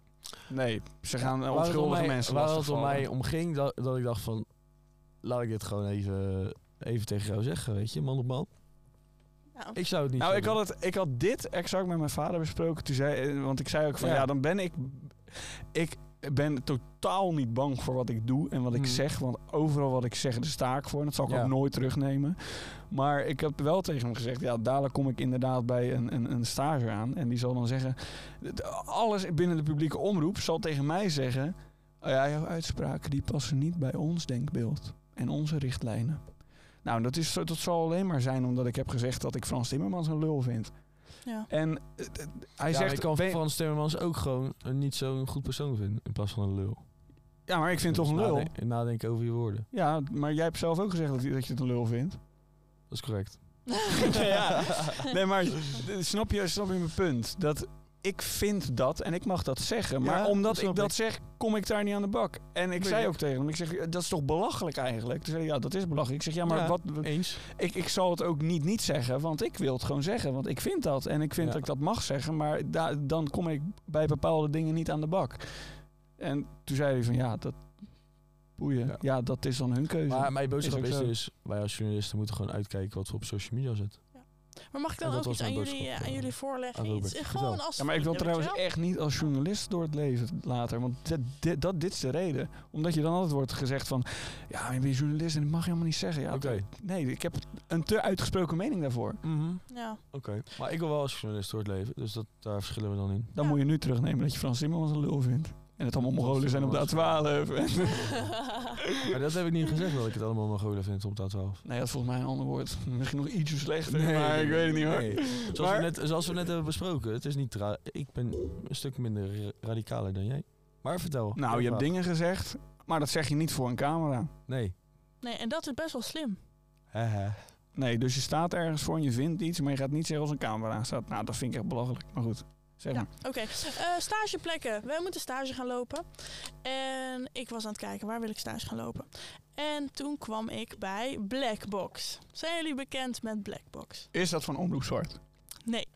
Speaker 2: Nee, ze gaan eh,
Speaker 4: Waar het om
Speaker 2: onschuldige
Speaker 4: mij-
Speaker 2: mensen
Speaker 4: Waar het om
Speaker 2: lastigvallen.
Speaker 4: mij om ging, dat, dat ik dacht van... Laat ik dit gewoon even, even tegen jou zeggen, weet je, man op man.
Speaker 3: Ja.
Speaker 4: Ik zou het niet
Speaker 2: Nou,
Speaker 4: zo
Speaker 2: ik had, het, ik had dit exact met mijn vader besproken. Toen zei, eh, want ik zei ook van ja,
Speaker 4: Ja.
Speaker 2: dan ben ik. Ik ben totaal niet bang voor wat ik doe en wat ik
Speaker 4: Hmm.
Speaker 2: zeg. Want overal wat ik zeg, daar sta ik voor. En dat zal ik
Speaker 4: Ja.
Speaker 2: ook nooit terugnemen. Maar ik heb wel tegen hem gezegd: ja, dadelijk kom ik inderdaad bij een, een, een stage aan. En die zal dan zeggen: d- alles binnen de publieke omroep zal tegen mij zeggen. "Oh ja, jouw uitspraken die passen niet bij ons denkbeeld en onze richtlijnen. Nou, dat, is, dat zal alleen maar zijn omdat ik heb gezegd dat ik Frans Timmermans een lul vind.
Speaker 3: Ja.
Speaker 2: En eh, eh, hij
Speaker 4: Ja, maar
Speaker 2: zegt...
Speaker 4: ik kan
Speaker 2: "Ben-
Speaker 4: Frans Timmermans ook gewoon een niet zo'n goed persoon vinden in plaats van een lul.
Speaker 2: ja, maar ik vind het toch een lul.
Speaker 4: Nadenken, nadenken over je woorden.
Speaker 2: Ja, maar jij hebt zelf ook gezegd dat, je- dat je het een lul vindt.
Speaker 4: Dat is correct.
Speaker 2: ja. Nee, maar eh, snap je, snap je mijn punt? Dat ik vind dat en ik mag dat zeggen. Maar
Speaker 4: Ja, dat
Speaker 2: omdat
Speaker 4: snap
Speaker 2: ik dat
Speaker 4: ik.
Speaker 2: zeg, kom ik daar niet aan de bak. En ik
Speaker 4: Weet
Speaker 2: zei
Speaker 4: ik.
Speaker 2: ook tegen hem, ik zeg, dat is toch belachelijk eigenlijk? Toen zei hij, ja, dat is belachelijk. Ik zeg, ja, maar
Speaker 4: Ja.
Speaker 2: wat,
Speaker 4: Eens.
Speaker 2: ik, ik zal het ook niet niet zeggen, want ik wil het gewoon zeggen. Want ik vind dat en ik vind
Speaker 4: Ja.
Speaker 2: dat ik dat mag zeggen. Maar da- dan kom ik bij bepaalde dingen niet aan de bak. En toen zei hij van ja, dat boeien. Ja,
Speaker 4: Ja.
Speaker 2: dat is dan hun keuze.
Speaker 4: Maar mijn boodschap
Speaker 2: ook
Speaker 4: is
Speaker 2: zo.
Speaker 4: dus, wij als journalisten moeten gewoon uitkijken wat we op social media zetten.
Speaker 3: Maar mag ik
Speaker 4: En
Speaker 3: dan
Speaker 4: dat
Speaker 3: ook
Speaker 4: was
Speaker 3: iets aan
Speaker 4: mijn
Speaker 3: jullie,
Speaker 4: boodschap,
Speaker 3: aan
Speaker 4: eh,
Speaker 3: jullie voorleggen?
Speaker 4: aan
Speaker 3: Iets,
Speaker 4: Robert.
Speaker 3: gewoon
Speaker 4: Vertel.
Speaker 3: als
Speaker 2: ja, maar ik wil
Speaker 3: vrienden, weet
Speaker 2: trouwens
Speaker 3: je wel?
Speaker 2: echt niet als journalist door het leven later. Want dit, dit, dat, dit is de reden. Omdat je dan altijd wordt gezegd van... Ja, maar je bent journalist en dat mag je helemaal niet zeggen. Ja,
Speaker 4: Oké.
Speaker 2: Nee, ik heb een te uitgesproken mening daarvoor.
Speaker 4: Mhm. e-
Speaker 3: Ja.
Speaker 4: Oké. Maar ik wil wel als journalist door het leven, dus dat, daar verschillen we dan in.
Speaker 2: Dan
Speaker 3: Ja.
Speaker 2: moet je nu terugnemen dat je Frans Timmermans een lul vindt. En het allemaal Mongolen zijn op de A12. En-
Speaker 4: Maar dat heb ik niet gezegd, dat ik het allemaal Mongolen vind op dat 12.
Speaker 2: Nee, dat is volgens mij een ander woord. Misschien nog ietsje slechter, maar ik weet het niet hoor.
Speaker 4: Nee. Zoals,
Speaker 2: Maar-
Speaker 4: we net, zoals we net hebben besproken, het is niet ra- ik ben een stuk minder ra- radicaler dan jij. Maar vertel.
Speaker 2: Nou, je hebt dingen gezegd, maar dat zeg je niet voor een camera.
Speaker 4: Nee.
Speaker 3: Nee, en dat is best wel slim.
Speaker 4: Haha.
Speaker 2: Nee, dus je staat ergens voor en je vindt iets, maar je gaat niet zeggen als een camera aan staat. Nou, dat vind ik echt belachelijk. Maar goed, zeg
Speaker 3: Ja.
Speaker 2: maar.
Speaker 3: Oké, Eh, stageplekken. Wij moeten stage gaan lopen. En ik was aan het kijken, waar wil ik stage gaan lopen? En toen kwam ik bij Blackbox. Zijn jullie bekend met Blackbox?
Speaker 2: Is dat van Omroep Zwart?
Speaker 3: Nee,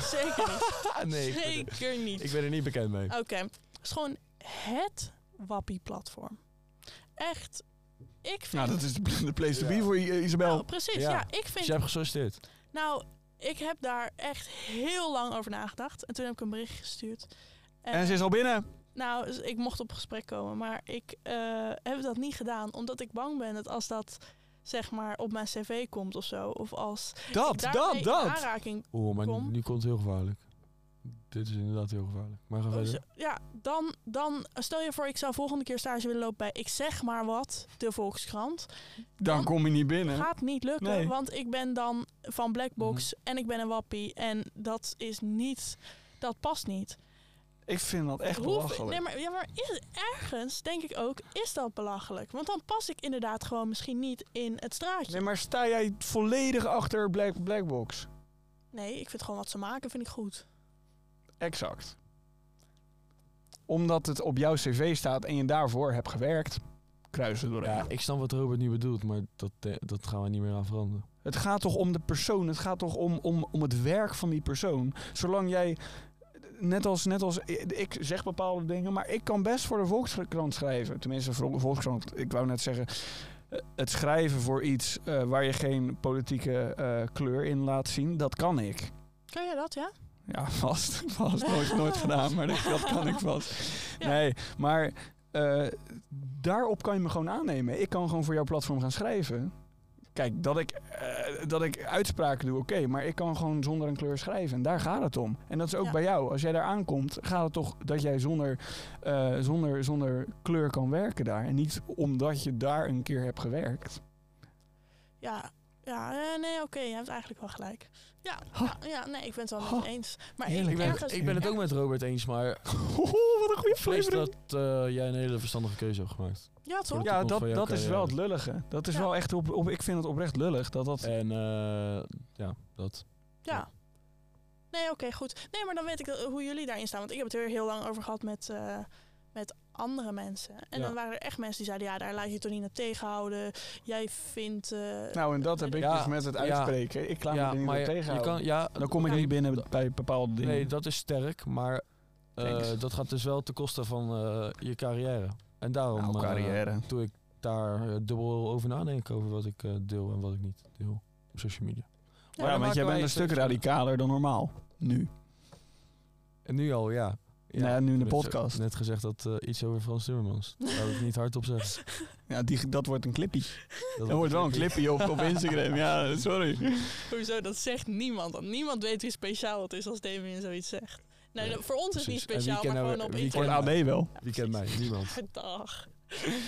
Speaker 3: zeker niet.
Speaker 4: nee, ik ben, er,
Speaker 3: zeker niet.
Speaker 4: ik ben er niet bekend mee.
Speaker 3: Oké, het is gewoon het wappie-platform. echt... Ik vind...
Speaker 2: Nou, dat is de pl- de place to be
Speaker 4: Ja.
Speaker 2: voor I- eh, Isabel.
Speaker 3: Nou, precies.
Speaker 4: Ja.
Speaker 3: Ja, ik vind
Speaker 4: Dus jij hebt gesolliciteerd.
Speaker 3: Nou, ik heb daar echt heel lang over nagedacht. En toen heb ik een bericht gestuurd. En,
Speaker 2: En ze is al binnen.
Speaker 3: Nou, dus ik mocht op gesprek komen, maar ik eh, heb dat niet gedaan. Omdat ik bang ben dat als dat zeg maar op mijn cv komt of zo. Of als
Speaker 2: Dat,
Speaker 3: ik daarmee
Speaker 2: dat,
Speaker 3: in
Speaker 2: dat.
Speaker 3: aanraking
Speaker 4: Oeh, Oh, maar nu-
Speaker 3: Kom.
Speaker 4: nu komt het heel gevaarlijk. Dit is inderdaad heel gevaarlijk. Maar ga
Speaker 3: Oh,
Speaker 4: verder.
Speaker 3: zo- ja, dan, dan stel je voor, ik zou volgende keer stage willen lopen bij ik zeg maar wat, de Volkskrant.
Speaker 2: Dan kom je niet binnen.
Speaker 3: Gaat niet lukken,
Speaker 2: Nee. Mhm.
Speaker 3: want ik ben dan van Blackbox en ik ben een wappie. En dat is niet, dat past niet.
Speaker 2: Ik vind dat echt
Speaker 3: Hoef-
Speaker 2: belachelijk.
Speaker 3: nee, maar, ja, maar is, ergens denk ik ook, is dat belachelijk? Want dan pas ik inderdaad gewoon misschien niet in het straatje.
Speaker 2: Nee, maar sta jij volledig achter Black, Blackbox?
Speaker 3: Nee, ik vind gewoon wat ze maken, vind ik goed.
Speaker 2: Exact. Omdat het op jouw cv staat en je daarvoor hebt gewerkt, kruisen door.
Speaker 4: Ja, ik snap wat Robert nu bedoelt, maar dat, eh, dat gaan we niet meer aan veranderen.
Speaker 2: Het gaat toch om de persoon, het gaat toch om, om, om het werk van die persoon. Zolang jij, net als, net als ik, ik zeg bepaalde dingen, maar ik kan best voor de Volkskrant schrijven. Tenminste, voor de Volkskrant, ik wou net zeggen, eh, het schrijven voor iets eh, waar je geen politieke eh, kleur in laat zien, dat kan ik.
Speaker 3: Kun je dat, ja?
Speaker 2: Ja, vast. Vast. Nooit, nooit gedaan, maar dat, dat kan ik vast.
Speaker 3: Ja.
Speaker 2: Nee, maar eh, daarop kan je me gewoon aannemen. Ik kan gewoon voor jouw platform gaan schrijven. Kijk, dat ik, eh, dat ik uitspraken doe, oké, maar ik kan gewoon zonder een kleur schrijven. En daar gaat het om. En dat is ook
Speaker 3: Ja.
Speaker 2: bij jou. Als jij daar aankomt, gaat het toch dat jij zonder, eh, zonder, zonder kleur kan werken daar. En niet omdat je daar een keer hebt gewerkt.
Speaker 3: Ja, ja eh, nee, oké, je hebt eigenlijk wel gelijk. Ja, ja, ja, nee, ik ben het wel met je
Speaker 2: Ha.
Speaker 3: eens. Maar
Speaker 2: Heerlijk.
Speaker 4: Ik
Speaker 3: ik,
Speaker 4: ben,
Speaker 3: ergens,
Speaker 4: het, ik ben het ook met Robert eens, maar
Speaker 2: wat een goede
Speaker 4: ik vrees dat eh, jij een hele verstandige keuze hebt gemaakt.
Speaker 3: Ja, toch?
Speaker 4: de
Speaker 2: Ja,
Speaker 4: toekomst
Speaker 2: dat,
Speaker 4: van jouw
Speaker 2: dat is wel het
Speaker 4: carrière.
Speaker 2: lullige. Dat is
Speaker 3: Ja.
Speaker 2: wel echt op, op. Ik vind het oprecht lullig dat dat.
Speaker 4: En eh, ja, dat.
Speaker 3: Ja. Nee, oké, goed. Nee, maar dan weet ik dat- hoe jullie daarin staan. Want ik heb het er heel lang over gehad met, eh, met andere mensen. En
Speaker 4: Ja.
Speaker 3: dan waren er echt mensen die zeiden... ja, daar laat je je toch niet naar tegenhouden. Jij vindt... eh,
Speaker 2: Nou, en dat heb ik
Speaker 4: Ja,
Speaker 2: dus met het
Speaker 4: ja.
Speaker 2: uitspreken. Ik klaar me er niet
Speaker 4: maar
Speaker 2: meer
Speaker 4: je-
Speaker 2: tegen.
Speaker 4: je kan, ja,
Speaker 2: Dan kom ik
Speaker 4: nee,
Speaker 2: niet binnen bij bepaalde dingen.
Speaker 4: Nee, dat Nou, is sterk, maar eh,
Speaker 2: Thanks.
Speaker 4: dat gaat dus wel ten koste van eh, je carrière. En daarom
Speaker 2: Nou,
Speaker 4: eh,
Speaker 2: carrière.
Speaker 4: doe ik daar eh, dubbel over nadenken over wat ik eh, deel en wat ik niet deel op social media.
Speaker 3: ja,
Speaker 2: ja, want jij
Speaker 4: dan maken wij
Speaker 2: bent een
Speaker 4: het
Speaker 2: stuk
Speaker 4: dus-
Speaker 2: radicaler dan normaal. Nu.
Speaker 4: En nu al, ja.
Speaker 2: Nou ja, nu in de
Speaker 4: Ik heb
Speaker 2: podcast.
Speaker 4: Net gezegd dat eh, iets over Frans Timmermans. Daar wil ik niet hardop zeggen.
Speaker 2: Ja, die, dat wordt een clippie.
Speaker 4: Dat
Speaker 2: Dat wordt wel een clippie op, op Instagram. Ja, sorry.
Speaker 3: Hoezo, dat zegt niemand. Want niemand weet hoe speciaal het is als Damien zoiets zegt. Nee,
Speaker 4: Nee,
Speaker 3: dat- voor ons is het niet
Speaker 4: precies. En wie
Speaker 3: speciaal, maar
Speaker 4: kennen we-
Speaker 3: gewoon op
Speaker 4: wie
Speaker 2: Voor
Speaker 3: internet.
Speaker 2: het AD wel.
Speaker 4: Wie kent mij? Niemand.
Speaker 3: Dag.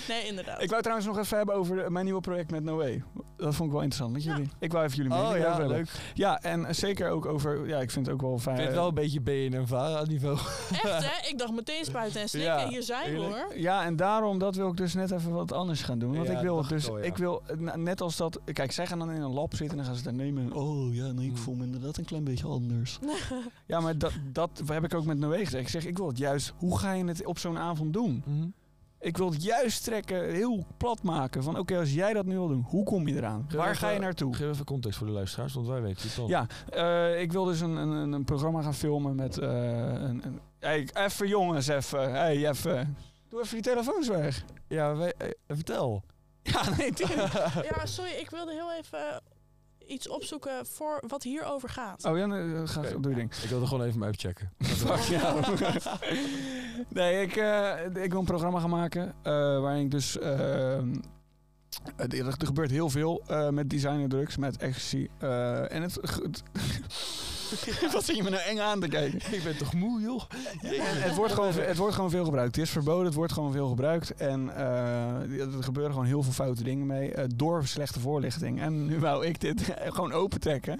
Speaker 3: Nee, inderdaad.
Speaker 2: Ik wou trouwens nog even hebben over de- mijn nieuwe project met Noé. Dat vond ik wel interessant met
Speaker 3: Ja.
Speaker 2: jullie. Ik wou even
Speaker 4: Oh,
Speaker 2: jullie mening daarover hebben.
Speaker 4: Ik
Speaker 2: Ja, en eh, zeker ook over... Ja, ik vind het ook wel fijn.
Speaker 4: vind het wel een beetje BNM Vara niveau.
Speaker 3: Echt, hè? Ik dacht meteen spuiten en slikken.
Speaker 4: Ja,
Speaker 3: Hier zijn we,
Speaker 4: eerlijk.
Speaker 3: hoor.
Speaker 2: Ja, en daarom, dat wil ik dus net even wat anders gaan doen. Want
Speaker 4: Ja,
Speaker 2: ik wil
Speaker 4: dat dacht
Speaker 2: dus,
Speaker 4: ik
Speaker 2: ik,
Speaker 4: al, ja.
Speaker 2: wil, eh, na- net als dat, kijk, zij gaan dan in een lab zitten en dan gaan ze daar nemen. en, Oh ja, nee, ik
Speaker 4: Hmm.
Speaker 2: voel me inderdaad een klein beetje anders. ja, maar dat, dat heb ik ook met Noé gezegd. Ik zeg, ik wil het juist, hoe ga je het op zo'n avond doen?
Speaker 4: Mhm.
Speaker 2: Ik wil het juist trekken, heel plat maken. Van oké, als jij dat nu wil doen, hoe kom je eraan?
Speaker 4: Geef
Speaker 2: Waar
Speaker 4: even-
Speaker 2: ga je naartoe?
Speaker 4: Geef even context voor de luisteraars, want wij weten het al.
Speaker 2: Ja, eh, ik wil dus een, een, een programma gaan filmen met eh, een... een hey, even jongens, even. Hey, even. Doe even die telefoons weg.
Speaker 4: ja wij- eh, vertel.
Speaker 2: Ja, nee, tuurlijk.
Speaker 3: Ja, sorry, ik wilde heel even eh, iets opzoeken voor wat hierover gaat.
Speaker 2: Oh ja, nee, ga,
Speaker 4: Oké.
Speaker 2: doe je ding.
Speaker 4: Ik wilde gewoon even mijn uitchecken.
Speaker 2: Fuck jou. nee, ik, eh, ik wil een programma gaan maken eh, waarin ik dus... ehm, het- er, er gebeurt heel veel eh, met design en drugs, met ecstasy. eh, en het... het- Wat zie je me nou eng aan te kijken?
Speaker 4: ik ben toch moe, joh?
Speaker 2: En het, wordt gewoon, het wordt gewoon veel gebruikt. Het is verboden, het wordt gewoon veel gebruikt. En eh, er gebeuren gewoon heel veel foute dingen mee. eh, door slechte voorlichting. En nu wou ik dit gewoon opentrekken.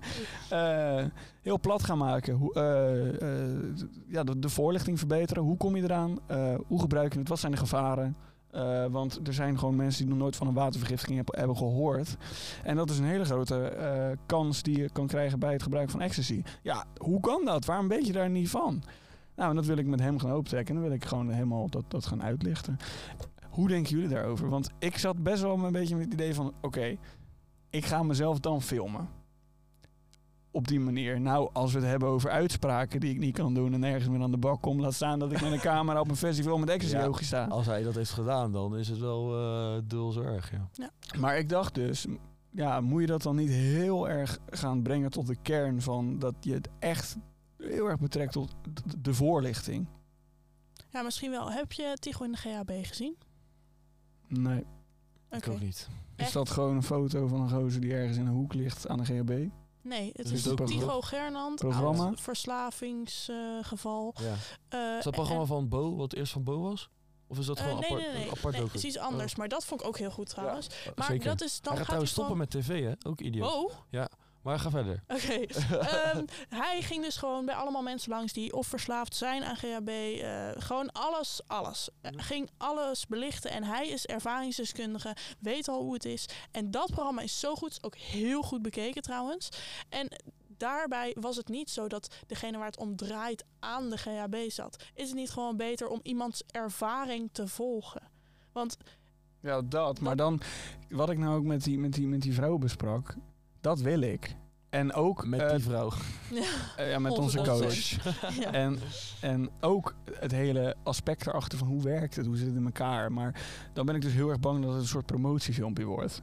Speaker 2: Eh heel plat gaan maken. Hoe, eh, eh, ja, de, de voorlichting verbeteren. Hoe kom je eraan? Eh, hoe gebruik je het? Wat zijn de gevaren? Eh, want er zijn gewoon mensen die nog nooit van een watervergiftiging hebben, hebben gehoord. En dat is een hele grote eh, kans die je kan krijgen bij het gebruik van ecstasy. Ja, hoe kan dat? Waarom weet je daar niet van? Nou, en dat wil ik met hem gaan optrekken. En dan wil ik gewoon helemaal dat, dat gaan uitlichten. Hoe denken jullie daarover? Want ik zat best wel een beetje met het idee van... Oké, ik ga mezelf dan filmen. op die manier. Nou, als we het hebben over uitspraken die ik niet kan doen en nergens meer aan de bak kom, laat staan dat ik met een camera op een festival met ecstasy
Speaker 4: Ja.
Speaker 2: oogjes sta.
Speaker 4: Als hij dat heeft gedaan, dan is het wel eh dulzorg, ja.
Speaker 2: Maar ik dacht dus, m- ja, moet je dat dan niet heel erg gaan brengen tot de kern van dat je het echt heel erg betrekt tot d- de voorlichting?
Speaker 3: Ja, misschien wel. Heb je Tigo in de GHB gezien?
Speaker 2: Nee.
Speaker 3: Oké.
Speaker 4: Ik ook niet.
Speaker 2: Is dat gewoon een foto van een gozer die ergens in een hoek ligt aan de GHB?
Speaker 3: Nee, het
Speaker 4: Dus
Speaker 3: is
Speaker 4: het
Speaker 2: is ook
Speaker 3: Tigo Gernand.
Speaker 2: Programma?
Speaker 4: Nou,
Speaker 3: oud Verslavingsgeval.
Speaker 4: Ja.
Speaker 3: Eh,
Speaker 4: Is dat programma van Bo, wat eerst van Bo was? Of is dat
Speaker 3: eh,
Speaker 4: gewoon
Speaker 3: nee,
Speaker 4: apart,
Speaker 3: nee, nee.
Speaker 4: een apart
Speaker 3: nee,
Speaker 4: docu?
Speaker 3: het is iets anders. Maar dat vond ik ook heel goed trouwens.
Speaker 4: Oh,
Speaker 3: maar
Speaker 4: Zeker.
Speaker 3: dat is dan
Speaker 4: hij gaat
Speaker 3: gaat
Speaker 4: trouwens
Speaker 3: hij
Speaker 4: stoppen met tv, hè? Ook idioot.
Speaker 3: van... Oh,
Speaker 4: Maar ga verder.
Speaker 3: oké. Ehm, hij ging dus gewoon bij allemaal mensen langs die of verslaafd zijn aan GHB. eh, gewoon alles, alles. Eh, ging alles belichten. En hij is ervaringsdeskundige, weet al hoe het is. En dat programma is zo goed, is ook heel goed bekeken trouwens. En daarbij was het niet zo dat degene waar het om draait aan de GHB zat. Is het niet gewoon beter om iemands ervaring te volgen? Want
Speaker 2: Ja, dat. Maar dan, wat ik nou ook met die, met die, met die vrouw besprak, dat wil ik. En ook
Speaker 4: Met
Speaker 2: eh,
Speaker 4: die vrouw.
Speaker 2: eh, ja, met
Speaker 3: Onze
Speaker 2: onze
Speaker 3: coach.
Speaker 2: coach.
Speaker 3: ja.
Speaker 2: En, en ook het hele aspect erachter van hoe werkt het, hoe zit het in elkaar. Maar dan ben ik dus heel erg bang dat het een soort promotiefilmpje wordt.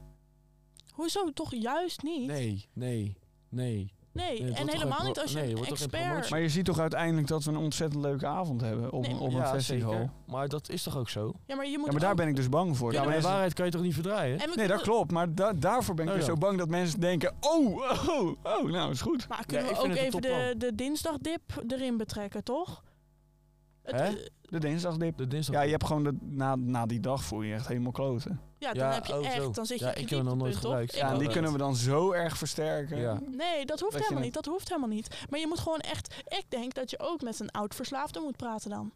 Speaker 3: hoezo toch juist niet?
Speaker 4: Nee, nee, nee.
Speaker 3: Nee,
Speaker 4: het
Speaker 3: en
Speaker 4: wordt
Speaker 3: helemaal
Speaker 4: gewoon
Speaker 3: niet als je
Speaker 4: pro- nee,
Speaker 3: een
Speaker 4: het wordt toch geen
Speaker 3: expert...
Speaker 4: promotie?
Speaker 2: Maar je ziet toch uiteindelijk dat we een ontzettend leuke avond hebben op,
Speaker 3: Nee,
Speaker 2: een- op een
Speaker 4: Ja,
Speaker 2: festival.
Speaker 4: zeker. Maar dat is toch ook zo?
Speaker 3: Ja, maar je moet
Speaker 2: Ja, maar daar
Speaker 3: ook-
Speaker 2: ben ik dus bang voor.
Speaker 4: Ja,
Speaker 2: Dat
Speaker 4: maar de
Speaker 2: mensen-
Speaker 4: waarheid kan je toch niet verdraaien?
Speaker 3: En
Speaker 2: Nee,
Speaker 3: we
Speaker 2: dat
Speaker 3: kunnen-
Speaker 2: klopt. Maar da- daarvoor ben ik
Speaker 4: Nou
Speaker 2: dus
Speaker 4: ja.
Speaker 2: zo bang dat mensen denken... Oh, oh, oh, nou is goed.
Speaker 3: Maar kunnen
Speaker 4: Ja, ik
Speaker 3: we ook
Speaker 4: vind het een
Speaker 3: even de,
Speaker 4: topplan.
Speaker 3: de dinsdagdip erin betrekken, toch? Het,
Speaker 4: Hè?
Speaker 3: eh,
Speaker 2: De dinsdagdip.
Speaker 4: De dinsdag.
Speaker 2: Ja, je hebt gewoon de, na, na die dag voel je je echt helemaal kloten.
Speaker 3: ja, dan
Speaker 4: Ja,
Speaker 3: heb je
Speaker 4: oh,
Speaker 3: echt,
Speaker 4: zo.
Speaker 3: dan zit je
Speaker 4: Ja,
Speaker 3: op je
Speaker 4: ik heb hem nog nooit
Speaker 3: dieptepunt, toch?
Speaker 4: gebruikt.
Speaker 3: Ik
Speaker 2: Ja, en
Speaker 3: ook
Speaker 2: die
Speaker 4: dat-
Speaker 3: niet.
Speaker 2: kunnen we dan zo erg versterken.
Speaker 4: Ja.
Speaker 3: Nee, dat
Speaker 2: Dat je
Speaker 3: hoeft helemaal
Speaker 2: het-
Speaker 3: niet. Dat hoeft helemaal niet. Maar je moet gewoon echt... Ik denk dat je ook met een oud verslaafde moet praten dan.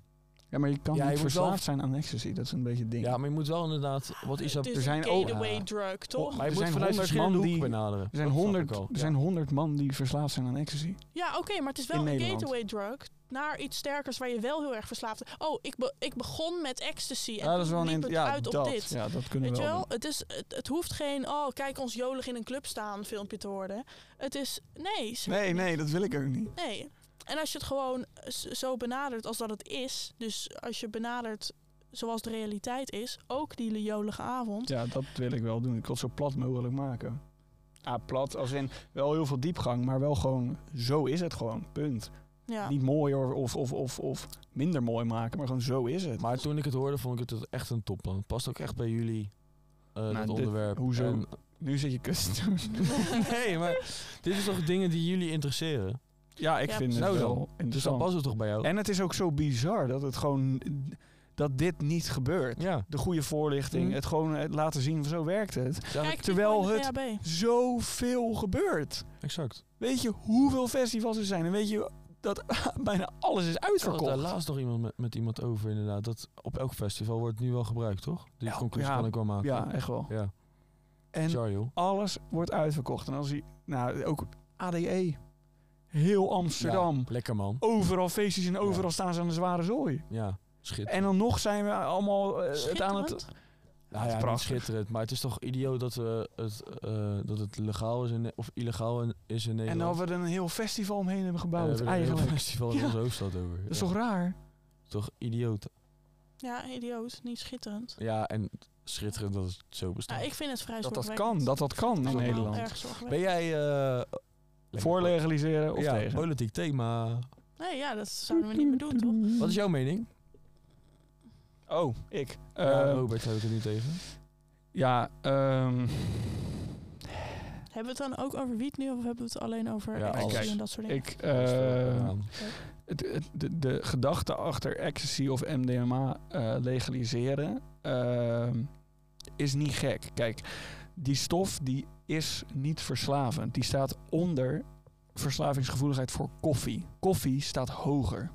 Speaker 2: Ja, maar je kan
Speaker 4: Ja, je
Speaker 2: niet
Speaker 4: moet wel-
Speaker 2: verslaafd zijn aan ecstasy. Dat is een beetje het ding.
Speaker 4: ja, maar je moet wel inderdaad... Wat is dat?
Speaker 3: Het is
Speaker 2: er zijn
Speaker 3: een
Speaker 2: ook-
Speaker 3: gateway
Speaker 4: oh, Ja.
Speaker 3: drug, toch?
Speaker 4: maar je
Speaker 2: er
Speaker 4: moet
Speaker 2: zijn
Speaker 4: vanuit
Speaker 2: honderd
Speaker 4: verschillende
Speaker 2: man
Speaker 4: hoeken
Speaker 2: die-
Speaker 4: benaderen.
Speaker 2: Er zijn,
Speaker 4: Dat snap ik
Speaker 2: honderd,
Speaker 4: al.
Speaker 2: er zijn honderd man die verslaafd zijn aan ecstasy.
Speaker 3: Ja, oké, maar het is
Speaker 2: In
Speaker 3: wel een
Speaker 2: Nederland.
Speaker 3: gateway drug naar iets sterkers waar je wel heel erg verslaafd... Oh, ik, be- ik begon met ecstasy en
Speaker 4: Nou,
Speaker 2: Ja, dat is wel
Speaker 3: toen
Speaker 2: een
Speaker 3: liep
Speaker 2: in-
Speaker 3: het
Speaker 2: ja,
Speaker 3: uit op
Speaker 2: dat,
Speaker 3: dit.
Speaker 2: Ja, dat kunnen
Speaker 3: Weet
Speaker 2: we
Speaker 3: je
Speaker 2: wel.
Speaker 3: wel,
Speaker 2: doen.
Speaker 3: het, is, het, het hoeft geen, oh kijk ons jolig in een club staan filmpje te worden. Het is, nee. ze-
Speaker 2: Nee, nee, dat wil ik ook niet.
Speaker 3: nee. En als je het gewoon eh, s- zo benadert als dat het is, dus als je benadert zoals de realiteit is, ook die jolige avond.
Speaker 2: Ja, dat wil ik wel doen. Ik wil het zo plat mogelijk maken. Ah, plat als in wel heel veel diepgang, maar wel gewoon zo is het gewoon. Punt.
Speaker 3: Ja,
Speaker 2: Niet mooier of, of, of, of minder mooi maken, maar gewoon zo is het.
Speaker 4: Maar toen ik het hoorde, vond ik het echt een topplan. Het past ook echt bij jullie, eh dat
Speaker 2: Nou, dit-
Speaker 4: onderwerp.
Speaker 2: hoezo?
Speaker 4: En-
Speaker 2: Nu zit je kut te doen.
Speaker 4: nee, maar dit is toch dingen die jullie interesseren?
Speaker 2: Ja, ik
Speaker 3: Ja,
Speaker 2: vind het
Speaker 4: Nou dan.
Speaker 2: wel
Speaker 4: Dus dan
Speaker 2: interessant.
Speaker 4: past het toch bij jou?
Speaker 2: en het is ook zo bizar dat het gewoon dat dit niet gebeurt.
Speaker 4: ja.
Speaker 2: De goede voorlichting,
Speaker 4: Mhm.
Speaker 2: het gewoon eh, laten zien van zo werkt het.
Speaker 4: ja,
Speaker 3: kijk,
Speaker 2: terwijl
Speaker 3: Tigo in de
Speaker 2: het- eh,
Speaker 3: VHB.
Speaker 2: Zoveel gebeurt.
Speaker 4: exact.
Speaker 2: Weet je hoeveel festivals er zijn? En weet je dat bijna alles is
Speaker 4: Ik had het daar
Speaker 2: uitverkocht?
Speaker 4: laatst nog iemand met, met iemand over inderdaad. Dat op elk festival wordt het nu wel gebruikt, toch? Die
Speaker 2: Ja,
Speaker 4: conclusie
Speaker 2: ja,
Speaker 4: kan ik wel maken.
Speaker 2: Ja, echt wel.
Speaker 4: Ja.
Speaker 2: En
Speaker 4: Sorry, joh.
Speaker 2: alles wordt uitverkocht. En als je, nou, ook ADE, heel Amsterdam,
Speaker 4: Ja, lekker man.
Speaker 2: overal feestjes en overal
Speaker 4: Ja.
Speaker 2: staan ze aan de zware zooi.
Speaker 4: Ja, schitterend.
Speaker 2: En dan nog zijn we allemaal eh, het aan het...
Speaker 3: Schitterend.
Speaker 4: Nou ja, niet
Speaker 2: prachtig.
Speaker 4: schitterend. Maar het is toch idioot dat, we het, eh, dat het legaal is in, of illegaal in- is in
Speaker 2: En
Speaker 4: Nederland. Eh,
Speaker 2: dan we er een heel festival omheen hebben gebouwd,
Speaker 4: we hebben er een heel
Speaker 2: eigenlijk.
Speaker 4: festival in
Speaker 2: Ja.
Speaker 4: onze hoofdstad over.
Speaker 2: Dat is toch raar?
Speaker 4: toch idioot.
Speaker 3: Ja, idioot, niet schitterend.
Speaker 4: Ja, en schitterend dat het zo bestaat.
Speaker 3: Nou, ik vind het vrij
Speaker 2: Dat dat
Speaker 3: zorgwekkend.
Speaker 2: kan, dat dat kan in
Speaker 3: Allemaal
Speaker 2: Nederland.
Speaker 3: erg zorgwekkend.
Speaker 4: Ben jij... eh,
Speaker 2: Voor legaliseren of
Speaker 4: ja, Oh.
Speaker 2: tegen?
Speaker 4: politiek thema.
Speaker 3: Nee, ja, dat zouden we niet meer doen, toch?
Speaker 4: Wat is jouw mening?
Speaker 2: Oh, ik.
Speaker 4: ja, oh.
Speaker 2: Eh,
Speaker 4: Robert houdt er nu tegen.
Speaker 2: Ja, ehm,
Speaker 3: Hebben we het dan ook over wiet nu of hebben we het alleen over
Speaker 4: Ja,
Speaker 3: ecstasy
Speaker 2: alles.
Speaker 3: en dat soort dingen?
Speaker 2: ik.
Speaker 4: Dat is
Speaker 2: eh,
Speaker 4: wel, eh,
Speaker 2: het, het- de, de gedachte achter ecstasy of MDMA eh, legaliseren ehm, is niet gek. Kijk, die stof die is niet verslavend. Die staat onder verslavingsgevoeligheid voor koffie. Koffie staat hoger.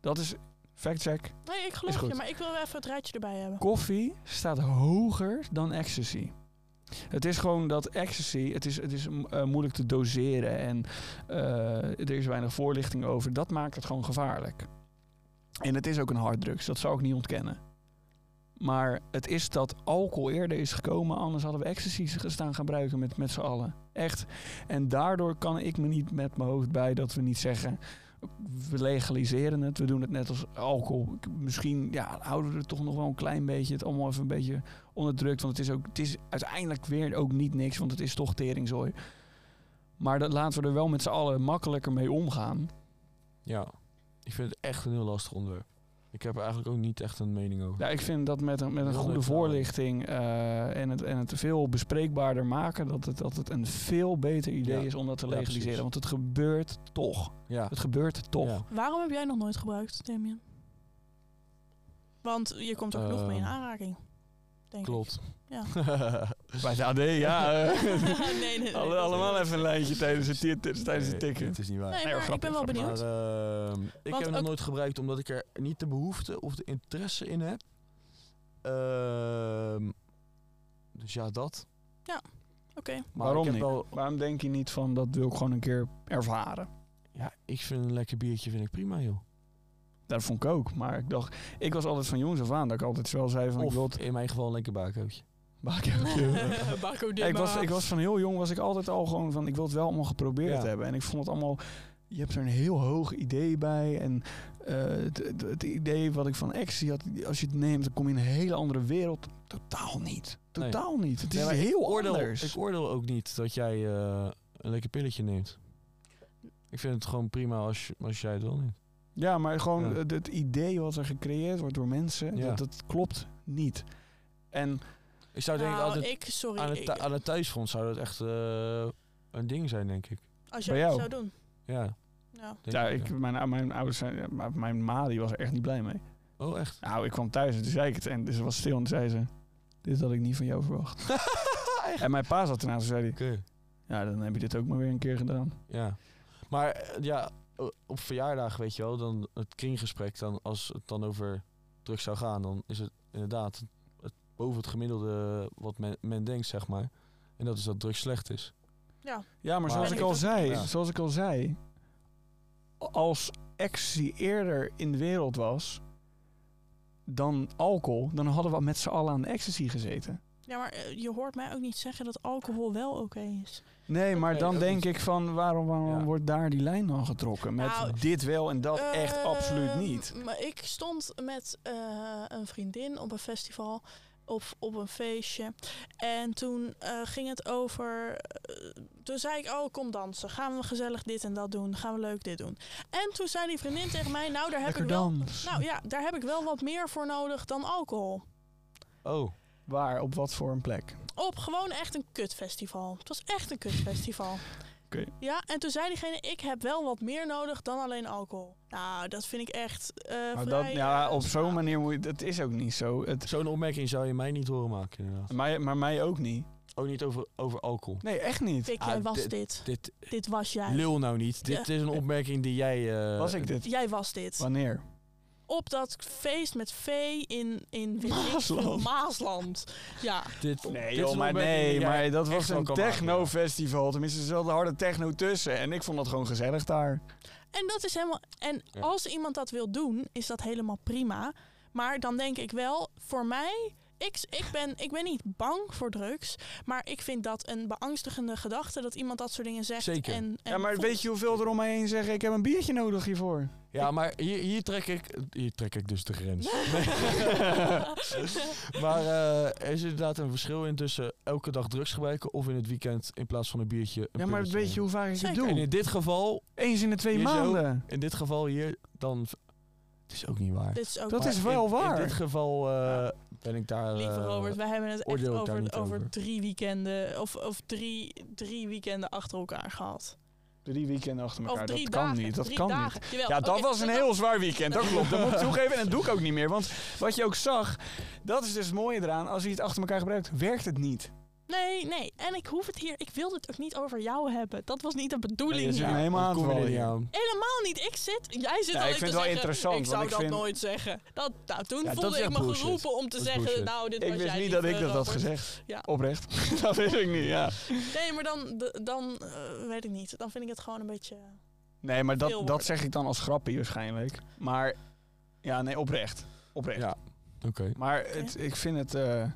Speaker 2: Dat is fact-check.
Speaker 3: Nee, ik
Speaker 2: Is
Speaker 3: geloof
Speaker 2: goed.
Speaker 3: je, maar ik wil wel even het rijtje erbij hebben.
Speaker 2: Koffie staat hoger dan ecstasy. Het is gewoon dat ecstasy, het is, het is m- eh, moeilijk te doseren en eh, er is weinig voorlichting over. Dat maakt het gewoon gevaarlijk. En het is ook een harddrugs, dat zou ik niet ontkennen. Maar het is dat alcohol eerder is gekomen, anders hadden we ecstasy staan gaan gebruiken met, met z'n allen. Echt. En daardoor kan ik me niet met mijn hoofd bij dat we niet zeggen. We legaliseren het, we doen het net als alcohol. Ik- Misschien ja, houden we er toch nog wel een klein beetje het allemaal even een beetje onderdrukt. Want het is, ook, het is uiteindelijk weer ook niet niks, want het is toch teringzooi. Maar dat laten we er wel met z'n allen makkelijker mee omgaan.
Speaker 4: Ja, ik vind het echt een heel lastig onderwerp. Ik heb er eigenlijk ook niet echt een mening over.
Speaker 2: Ja, ik vind dat met een, met een
Speaker 4: Heel
Speaker 2: goede
Speaker 4: leuk verhaal.
Speaker 2: voorlichting eh, en, het, en het veel bespreekbaarder maken, dat het, dat het een veel beter idee
Speaker 4: Ja.
Speaker 2: is om dat te
Speaker 4: Ja,
Speaker 2: legaliseren.
Speaker 4: precies.
Speaker 2: want het gebeurt toch.
Speaker 4: Ja,
Speaker 2: Het gebeurt toch.
Speaker 4: Ja.
Speaker 3: Waarom heb jij nog nooit gebruikt, Damien? Want je komt er genoeg
Speaker 4: Eh,
Speaker 3: mee in aanraking. Denk
Speaker 4: klopt.
Speaker 3: Ja.
Speaker 2: Bij het AD, ja. eh,
Speaker 3: Ik. nee, nee, nee,
Speaker 2: alle-
Speaker 3: dat-
Speaker 2: allemaal even een lijntje tijdens het, ti- tijdens het
Speaker 4: Nee,
Speaker 2: tikken.
Speaker 4: Het is niet waar.
Speaker 3: Nee,
Speaker 2: Nee,
Speaker 3: maar ik
Speaker 2: grapje,
Speaker 3: ben wel
Speaker 2: grapje.
Speaker 3: benieuwd.
Speaker 4: Maar, ehm, ik
Speaker 3: Want
Speaker 4: heb hem nog
Speaker 3: ook-
Speaker 4: nooit gebruikt omdat ik er niet de behoefte of de interesse in heb. Ehm, dus ja, dat.
Speaker 3: Oké.
Speaker 4: Maar
Speaker 2: Waarom
Speaker 4: ik heb
Speaker 2: niet?
Speaker 4: Wel,
Speaker 2: Waarom denk je niet van dat wil ik gewoon een keer ervaren?
Speaker 4: ja, ik vind een lekker biertje vind ik prima, joh.
Speaker 2: Dat vond ik ook. Maar ik dacht, ik was altijd van jongs af aan dat ik altijd wel zei van ik
Speaker 4: Of
Speaker 2: wil het-
Speaker 4: in mijn geval een lekker bakootje.
Speaker 3: Baco
Speaker 2: Ja, ik, was,
Speaker 3: Dimma.
Speaker 2: ik was van heel jong, was ik altijd al gewoon van, ik wil het wel allemaal geprobeerd
Speaker 4: Ja.
Speaker 2: hebben. En ik vond het allemaal, je hebt er een heel hoog idee bij. En eh, het, het- het idee wat ik van ecstasy had, als je het neemt, dan kom je in een hele andere wereld. Totaal niet.
Speaker 4: Nee.
Speaker 2: Totaal niet. Het
Speaker 4: Nee,
Speaker 2: is
Speaker 4: maar ik
Speaker 2: heel
Speaker 4: oordeel,
Speaker 2: anders.
Speaker 4: Ik oordeel ook niet dat jij eh, een lekker pilletje neemt. Ik vind het gewoon prima als, je- als jij het wel neemt.
Speaker 2: ja, maar gewoon
Speaker 4: Ja.
Speaker 2: het, het idee wat er gecreëerd wordt door mensen,
Speaker 4: Ja.
Speaker 2: dat, dat klopt niet. En
Speaker 4: Ik zou denk ik
Speaker 3: Nou,
Speaker 4: altijd
Speaker 3: ik, sorry.
Speaker 4: aan, het,
Speaker 3: ik-
Speaker 4: thu- aan het thuisfront zou dat echt eh, een ding zijn, denk ik.
Speaker 3: als
Speaker 2: bij
Speaker 3: jij het
Speaker 2: jou.
Speaker 3: zou doen.
Speaker 4: Ja.
Speaker 3: Ja.
Speaker 4: denk
Speaker 2: ja, ik, mijn, ah, mijn ouders zijn, ja, maar mijn ma die was er echt niet blij mee.
Speaker 4: Oh, echt?
Speaker 2: Nou, ik kwam thuis en toen zei ik het. En dus ze was stil en toen zei ze, dit had ik niet van jou verwacht.
Speaker 4: Echt?
Speaker 2: En mijn pa zat ernaast en zei hij,
Speaker 4: Oké.
Speaker 2: ja, dan heb je dit ook maar weer een keer gedaan.
Speaker 4: Ja. Maar eh, ja, o- op verjaardag, weet je wel, dan het kringgesprek, dan als het dan over drugs zou gaan, dan is het inderdaad het, boven het gemiddelde eh, wat men, men denkt, zeg maar. En dat is dat drugs slecht is.
Speaker 2: Ja, maar, zoals
Speaker 4: Maar-
Speaker 2: ik al zei,
Speaker 4: Ja.
Speaker 2: zoals ik al zei, als ecstasy eerder in de wereld was dan alcohol, dan hadden we met z'n allen aan ecstasy gezeten.
Speaker 3: ja, maar eh, je hoort mij ook niet zeggen dat alcohol wel oké is.
Speaker 2: Nee, maar
Speaker 4: Nee,
Speaker 2: dan
Speaker 4: ook
Speaker 2: denk
Speaker 4: niet.
Speaker 2: ik van waarom, waarom
Speaker 4: Ja.
Speaker 2: wordt daar die lijn dan getrokken? Met
Speaker 3: Nou,
Speaker 2: dit wel en dat echt
Speaker 4: ehm,
Speaker 3: Eh,
Speaker 2: absoluut niet.
Speaker 3: Maar ik stond met eh, een vriendin op een festival. Op, op een feestje. En toen eh, ging het over. eh, toen zei ik: Oh, kom dansen. Gaan we gezellig dit en dat doen? Gaan we leuk dit doen? En toen zei die vriendin tegen mij: Nou, daar heb
Speaker 2: Lekker
Speaker 3: ik wel.
Speaker 2: dans.
Speaker 3: Nou ja, daar heb ik wel wat meer voor nodig dan alcohol.
Speaker 4: Oh,
Speaker 2: Waar, op wat voor een plek?
Speaker 3: Op gewoon echt een kutfestival. Het was echt een kutfestival.
Speaker 2: Oké.
Speaker 3: Ja, en toen zei diegene, ik heb wel wat meer nodig dan alleen alcohol. Nou, dat vind ik echt eh,
Speaker 2: Maar Nou, dat,
Speaker 3: vrij,
Speaker 2: ja,
Speaker 3: eh,
Speaker 2: op
Speaker 3: zwaar.
Speaker 2: zo'n manier moet je, dat is ook niet zo. Het,
Speaker 4: zo'n opmerking zou je mij niet horen maken, inderdaad.
Speaker 2: mij, maar mij ook niet.
Speaker 4: Ook niet over, over alcohol.
Speaker 2: Nee, echt niet.
Speaker 3: Pik,
Speaker 4: Ah,
Speaker 3: jij was
Speaker 4: dit-
Speaker 3: dit,
Speaker 4: Dit,
Speaker 3: Dit was jij.
Speaker 4: lul nou niet.
Speaker 3: Ja.
Speaker 4: Dit is een opmerking die jij... eh,
Speaker 2: Was ik dit?
Speaker 3: Jij was dit.
Speaker 2: Wanneer?
Speaker 3: Op dat feest met vee in, in weet ik
Speaker 2: Maasland.
Speaker 3: veel, Maasland. Ja,
Speaker 4: Dit,
Speaker 2: Nee,
Speaker 4: dit
Speaker 2: joh,
Speaker 4: is een
Speaker 2: maar
Speaker 4: opmerking die
Speaker 2: nee,
Speaker 4: jij
Speaker 2: maar dat
Speaker 4: echt
Speaker 2: was
Speaker 4: wel
Speaker 2: een
Speaker 4: kan maken, ja.
Speaker 2: techno-festival. Tenminste, er zat harde techno tussen. En ik vond dat gewoon gezellig daar.
Speaker 3: En dat is helemaal. En
Speaker 4: Ja.
Speaker 3: als iemand dat wil doen, is dat helemaal prima. Maar dan denk ik wel, voor mij. Ik, ik, ben, ik ben niet bang voor drugs. Maar ik vind dat een beangstigende gedachte dat iemand dat soort dingen zegt.
Speaker 4: Zeker.
Speaker 3: En, en
Speaker 2: ja, maar
Speaker 3: voelt.
Speaker 2: weet je hoeveel er om mij heen zeggen? Ik heb een biertje nodig hiervoor.
Speaker 4: Ja, maar hier, hier, trek ik, hier trek ik dus de grens. maar eh, er is inderdaad een verschil in tussen elke dag drugs gebruiken of in het weekend in plaats van een biertje. Een
Speaker 2: ja, maar
Speaker 4: pilletje
Speaker 2: weet je hoe vaak ik het
Speaker 3: Zeker.
Speaker 2: doe?
Speaker 4: nemen. En in dit geval,
Speaker 2: Eens in de twee
Speaker 4: Hier zo.
Speaker 2: maanden.
Speaker 4: in dit geval hier, dan. v- Het is ook niet waar.
Speaker 3: Dit is ook.
Speaker 2: Dat
Speaker 4: Maar
Speaker 2: is wel
Speaker 4: in,
Speaker 2: waar.
Speaker 4: In dit geval eh, ben ik daar.
Speaker 3: Lieve
Speaker 4: eh,
Speaker 3: Robert, wij hebben het echt
Speaker 4: oordeel ik daar
Speaker 3: over,
Speaker 4: niet
Speaker 3: over
Speaker 4: over.
Speaker 3: drie weekenden. Of, of drie, drie weekenden achter elkaar gehad.
Speaker 2: Drie weekenden achter
Speaker 3: of
Speaker 2: elkaar.
Speaker 3: drie
Speaker 2: Dat
Speaker 3: dagen.
Speaker 2: kan niet. Dat
Speaker 3: drie
Speaker 2: kan niet.
Speaker 3: dagen. Jawel,
Speaker 2: Ja, dat
Speaker 3: oké, dus
Speaker 2: was een heel zwaar weekend, dat klopt. Dat moet ik toegeven en dat doe ik ook niet meer. Want wat je ook zag, dat is dus het mooie eraan. Als je het achter elkaar gebruikt, werkt het niet.
Speaker 3: Nee, nee. En ik hoef het hier. Ik wil het ook niet over jou hebben. Dat was niet de
Speaker 2: Nee, je
Speaker 3: bedoeling.
Speaker 2: zit me helemaal
Speaker 4: dan kom je er
Speaker 2: aanvallen
Speaker 4: niet
Speaker 2: hier.
Speaker 4: aan.
Speaker 3: Helemaal niet. Ik zit. Jij zit
Speaker 2: Ja,
Speaker 3: al
Speaker 2: ik vind het
Speaker 3: te
Speaker 2: wel
Speaker 3: zeggen,
Speaker 2: interessant,
Speaker 3: Ik zou
Speaker 2: want ik
Speaker 3: dat
Speaker 2: vind-
Speaker 3: nooit zeggen. Dat, nou, toen
Speaker 4: Ja, dat
Speaker 3: voelde ik
Speaker 4: is echt
Speaker 3: me
Speaker 4: bullshit.
Speaker 3: geroepen om te
Speaker 4: Dat is
Speaker 3: zeggen.
Speaker 4: bullshit.
Speaker 3: Nou, dit
Speaker 2: Ik
Speaker 3: was
Speaker 2: wist
Speaker 3: jij
Speaker 2: niet dat ik
Speaker 3: eh,
Speaker 2: dat had
Speaker 3: Robert.
Speaker 2: gezegd.
Speaker 3: Ja.
Speaker 2: Oprecht. dat wist ik niet, ja.
Speaker 3: Nee, maar dan, d- dan eh, weet ik niet. Dan vind ik het gewoon een beetje.
Speaker 2: Nee, maar
Speaker 3: Veel
Speaker 2: dat, dat
Speaker 3: woorden.
Speaker 2: zeg ik dan als grappie waarschijnlijk. Maar ja, nee, oprecht. Oprecht.
Speaker 4: Ja. Oké.
Speaker 2: Maar het, ik vind het... eh,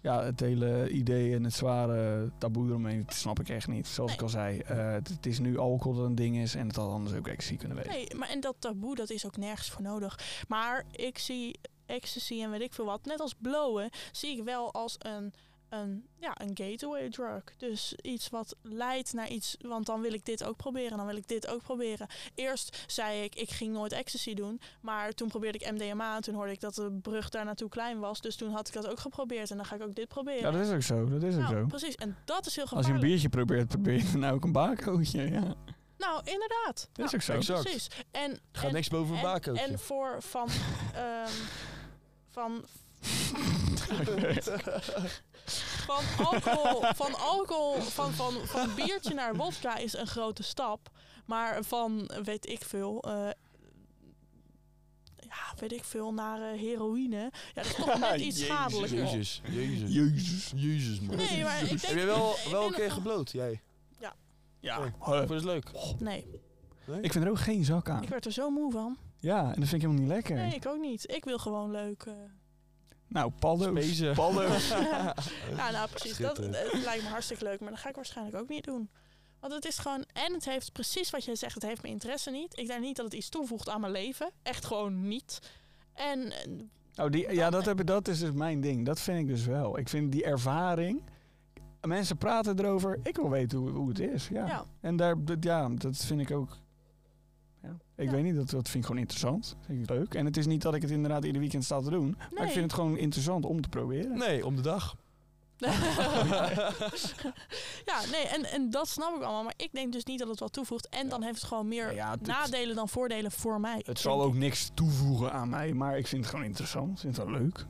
Speaker 2: ja, het hele idee en het zware taboe eromheen, dat snap ik echt niet. Zoals
Speaker 3: Nee.
Speaker 2: ik al zei, eh, het, het is nu alcohol dat een ding is en het had anders ook ecstasy kunnen wezen.
Speaker 3: Nee, maar en dat taboe, dat is ook nergens voor nodig. Maar ik zie ecstasy en weet ik veel wat, net als blowen, zie ik wel als een, een, ja, een gateway drug. Dus iets wat leidt naar iets, want dan wil ik dit ook proberen, dan wil ik dit ook proberen. Eerst zei ik, ik ging nooit ecstasy doen, maar toen probeerde ik MDMA en toen hoorde ik dat de brug daar naartoe klein was. Dus toen had ik dat ook geprobeerd en dan ga ik ook dit proberen.
Speaker 2: Ja, dat is ook zo. Dat is ook
Speaker 3: nou,
Speaker 2: zo.
Speaker 3: precies. En dat is heel
Speaker 2: Als je een
Speaker 3: gevaarlijk.
Speaker 2: biertje probeert, probeer je nou ook een bakootje. Ja, dat
Speaker 3: Nou, inderdaad.
Speaker 2: is ook zo.
Speaker 4: exact.
Speaker 3: Precies. En,
Speaker 4: Er gaat
Speaker 3: en-
Speaker 4: niks boven een
Speaker 3: En-
Speaker 4: bakootje.
Speaker 3: En voor van. ehm, van. van alcohol, van alcohol, van, van, van biertje naar wodka is een grote stap. Maar van, weet ik veel, eh, ja, weet ik veel, naar eh, heroïne. Ja, dat is toch net iets
Speaker 2: Jezus.
Speaker 3: schadelijker.
Speaker 4: Jezus. Jezus.
Speaker 2: Jezus.
Speaker 4: Jezus, man.
Speaker 3: Nee, maar ik denk...
Speaker 4: Heb je wel,
Speaker 3: ik
Speaker 4: wel
Speaker 3: denk
Speaker 4: een keer
Speaker 3: dat-
Speaker 4: gebloot, jij?
Speaker 2: Ja.
Speaker 4: Vond je het leuk?
Speaker 3: Nee,
Speaker 2: Ik vind er ook geen zak aan.
Speaker 3: ik werd er zo moe van.
Speaker 2: Ja, en dat vind ik helemaal niet lekker.
Speaker 3: Nee, ik ook niet. Ik wil gewoon leuk... eh,
Speaker 2: Nou, paldo's.
Speaker 4: Spezen.
Speaker 2: Paldo's.
Speaker 3: ja, nou precies. Dat,
Speaker 4: Schitterend.
Speaker 3: het lijkt me hartstikke leuk, maar dat ga ik waarschijnlijk ook niet doen. Want het is gewoon, en het heeft precies wat jij zegt, het heeft mijn interesse niet. Ik denk niet dat het iets toevoegt aan mijn leven. Echt gewoon niet. En eh,
Speaker 2: Oh, die, ja, dat, heb, ik- dat is dus mijn ding. Dat vind ik dus wel. Ik vind die ervaring... Mensen praten erover. Ik wil weten hoe, hoe het is. Ja.
Speaker 3: ja.
Speaker 2: En daar, dat- ja, dat vind ik ook... Ja. Ik
Speaker 3: Ja.
Speaker 2: weet niet, dat, dat vind ik gewoon interessant. Vind ik leuk. En het is niet dat ik het inderdaad ieder weekend sta te doen. Maar ik
Speaker 3: Nee.
Speaker 2: vind het gewoon interessant om te proberen.
Speaker 4: Nee, om de dag.
Speaker 3: ja, nee, en, en dat snap ik allemaal. Maar ik denk dus niet dat het wat toevoegt. En dan heeft het gewoon meer
Speaker 2: Nou ja, het-
Speaker 3: nadelen dan voordelen voor mij.
Speaker 2: Het zal ook niks toevoegen aan mij, maar ik vind het gewoon interessant. Ik vind het wel leuk.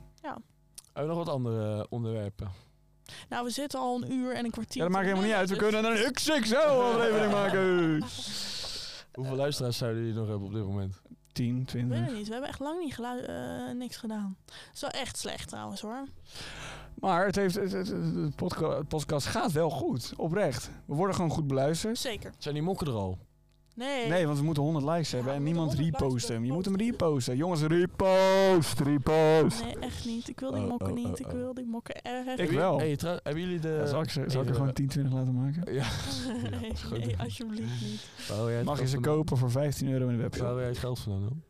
Speaker 4: Hebben we nog wat andere eh, onderwerpen?
Speaker 3: Nou, we zitten al een uur en een kwartier.
Speaker 2: Ja, dat maakt helemaal niet uit. We
Speaker 3: Dus-
Speaker 2: kunnen een XXL-aflevering maken.
Speaker 4: Hoeveel luisteraars zouden jullie nog hebben op dit moment?
Speaker 2: 10,
Speaker 3: dus- Ik weet
Speaker 2: 20.
Speaker 3: het niet. We hebben echt lang niet gelu- eh, niks gedaan. Het is wel echt slecht trouwens hoor.
Speaker 2: Maar het heeft, het, het- het- het podca- het podcast gaat wel goed, oprecht. We worden gewoon goed beluisterd.
Speaker 3: Zeker.
Speaker 4: Zijn die mokken er al?
Speaker 3: Nee.
Speaker 2: Nee, want we moeten 100 likes hebben
Speaker 3: Ja,
Speaker 2: en
Speaker 3: we
Speaker 2: niemand
Speaker 3: moeten 100 likes
Speaker 2: repost hem. Je moet
Speaker 3: hebben.
Speaker 2: hem reposten. Jongens, repost, repost.
Speaker 3: Nee, echt niet. Ik wil die
Speaker 4: Oh,
Speaker 3: mokken
Speaker 4: oh,
Speaker 3: niet.
Speaker 4: oh,
Speaker 3: Ik
Speaker 4: oh.
Speaker 3: wil die mokken echt
Speaker 2: Ik
Speaker 3: niet.
Speaker 2: wel.
Speaker 4: Hey, trouw- hebben jullie de...
Speaker 2: Ja, zal ik, ze- zal ik er
Speaker 4: even-
Speaker 2: gewoon 10, 20 laten maken?
Speaker 4: Ja.
Speaker 3: Nee,
Speaker 4: goed.
Speaker 3: nee, alsjeblieft niet.
Speaker 4: Waar jij het
Speaker 2: Mag je
Speaker 4: geld
Speaker 2: ze
Speaker 4: vandaan-
Speaker 2: kopen voor 15 euro in de
Speaker 4: Waar haal
Speaker 2: webshop?
Speaker 4: jij het geld vandaan dan?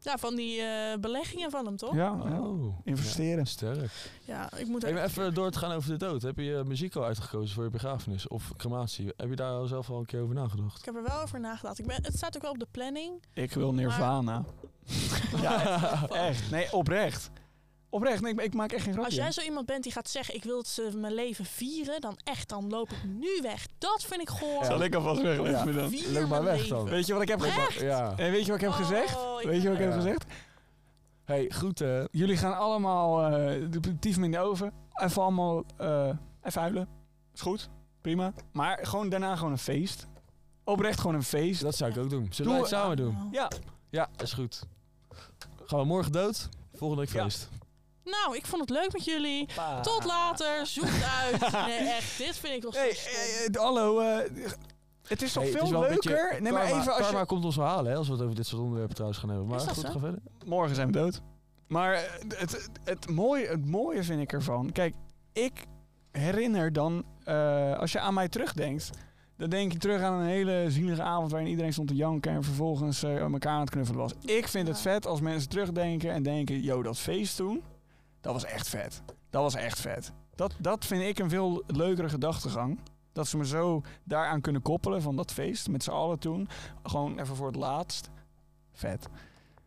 Speaker 3: Ja, van die eh, beleggingen van hem, toch? Ja,
Speaker 2: Ja, ja.
Speaker 4: Oh.
Speaker 2: investeren.
Speaker 4: Ja, sterk.
Speaker 3: ik moet
Speaker 4: Hey,
Speaker 3: er...
Speaker 4: maar even door te gaan over de dood. Heb je eh, muziek al uitgekozen voor je begrafenis of crematie? Heb je daar al zelf al een keer over nagedacht?
Speaker 3: Ik heb er wel over nagedacht. Ik ben, het staat ook wel op de planning.
Speaker 2: Ik wil Nirvana. Ja, echt. Nee, oprecht. Oprecht, nee, ik, ik maak echt geen grapje.
Speaker 3: Als jij zo iemand bent die gaat zeggen, ik wil dat ze mijn leven vieren, dan echt, dan loop ik nu weg. Dat vind ik goor.
Speaker 2: Zal ik alvast wegleggen dan?
Speaker 3: Vier
Speaker 4: Loop maar
Speaker 3: mijn
Speaker 4: weg dan.
Speaker 3: leven.
Speaker 2: Weet je wat ik heb gezegd?
Speaker 4: Ja.
Speaker 2: En weet je wat ik heb
Speaker 3: Oh,
Speaker 2: gezegd?
Speaker 3: ik
Speaker 2: Weet je wat ik heb
Speaker 4: Ja.
Speaker 2: gezegd?
Speaker 4: Hey, goed hè.
Speaker 2: Jullie gaan allemaal eh de tief in de oven. Even allemaal eh, even huilen. Is goed. Prima. Maar gewoon daarna gewoon een feest. Oprecht gewoon een feest.
Speaker 4: Dat zou ik ook doen. Zullen
Speaker 2: Doe- Ah.
Speaker 4: wij het samen doen?
Speaker 3: Nou,
Speaker 2: Ja,
Speaker 4: Ja, is goed. Gaan we morgen dood? Volgende week
Speaker 2: Ja.
Speaker 4: feest.
Speaker 3: Nou, ik vond het leuk met jullie. Tot later. Zoek het uit. Nee, echt. Dit vind ik nog
Speaker 2: Hey,
Speaker 3: steeds
Speaker 2: eh,
Speaker 3: stom.
Speaker 2: eh, hallo. eh, het is toch
Speaker 4: Hey, het is
Speaker 2: veel
Speaker 4: wel een beetje
Speaker 2: leuker? Nee, maar
Speaker 4: Karma-
Speaker 2: even als
Speaker 4: karma
Speaker 2: je...
Speaker 4: komt ons wel halen hè, als we het over dit soort onderwerpen trouwens gaan hebben. Maar
Speaker 3: Is dat
Speaker 4: goed,
Speaker 3: zo?
Speaker 4: ga verder.
Speaker 2: Morgen zijn we dood. Maar eh, het, het, het, mooie, het mooie vind ik ervan. Kijk, ik herinner dan, eh, als je aan mij terugdenkt. Dan denk je terug aan een hele zielige avond waarin iedereen stond te janken en vervolgens eh, aan elkaar aan het knuffelen was. Ik vind het
Speaker 3: Ja.
Speaker 2: vet als mensen terugdenken en denken, yo, dat feest toen, dat was echt vet. Dat was echt vet. Dat, dat vind ik een veel leukere gedachtegang. Dat ze me zo daaraan kunnen koppelen van dat feest met z'n allen toen. Gewoon even voor het laatst. Vet.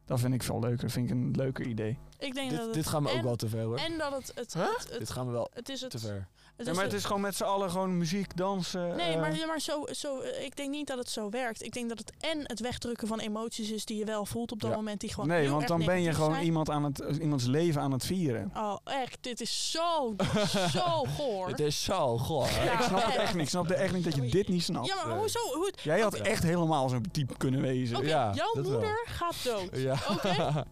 Speaker 2: Dat vind ik veel leuker. Vind ik een leuker idee.
Speaker 3: Ik denk dat
Speaker 4: Dit,
Speaker 3: het-
Speaker 4: dit gaan we ook
Speaker 3: en-
Speaker 4: wel te ver hoor.
Speaker 3: En dat het... het,
Speaker 2: Huh?
Speaker 3: het, het-
Speaker 4: Dit gaan we wel
Speaker 3: het is Dus het...
Speaker 4: te ver.
Speaker 2: Ja, maar het is gewoon met z'n allen gewoon muziek, dansen.
Speaker 3: Nee,
Speaker 2: eh,
Speaker 3: maar, maar zo, zo, eh, ik denk niet dat het zo werkt. Ik denk dat het en het wegdrukken van emoties is die je wel voelt op dat
Speaker 4: Ja.
Speaker 3: moment. Die gewoon
Speaker 2: nee
Speaker 3: heel
Speaker 2: want
Speaker 3: erg
Speaker 2: dan ben je
Speaker 3: negatief
Speaker 2: gewoon
Speaker 3: zijn.
Speaker 2: iemand aan het, iemands leven aan het vieren.
Speaker 3: Oh, echt. Dit is zo, zo goor.
Speaker 4: Het is zo goh. hè?
Speaker 3: Ja,
Speaker 2: ik snap het
Speaker 3: echt.
Speaker 2: echt niet. Ik snap echt niet dat je dit niet snapt.
Speaker 3: Ja, maar hoezo? Hoe, het-
Speaker 2: Jij had
Speaker 3: Oké.
Speaker 2: echt helemaal zo'n type kunnen wezen.
Speaker 3: Oké,
Speaker 4: Ja,
Speaker 3: jouw
Speaker 4: dat wel.
Speaker 3: Oh. moeder gaat dood.
Speaker 4: Ja.
Speaker 3: Oké.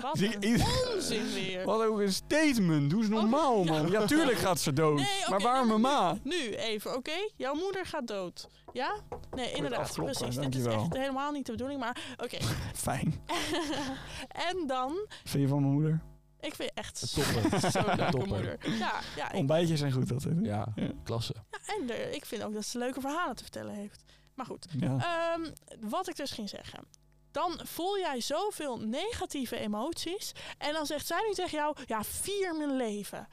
Speaker 3: Wat
Speaker 2: Zie-
Speaker 3: een
Speaker 2: ieder-
Speaker 3: onzin weer.
Speaker 2: Wat ook een statement. Doe eens normaal,
Speaker 3: Oh, ja.
Speaker 2: man. Ja, tuurlijk gaat ze dood.
Speaker 3: Nee, oké,
Speaker 2: maar waarom
Speaker 3: nee,
Speaker 2: mama?
Speaker 3: Nu even, oké? Jouw moeder gaat dood. Ja? Nee, inderdaad.
Speaker 2: afkloppen,
Speaker 3: Precies. Dit is
Speaker 2: dankjewel.
Speaker 3: echt helemaal niet de bedoeling, maar oké.
Speaker 2: Fijn.
Speaker 3: en dan,
Speaker 2: Vind je van mijn moeder?
Speaker 3: ik vind je echt
Speaker 4: Topper.
Speaker 3: zo'n leuke
Speaker 4: Topper.
Speaker 3: moeder. Ja, ja, ik,
Speaker 2: Ontbijtjes zijn goed altijd. hè?
Speaker 4: Ja, klasse.
Speaker 3: ja, en er- ik vind ook dat ze leuke verhalen te vertellen heeft. Maar goed,
Speaker 4: Oh.
Speaker 2: Ja.
Speaker 3: Ehm, wat ik dus ging zeggen. Dan voel jij zoveel negatieve emoties. En dan zegt zij nu tegen jou: Ja, vier mijn leven.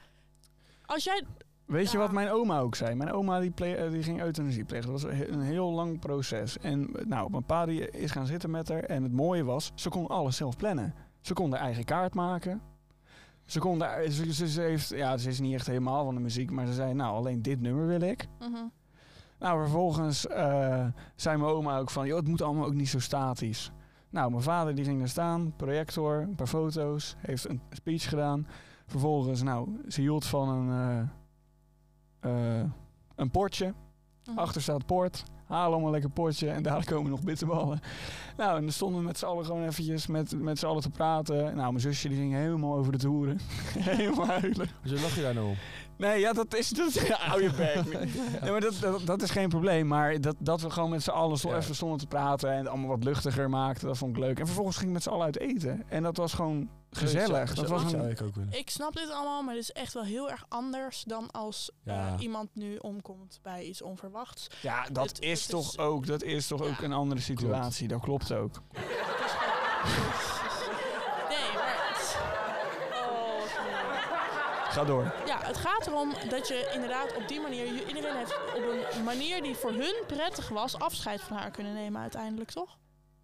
Speaker 3: Als jij.
Speaker 2: Weet je
Speaker 3: Ja.
Speaker 2: wat mijn oma ook zei? Mijn oma die, ple- eh, die ging euthanasie plegen. Dat was he- een heel lang proces. En eh, nou, mijn pa die is gaan zitten met haar. En het mooie was, ze kon alles zelf plannen. Ze kon haar eigen kaart maken. Ze, kon daar, ze, ze- ze heeft, ja, ze is niet echt helemaal van de muziek. Maar ze zei, nou, alleen dit nummer wil ik.
Speaker 3: Mhm,
Speaker 2: Nou, vervolgens eh, zei mijn oma ook van... joh, het moet allemaal ook niet zo statisch. Nou, mijn vader die ging daar staan, projector, een paar foto's, heeft een speech gedaan. Vervolgens, nou, ze hield van een, eh, eh, een portje.
Speaker 3: Mm. mhm.
Speaker 2: Achter staat port. Haal allemaal lekker potje en daar komen nog bitterballen. Nou, en dan stonden we met z'n allen gewoon eventjes met, met z'n allen te praten. Nou, mijn zusje die ging helemaal over de toeren. helemaal huilen.
Speaker 4: Dus dan lach je daar nou om.
Speaker 2: Nee, ja, dat is... Dat, ja, hou je bek. Nee, maar dat, dat, dat is geen probleem. Maar dat, dat we gewoon met z'n allen zo
Speaker 4: Ja.
Speaker 2: even stonden te praten... en het allemaal wat luchtiger maakten, dat vond ik leuk. En vervolgens gingen we met z'n allen uit eten. En dat was gewoon gezellig. Dat was
Speaker 4: zou
Speaker 2: een...
Speaker 4: ik ook willen.
Speaker 3: Ik snap dit allemaal, maar dit is echt wel heel erg anders dan als eh,
Speaker 4: Ja.
Speaker 3: iemand nu omkomt bij iets onverwachts.
Speaker 2: Ja,
Speaker 3: Het-
Speaker 2: dat is
Speaker 3: het
Speaker 2: toch
Speaker 3: is-
Speaker 2: ook, dat is toch ook
Speaker 3: Ja.
Speaker 2: een andere situatie. Dat klopt ook.
Speaker 3: Het is gewoon- Nee, maar. het- Oh, wat een-
Speaker 2: Ga door.
Speaker 3: Ja, het gaat erom dat je inderdaad op die manier, je- iedereen heeft op een manier die voor hun prettig was, afscheid van haar kunnen nemen uiteindelijk, toch?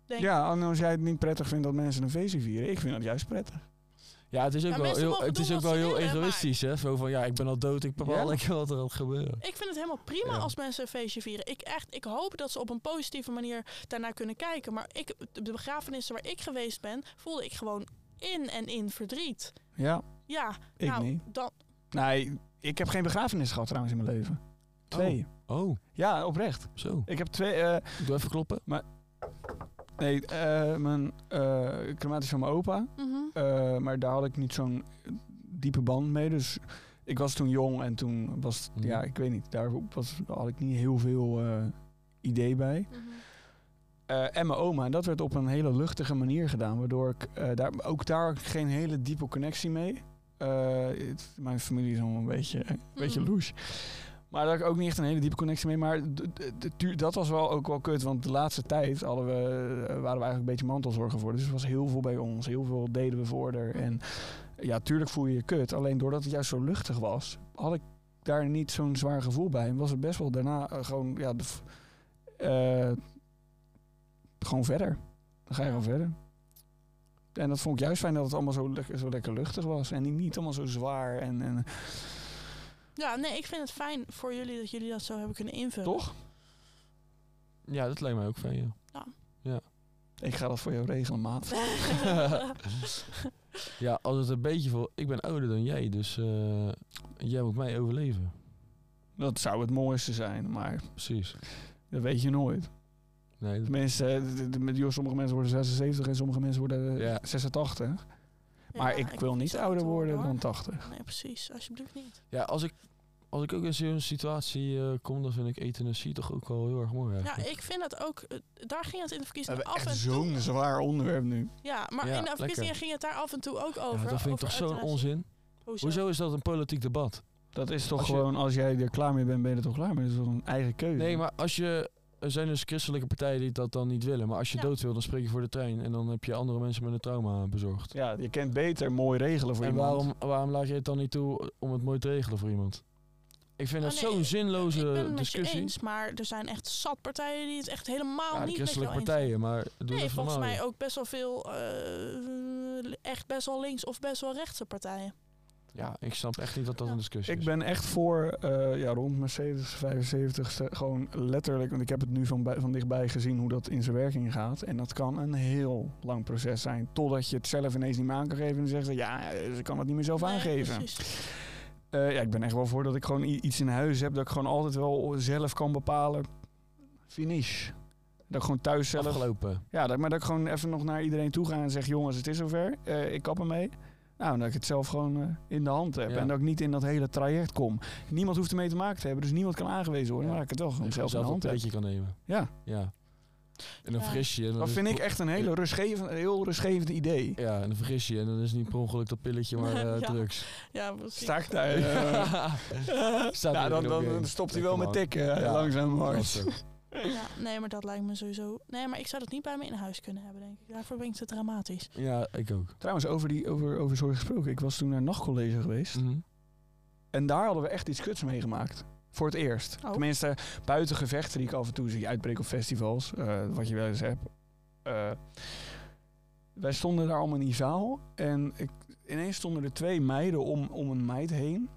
Speaker 3: Denk ik.
Speaker 2: Ja, en als jij het niet prettig vindt dat mensen een feestje vieren... ik vind dat juist prettig.
Speaker 4: Ja, het is ook
Speaker 3: Ja,
Speaker 4: wel
Speaker 3: mensen
Speaker 4: heel,
Speaker 3: mogen
Speaker 4: het is
Speaker 3: doen
Speaker 4: ook
Speaker 3: wat
Speaker 4: wel
Speaker 3: ze
Speaker 4: heel
Speaker 3: willen, maar-
Speaker 4: egoïstisch, hè? Zo van, ja, ik ben al dood, ik bepaal
Speaker 2: Ja.
Speaker 4: lekker wat er gaat gebeuren.
Speaker 3: Ik vind het helemaal prima
Speaker 4: Ja.
Speaker 3: als mensen een feestje vieren. Ik, echt, ik hoop dat ze op een positieve manier daarnaar kunnen kijken. Maar ik, de begrafenissen waar ik geweest ben, voelde ik gewoon in en in verdriet.
Speaker 2: Ja,
Speaker 3: Ja,
Speaker 2: ik
Speaker 3: nou,
Speaker 2: niet.
Speaker 3: dan,
Speaker 2: Nee, ik heb geen begrafenis gehad trouwens in mijn leven. Twee.
Speaker 4: Oh,
Speaker 2: Ja, oprecht.
Speaker 4: zo.
Speaker 2: Ik heb twee... eh,
Speaker 4: Doe even kloppen.
Speaker 2: Nee, eh, mijn eh crematie van mijn opa.
Speaker 3: mhm.
Speaker 2: Eh, maar daar had ik niet zo'n diepe band mee. Dus ik was toen jong en toen was het,
Speaker 4: Mhm.
Speaker 2: ja, ik weet niet, daar was, had ik niet heel veel eh, idee bij.
Speaker 3: Mhm.
Speaker 2: Eh, en mijn oma, en dat werd op een hele luchtige manier gedaan, waardoor ik eh, daar, ook daar had ik geen hele diepe connectie mee. Eh, het- mijn familie is allemaal een beetje, een beetje
Speaker 3: Mhm.
Speaker 2: loes. Maar daar had ik ook niet echt een hele diepe connectie mee. Maar d- d- d- tu- dat was wel ook wel kut. Want de laatste tijd hadden we, eh, waren we eigenlijk een beetje mantelzorgen voor. Dus er was heel veel bij ons. Heel veel deden we voor haar. En ja, tuurlijk voel je je kut. Alleen doordat het juist zo luchtig was, had ik daar niet zo'n zwaar gevoel bij. En was het best wel daarna eh, gewoon, ja, de f- eh, gewoon verder. Dan ga je gewoon verder. En dat vond ik juist fijn dat het allemaal zo lekker, zo lekker luchtig was. En niet- niet allemaal zo zwaar. En, en
Speaker 3: Ja, nee, ik vind het fijn voor jullie dat jullie dat zo hebben kunnen invullen.
Speaker 2: toch?
Speaker 4: Ja, dat lijkt mij ook fijn, ja.
Speaker 2: Ik ga dat voor jou regelen, maat.
Speaker 4: Ja, als het een beetje voor... Ik ben ouder dan jij, dus eh, jij moet mij overleven.
Speaker 2: Dat zou het mooiste zijn, maar
Speaker 4: Precies.
Speaker 2: dat weet je nooit.
Speaker 4: Nee, dat-
Speaker 2: Tenminste, eh, d- d- met joh, sommige mensen worden 76 en sommige mensen worden eh,
Speaker 4: Ja.
Speaker 2: 86.
Speaker 3: Ja,
Speaker 2: Maar ik wil
Speaker 3: hoef
Speaker 2: niet
Speaker 3: zo
Speaker 2: ouder
Speaker 3: te
Speaker 2: worden
Speaker 3: hoor.
Speaker 2: dan 80.
Speaker 3: Nee, precies. Alsjeblieft niet.
Speaker 4: ja, als ik, als ik ook in zo'n situatie eh, kom, dan vind ik euthanasie toch ook wel heel erg mooi
Speaker 3: Ja,
Speaker 4: eigenlijk.
Speaker 3: ik vind dat ook. eh, Daar ging het in de verkiezingen af en
Speaker 2: echt
Speaker 3: toe.
Speaker 2: zo'n zwaar onderwerp nu.
Speaker 3: Ja, maar
Speaker 4: Ja,
Speaker 3: in de
Speaker 4: lekker.
Speaker 3: verkiezingen ging het daar af en toe ook over.
Speaker 4: Ja, dat vind ik
Speaker 3: over
Speaker 4: toch zo'n
Speaker 3: euthanasie.
Speaker 4: onzin.
Speaker 3: Hoezo?
Speaker 4: Hoezo is dat een politiek debat?
Speaker 2: Dat is toch
Speaker 4: Als je-
Speaker 2: gewoon, als jij er klaar mee bent, ben je er toch klaar mee. Dat is toch een eigen keuze.
Speaker 4: Nee, maar als je... Er zijn dus christelijke partijen die dat dan niet willen. Maar als je
Speaker 3: Ja.
Speaker 4: dood wil, dan spreek je voor de trein. En dan heb je andere mensen met een trauma bezorgd.
Speaker 2: Ja, je kent beter mooi regelen voor
Speaker 4: en
Speaker 2: iemand.
Speaker 4: waarom, waarom laat je het dan niet toe om het mooi te regelen voor iemand? Ik vind
Speaker 3: Ah,
Speaker 4: dat
Speaker 3: nee,
Speaker 4: zo'n zinloze
Speaker 3: ik ben het met
Speaker 4: discussie.
Speaker 3: je eens, maar er zijn echt zat partijen die het echt helemaal
Speaker 4: ja,
Speaker 3: niet
Speaker 4: de
Speaker 3: met jou
Speaker 4: christelijke
Speaker 3: eens zijn.
Speaker 4: partijen, maar doe
Speaker 3: Nee,
Speaker 4: dat
Speaker 3: volgens
Speaker 4: normaal.
Speaker 3: mij
Speaker 4: joh.
Speaker 3: ook best wel veel, eh, echt best wel links of best wel rechtse partijen.
Speaker 4: Ja, ik snap echt niet dat dat
Speaker 3: Ja.
Speaker 4: een discussie
Speaker 2: Ik
Speaker 4: is.
Speaker 2: ben echt voor, eh, ja, rond mijn 70, 75 gewoon letterlijk, want ik heb het nu van, bij- van dichtbij gezien hoe dat in zijn werking gaat. En dat kan een heel lang proces zijn, totdat je het zelf ineens niet meer aan kan geven en zegt, ja, eh, ze kan het niet meer zelf
Speaker 3: Nee,
Speaker 2: aangeven.
Speaker 3: precies.
Speaker 2: Eh, ja, ik ben echt wel voor dat ik gewoon i- iets in huis heb, dat ik gewoon altijd wel zelf kan bepalen. Finish. Dat ik gewoon thuis zelf...
Speaker 4: Afgelopen.
Speaker 2: Ja, dat, maar dat ik gewoon even nog naar iedereen toe ga en zeg... jongens, het is zover, eh, ik kap ermee. Nou, en dat ik het zelf gewoon eh, in de hand heb.
Speaker 4: Ja.
Speaker 2: En dat ik niet in dat hele traject kom. Niemand hoeft ermee te maken te hebben, dus niemand kan aangewezen worden. Maar
Speaker 4: Ja.
Speaker 2: dat ik het wel gewoon
Speaker 4: Ik
Speaker 2: zelf in de
Speaker 4: zelf een
Speaker 2: hand heb.
Speaker 4: beetje kan nemen.
Speaker 2: Ja.
Speaker 4: Ja. En dan
Speaker 3: Ja.
Speaker 4: vergis je. en dan
Speaker 2: Dat
Speaker 4: is-
Speaker 2: vind ik echt een hele rustgevend, heel rustgevend idee.
Speaker 4: Ja, en dan vergis je. En dan is het niet per ongeluk dat pilletje, maar eh,
Speaker 3: Ja.
Speaker 4: drugs.
Speaker 3: Ja, precies.
Speaker 2: Sta ik daar. eh,
Speaker 4: Staat
Speaker 2: nou,
Speaker 4: er
Speaker 2: dan,
Speaker 4: weer
Speaker 2: dan,
Speaker 4: op
Speaker 2: dan
Speaker 4: game.
Speaker 2: stopt hij
Speaker 4: Lekker
Speaker 2: wel met
Speaker 4: man.
Speaker 2: tikken. eh,
Speaker 4: Ja.
Speaker 2: Langzaam maar.
Speaker 4: Dat zo.
Speaker 3: Ja, nee, maar dat lijkt me sowieso. Nee, maar ik zou dat niet bij me in huis kunnen hebben, denk ik. Daarvoor ben ik te dramatisch.
Speaker 4: Ja, ik ook.
Speaker 2: Trouwens, over, die, over, over zorg gesproken. Ik was toen naar nachtcollege geweest.
Speaker 4: Mhm.
Speaker 2: En daar hadden we echt iets kuts meegemaakt. Voor het eerst.
Speaker 3: Oh.
Speaker 2: Tenminste, buiten gevechten die ik af en toe zie uitbreken op festivals. eh, wat je wel eens hebt. Eh, wij stonden daar allemaal in die zaal. En ik, ineens stonden er twee meiden om, om een meid heen.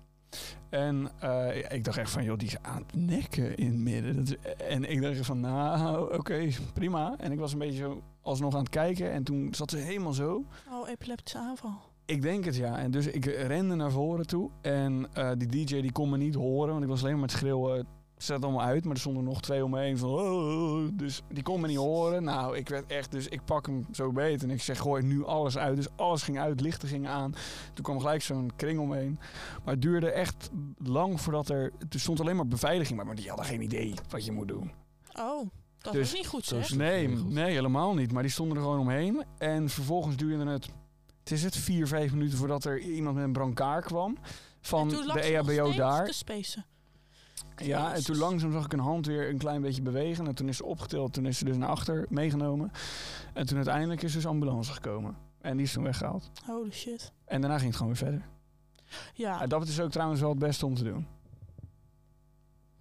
Speaker 2: En eh, ik dacht echt van, joh, die is aan het nekken in het midden. Dat is- en ik dacht echt van, nou, oké, prima. En ik was een beetje zo alsnog aan het kijken. En toen zat ze helemaal zo.
Speaker 3: Oh, epileptische aanval.
Speaker 2: Ik denk het ja. En dus ik rende naar voren toe. En eh, die DJ die kon me niet horen, want ik was alleen maar aan het schreeuwen. Zet het allemaal uit, maar er stonden nog twee om me heen. Van, "Oh." dus die kon me niet horen. Nou, ik werd echt, dus ik pak hem zo beet. En ik zeg, gooi nu alles uit. Dus alles ging uit, lichten gingen aan. Toen kwam gelijk zo'n kring omheen. Maar het duurde echt lang voordat er. Er stond alleen maar beveiliging, maar, maar die hadden geen idee wat je moet doen.
Speaker 3: Oh, dat
Speaker 2: Dus-
Speaker 3: is niet goed,
Speaker 4: zo
Speaker 3: zeg.
Speaker 4: is het
Speaker 2: Nee,
Speaker 4: geregeld.
Speaker 2: nee, helemaal niet. Maar die stonden er gewoon omheen. En vervolgens duurde het, het is het, vier, vijf minuten voordat er iemand met een brancard kwam. Van
Speaker 3: En toen lag
Speaker 2: de E
Speaker 3: ze nog
Speaker 2: EHBO
Speaker 3: steeds
Speaker 2: daar.
Speaker 3: te spacen.
Speaker 2: Ja, en toen langzaam zag ik een hand weer een klein beetje bewegen. En toen is ze opgetild. Toen is ze dus naar achter meegenomen. En toen uiteindelijk is dus ambulance gekomen. En die is toen weggehaald.
Speaker 3: Holy shit.
Speaker 2: En daarna ging het gewoon weer verder.
Speaker 3: Ja,
Speaker 2: En dat is ook trouwens wel het beste om te doen.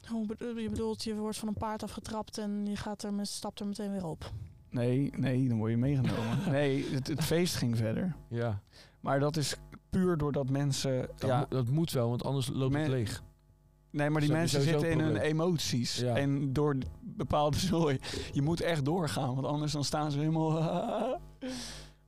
Speaker 3: hoe bedo- je bedoelt, je wordt van een paard afgetrapt en je gaat er met, stapt er meteen weer op.
Speaker 2: Nee, nee, dan word je meegenomen. Nee, het, het feest ging verder.
Speaker 4: Ja.
Speaker 2: Maar dat is puur doordat mensen...
Speaker 4: Dat, mo- dat moet wel, want anders loopt
Speaker 2: Men-
Speaker 4: het leeg.
Speaker 2: Nee, maar die
Speaker 4: Zo-
Speaker 2: mensen
Speaker 4: sowieso
Speaker 2: zitten in
Speaker 4: een
Speaker 2: hun
Speaker 4: probleem.
Speaker 2: emoties.
Speaker 4: Ja.
Speaker 2: En door bepaalde zooi. Je moet echt doorgaan, want anders dan staan ze helemaal...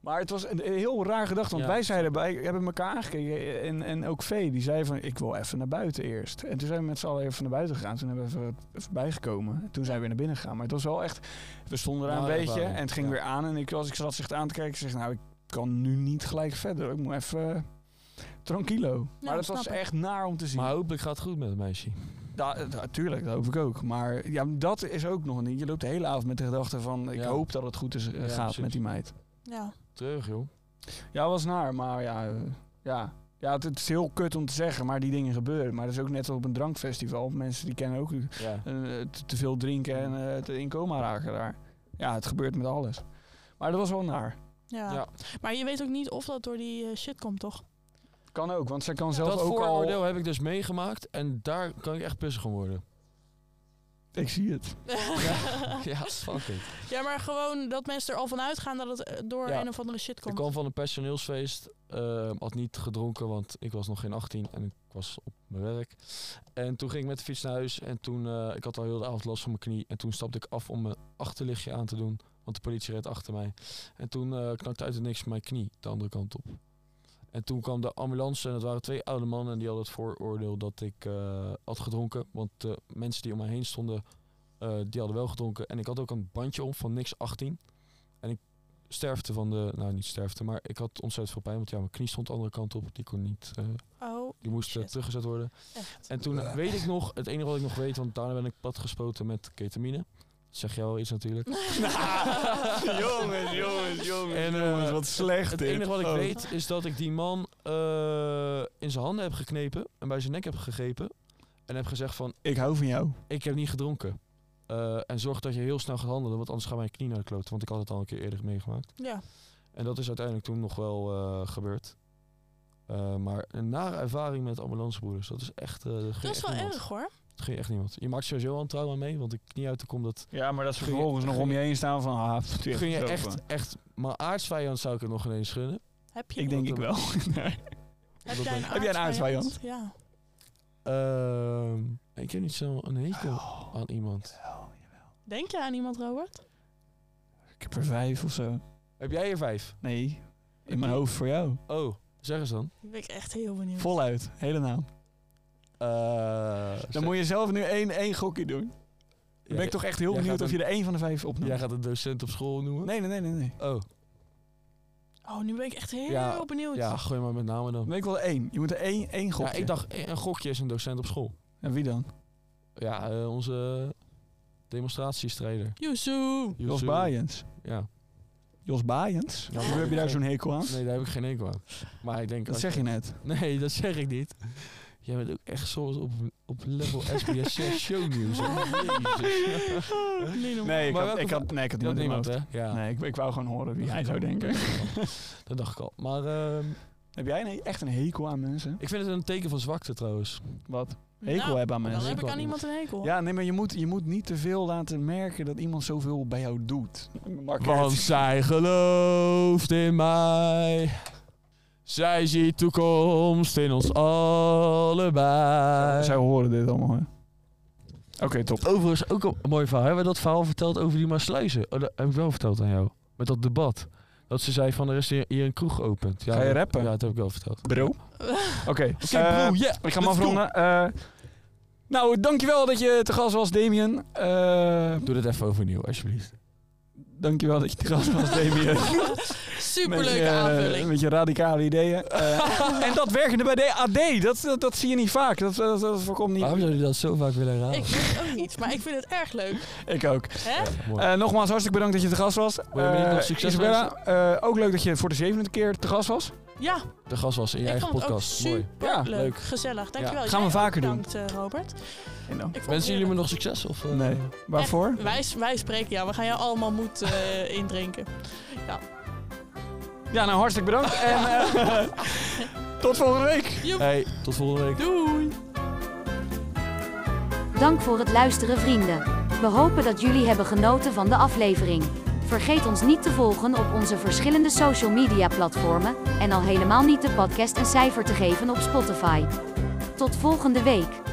Speaker 2: Maar het was een heel raar gedachte, want
Speaker 4: Ja.
Speaker 2: wij zeiden, wij hebben elkaar aangekeken. En, en ook Vee, die zei van, ik wil even naar buiten eerst. En toen zijn we met z'n allen even naar buiten gegaan. Toen hebben we even, even bijgekomen. En toen zijn we weer naar binnen gegaan. Maar het was wel echt, we stonden daar
Speaker 4: Nou,
Speaker 2: een
Speaker 4: ja,
Speaker 2: beetje.
Speaker 4: waarom?
Speaker 2: En het ging
Speaker 4: Ja.
Speaker 2: weer aan. En ik, als ik zat zich aan te kijken, ik zeg, nou, ik kan nu niet gelijk verder. Ik moet even... eh, Tranquilo. maar dat
Speaker 3: Nou, snap
Speaker 2: was
Speaker 3: ik.
Speaker 2: echt naar om te zien.
Speaker 4: Maar hopelijk gaat het goed met het meisje.
Speaker 2: Ja, natuurlijk, dat hoop ik ook. Maar ja, dat is ook nog niet. Je loopt de hele avond met de gedachte van... ik
Speaker 4: Ja.
Speaker 2: hoop dat het goed is, eh,
Speaker 4: Ja,
Speaker 2: gaat
Speaker 4: precies.
Speaker 2: met die meid.
Speaker 3: Ja.
Speaker 4: Terug, joh.
Speaker 2: Ja, was naar, maar ja... eh, ja. ja het, het is heel kut om te zeggen, maar die dingen gebeuren. Maar dat is ook net als op een drankfestival. Mensen die kennen ook eh,
Speaker 4: Ja.
Speaker 2: te, te veel drinken en eh, te in coma raken daar. Ja, het gebeurt met alles. Maar dat was wel naar.
Speaker 3: Ja.
Speaker 4: Ja.
Speaker 3: maar je weet ook niet of dat door die eh, shit komt, toch?
Speaker 2: Kan ook, want zij kan zelf
Speaker 4: Dat
Speaker 2: ook
Speaker 4: vooroordeel
Speaker 2: al...
Speaker 4: heb ik dus meegemaakt en daar kan ik echt pissig om worden.
Speaker 2: Ik zie het.
Speaker 3: Ja.
Speaker 4: Ja, fuck it.
Speaker 3: maar gewoon dat mensen er al van uitgaan dat het eh, door
Speaker 4: Ja.
Speaker 3: een of andere shit
Speaker 4: Ik
Speaker 3: komt.
Speaker 4: kwam van een personeelsfeest, eh, had niet gedronken, want ik was nog geen 18 en ik was op mijn werk. En toen ging ik met de fiets naar huis en toen, eh, ik had al heel de avond last van mijn knie. En toen stapte ik af om mijn achterlichtje aan te doen, want de politie reed achter mij. En toen eh knakte uit het niks mijn knie de andere kant op. En toen kwam de ambulance en het waren twee oude mannen en die hadden het vooroordeel dat ik eh, had gedronken. Want de mensen die om mij heen stonden, eh, die hadden wel gedronken. En ik had ook een bandje om van niks 18. En ik sterfte van de, nou niet sterfte, maar ik had ontzettend veel pijn. Want ja, mijn knie stond de andere kant op, die kon niet, eh,
Speaker 3: Oh,
Speaker 4: die moest eh,
Speaker 3: Shit.
Speaker 4: teruggezet worden.
Speaker 3: echt.
Speaker 4: En toen
Speaker 2: Bleh.
Speaker 4: weet ik nog, het enige wat ik nog weet, want daarna ben ik platgespoten met ketamine. Dat Zeg jij wel iets natuurlijk.
Speaker 2: jongens, jongens, jongens.
Speaker 4: En, eh,
Speaker 2: jongens, wat slecht
Speaker 4: Het
Speaker 2: dit.
Speaker 4: enige wat ik
Speaker 2: Oh.
Speaker 4: weet is dat ik die man eh, in zijn handen heb geknepen en bij zijn nek heb gegrepen. En heb gezegd van,
Speaker 2: Ik hou van jou.
Speaker 4: ik heb niet gedronken. Eh, en zorg dat je heel snel gaat handelen, want anders gaan mijn knie naar de klote. Want ik had het al een keer eerder meegemaakt.
Speaker 3: Ja.
Speaker 4: En dat is uiteindelijk toen nog wel eh, gebeurd. Eh, maar een nare ervaring met ambulancebroeders. Dat is echt... eh, dat gun je
Speaker 3: Dat is
Speaker 4: echt
Speaker 3: wel
Speaker 4: niemand.
Speaker 3: erg hoor.
Speaker 4: Dat gun je echt niemand. Je maakt sowieso al een trauma mee, want ik knie uit te komen. Dat
Speaker 2: Ja, maar dat ze
Speaker 4: Gun je-
Speaker 2: vervolgens nog
Speaker 4: gun
Speaker 2: om
Speaker 4: je-
Speaker 2: je heen staan van... Ah, pff,
Speaker 4: gun je
Speaker 2: zo
Speaker 4: echt,
Speaker 2: van.
Speaker 4: echt... Maar aardsvijand zou ik het nog ineens gunnen.
Speaker 3: Heb je,
Speaker 2: Ik denk ik
Speaker 4: dat
Speaker 2: wel. Nee.
Speaker 3: heb
Speaker 4: dat
Speaker 3: jij een
Speaker 4: denk-
Speaker 2: Heb jij een aardsvijand?
Speaker 3: Ja.
Speaker 4: Ehm, ik heb niet zo een hekel
Speaker 2: Oh.
Speaker 4: aan iemand.
Speaker 3: Denk je aan iemand, Robert?
Speaker 2: Ik heb er vijf of zo.
Speaker 4: Heb jij er vijf?
Speaker 2: Nee, in mijn hoofd voor jou.
Speaker 4: Oh, zeg eens dan.
Speaker 3: Ik ben ik echt heel benieuwd.
Speaker 2: Voluit, hele naam.
Speaker 4: Eh,
Speaker 2: Dan moet je zelf nu één, één gokje doen. Dan ben ik toch echt heel
Speaker 4: Jij
Speaker 2: benieuwd
Speaker 4: gaat
Speaker 2: of je er één van de vijf opnoemt.
Speaker 4: Jij gaat een docent op school noemen?
Speaker 2: Nee, nee, nee, nee. nee.
Speaker 4: Oh,
Speaker 3: Oh, nu ben ik echt heel
Speaker 4: Ja,
Speaker 3: benieuwd.
Speaker 4: ja, gooi maar met name dan.
Speaker 2: Dan ben ik wel één. Je moet er één, één
Speaker 4: Ja,
Speaker 2: gokje.
Speaker 4: ik dacht, eh, een gokje is een docent op school.
Speaker 2: En wie dan?
Speaker 4: Ja, eh, onze demonstratiestrijder.
Speaker 3: Yuzu.
Speaker 2: Jos
Speaker 4: Yusu.
Speaker 2: Baaiens.
Speaker 4: Ja.
Speaker 2: Jos Baaiens?
Speaker 4: Ja,
Speaker 2: Hoe heb je daar zo'n hekel aan?
Speaker 4: Nee, daar heb ik geen enkel aan. Maar ik denk...
Speaker 2: Dat
Speaker 4: als-
Speaker 2: zeg je net.
Speaker 4: Nee, dat zeg ik niet. Jij bent ook echt soms op, op level SBS 6 shownieuws. hè. Jezus.
Speaker 3: Niet normaal.
Speaker 2: Nee, ik
Speaker 4: Maar
Speaker 2: had,
Speaker 4: welke
Speaker 2: ik had, nee, ik had niemand
Speaker 4: Dat
Speaker 2: in mijn
Speaker 4: niemand,
Speaker 2: hoofd.
Speaker 4: hè? Ja.
Speaker 2: Nee, ik, ik wou gewoon horen wie jij zou denken.
Speaker 4: Dat dacht ik al. Maar ehm,
Speaker 2: Heb jij een- echt een hekel aan mensen?
Speaker 4: ik vind het een teken van zwakte trouwens.
Speaker 2: Wat? Hekel
Speaker 3: Nou,
Speaker 2: hebben aan
Speaker 3: Dan
Speaker 2: mensen?
Speaker 3: heb ik
Speaker 4: wel
Speaker 3: aan iemand een hekel.
Speaker 2: Ja, nee, maar je moet, je moet niet te veel laten merken dat iemand zoveel bij jou doet. Market.
Speaker 4: Want zij gelooft in mij. Zij ziet toekomst in ons allebei.
Speaker 2: Zij horen dit allemaal, hè? Oké, top.
Speaker 4: Overigens ook een mooi verhaal. Hebben we dat verhaal verteld over die Maasluizen? Oh, dat heb ik wel verteld aan jou. Met dat debat. Dat ze zei van er is hier hier een kroeg geopend. Ja,
Speaker 2: Ga je
Speaker 4: dat-
Speaker 2: rappen?
Speaker 4: Ja, dat heb ik wel verteld.
Speaker 2: Bro. Oké,
Speaker 4: Oké
Speaker 2: eh,
Speaker 4: bro, yeah.
Speaker 2: ik ga hem
Speaker 4: let's go.
Speaker 2: afronden. Eh, nou, dankjewel dat je te gast was, Damien. Eh
Speaker 4: Doe dit even overnieuw, alsjeblieft.
Speaker 2: dankjewel dat je te gast was, Damien.
Speaker 3: Superleuke
Speaker 2: Met je, eh,
Speaker 3: aanvulling.
Speaker 2: Met je radicale ideeën. Eh, en dat werkende bij de AD, dat, dat, dat zie je niet vaak. Dat, dat, dat voorkomt niet.
Speaker 4: Waarom zou je dat zo vaak willen herhalen?
Speaker 3: Ik weet het ook niet, maar ik vind het erg leuk.
Speaker 2: Ik ook.
Speaker 3: Hè?
Speaker 4: Ja, mooi.
Speaker 2: Eh, nogmaals, hartstikke bedankt dat je te gast was.
Speaker 4: je me niet
Speaker 2: Eh,
Speaker 4: nog succes
Speaker 2: Isabella, eh, ook leuk dat je voor de zevende keer te gast was.
Speaker 3: Ja,
Speaker 4: De gast was in je
Speaker 3: ik
Speaker 4: eigen
Speaker 3: vond het ook
Speaker 4: podcast. mooi.
Speaker 3: super
Speaker 2: Ja,
Speaker 3: leuk.
Speaker 4: leuk.
Speaker 3: Gezellig, dankjewel.
Speaker 2: Ja, gaan we
Speaker 3: Jij ook
Speaker 2: vaker doen.
Speaker 3: bedankt, eh, Robert. Ik vond het
Speaker 4: Wensen jullie me
Speaker 3: heerlijk.
Speaker 4: nog succes? Of, eh,
Speaker 2: Nee. Waarvoor?
Speaker 3: Wij, wij spreken jou, we gaan jou allemaal moed eh, indrinken.
Speaker 2: Ja, nou hartstikke bedankt. en eh, tot volgende week.
Speaker 3: Joep.
Speaker 4: Hey, tot volgende week.
Speaker 3: Doei!
Speaker 1: Dank voor het luisteren, vrienden. We hopen dat jullie hebben genoten van de aflevering. Vergeet ons niet te volgen op onze verschillende social media platformen en al helemaal niet de podcast een cijfer te geven op Spotify. Tot volgende week.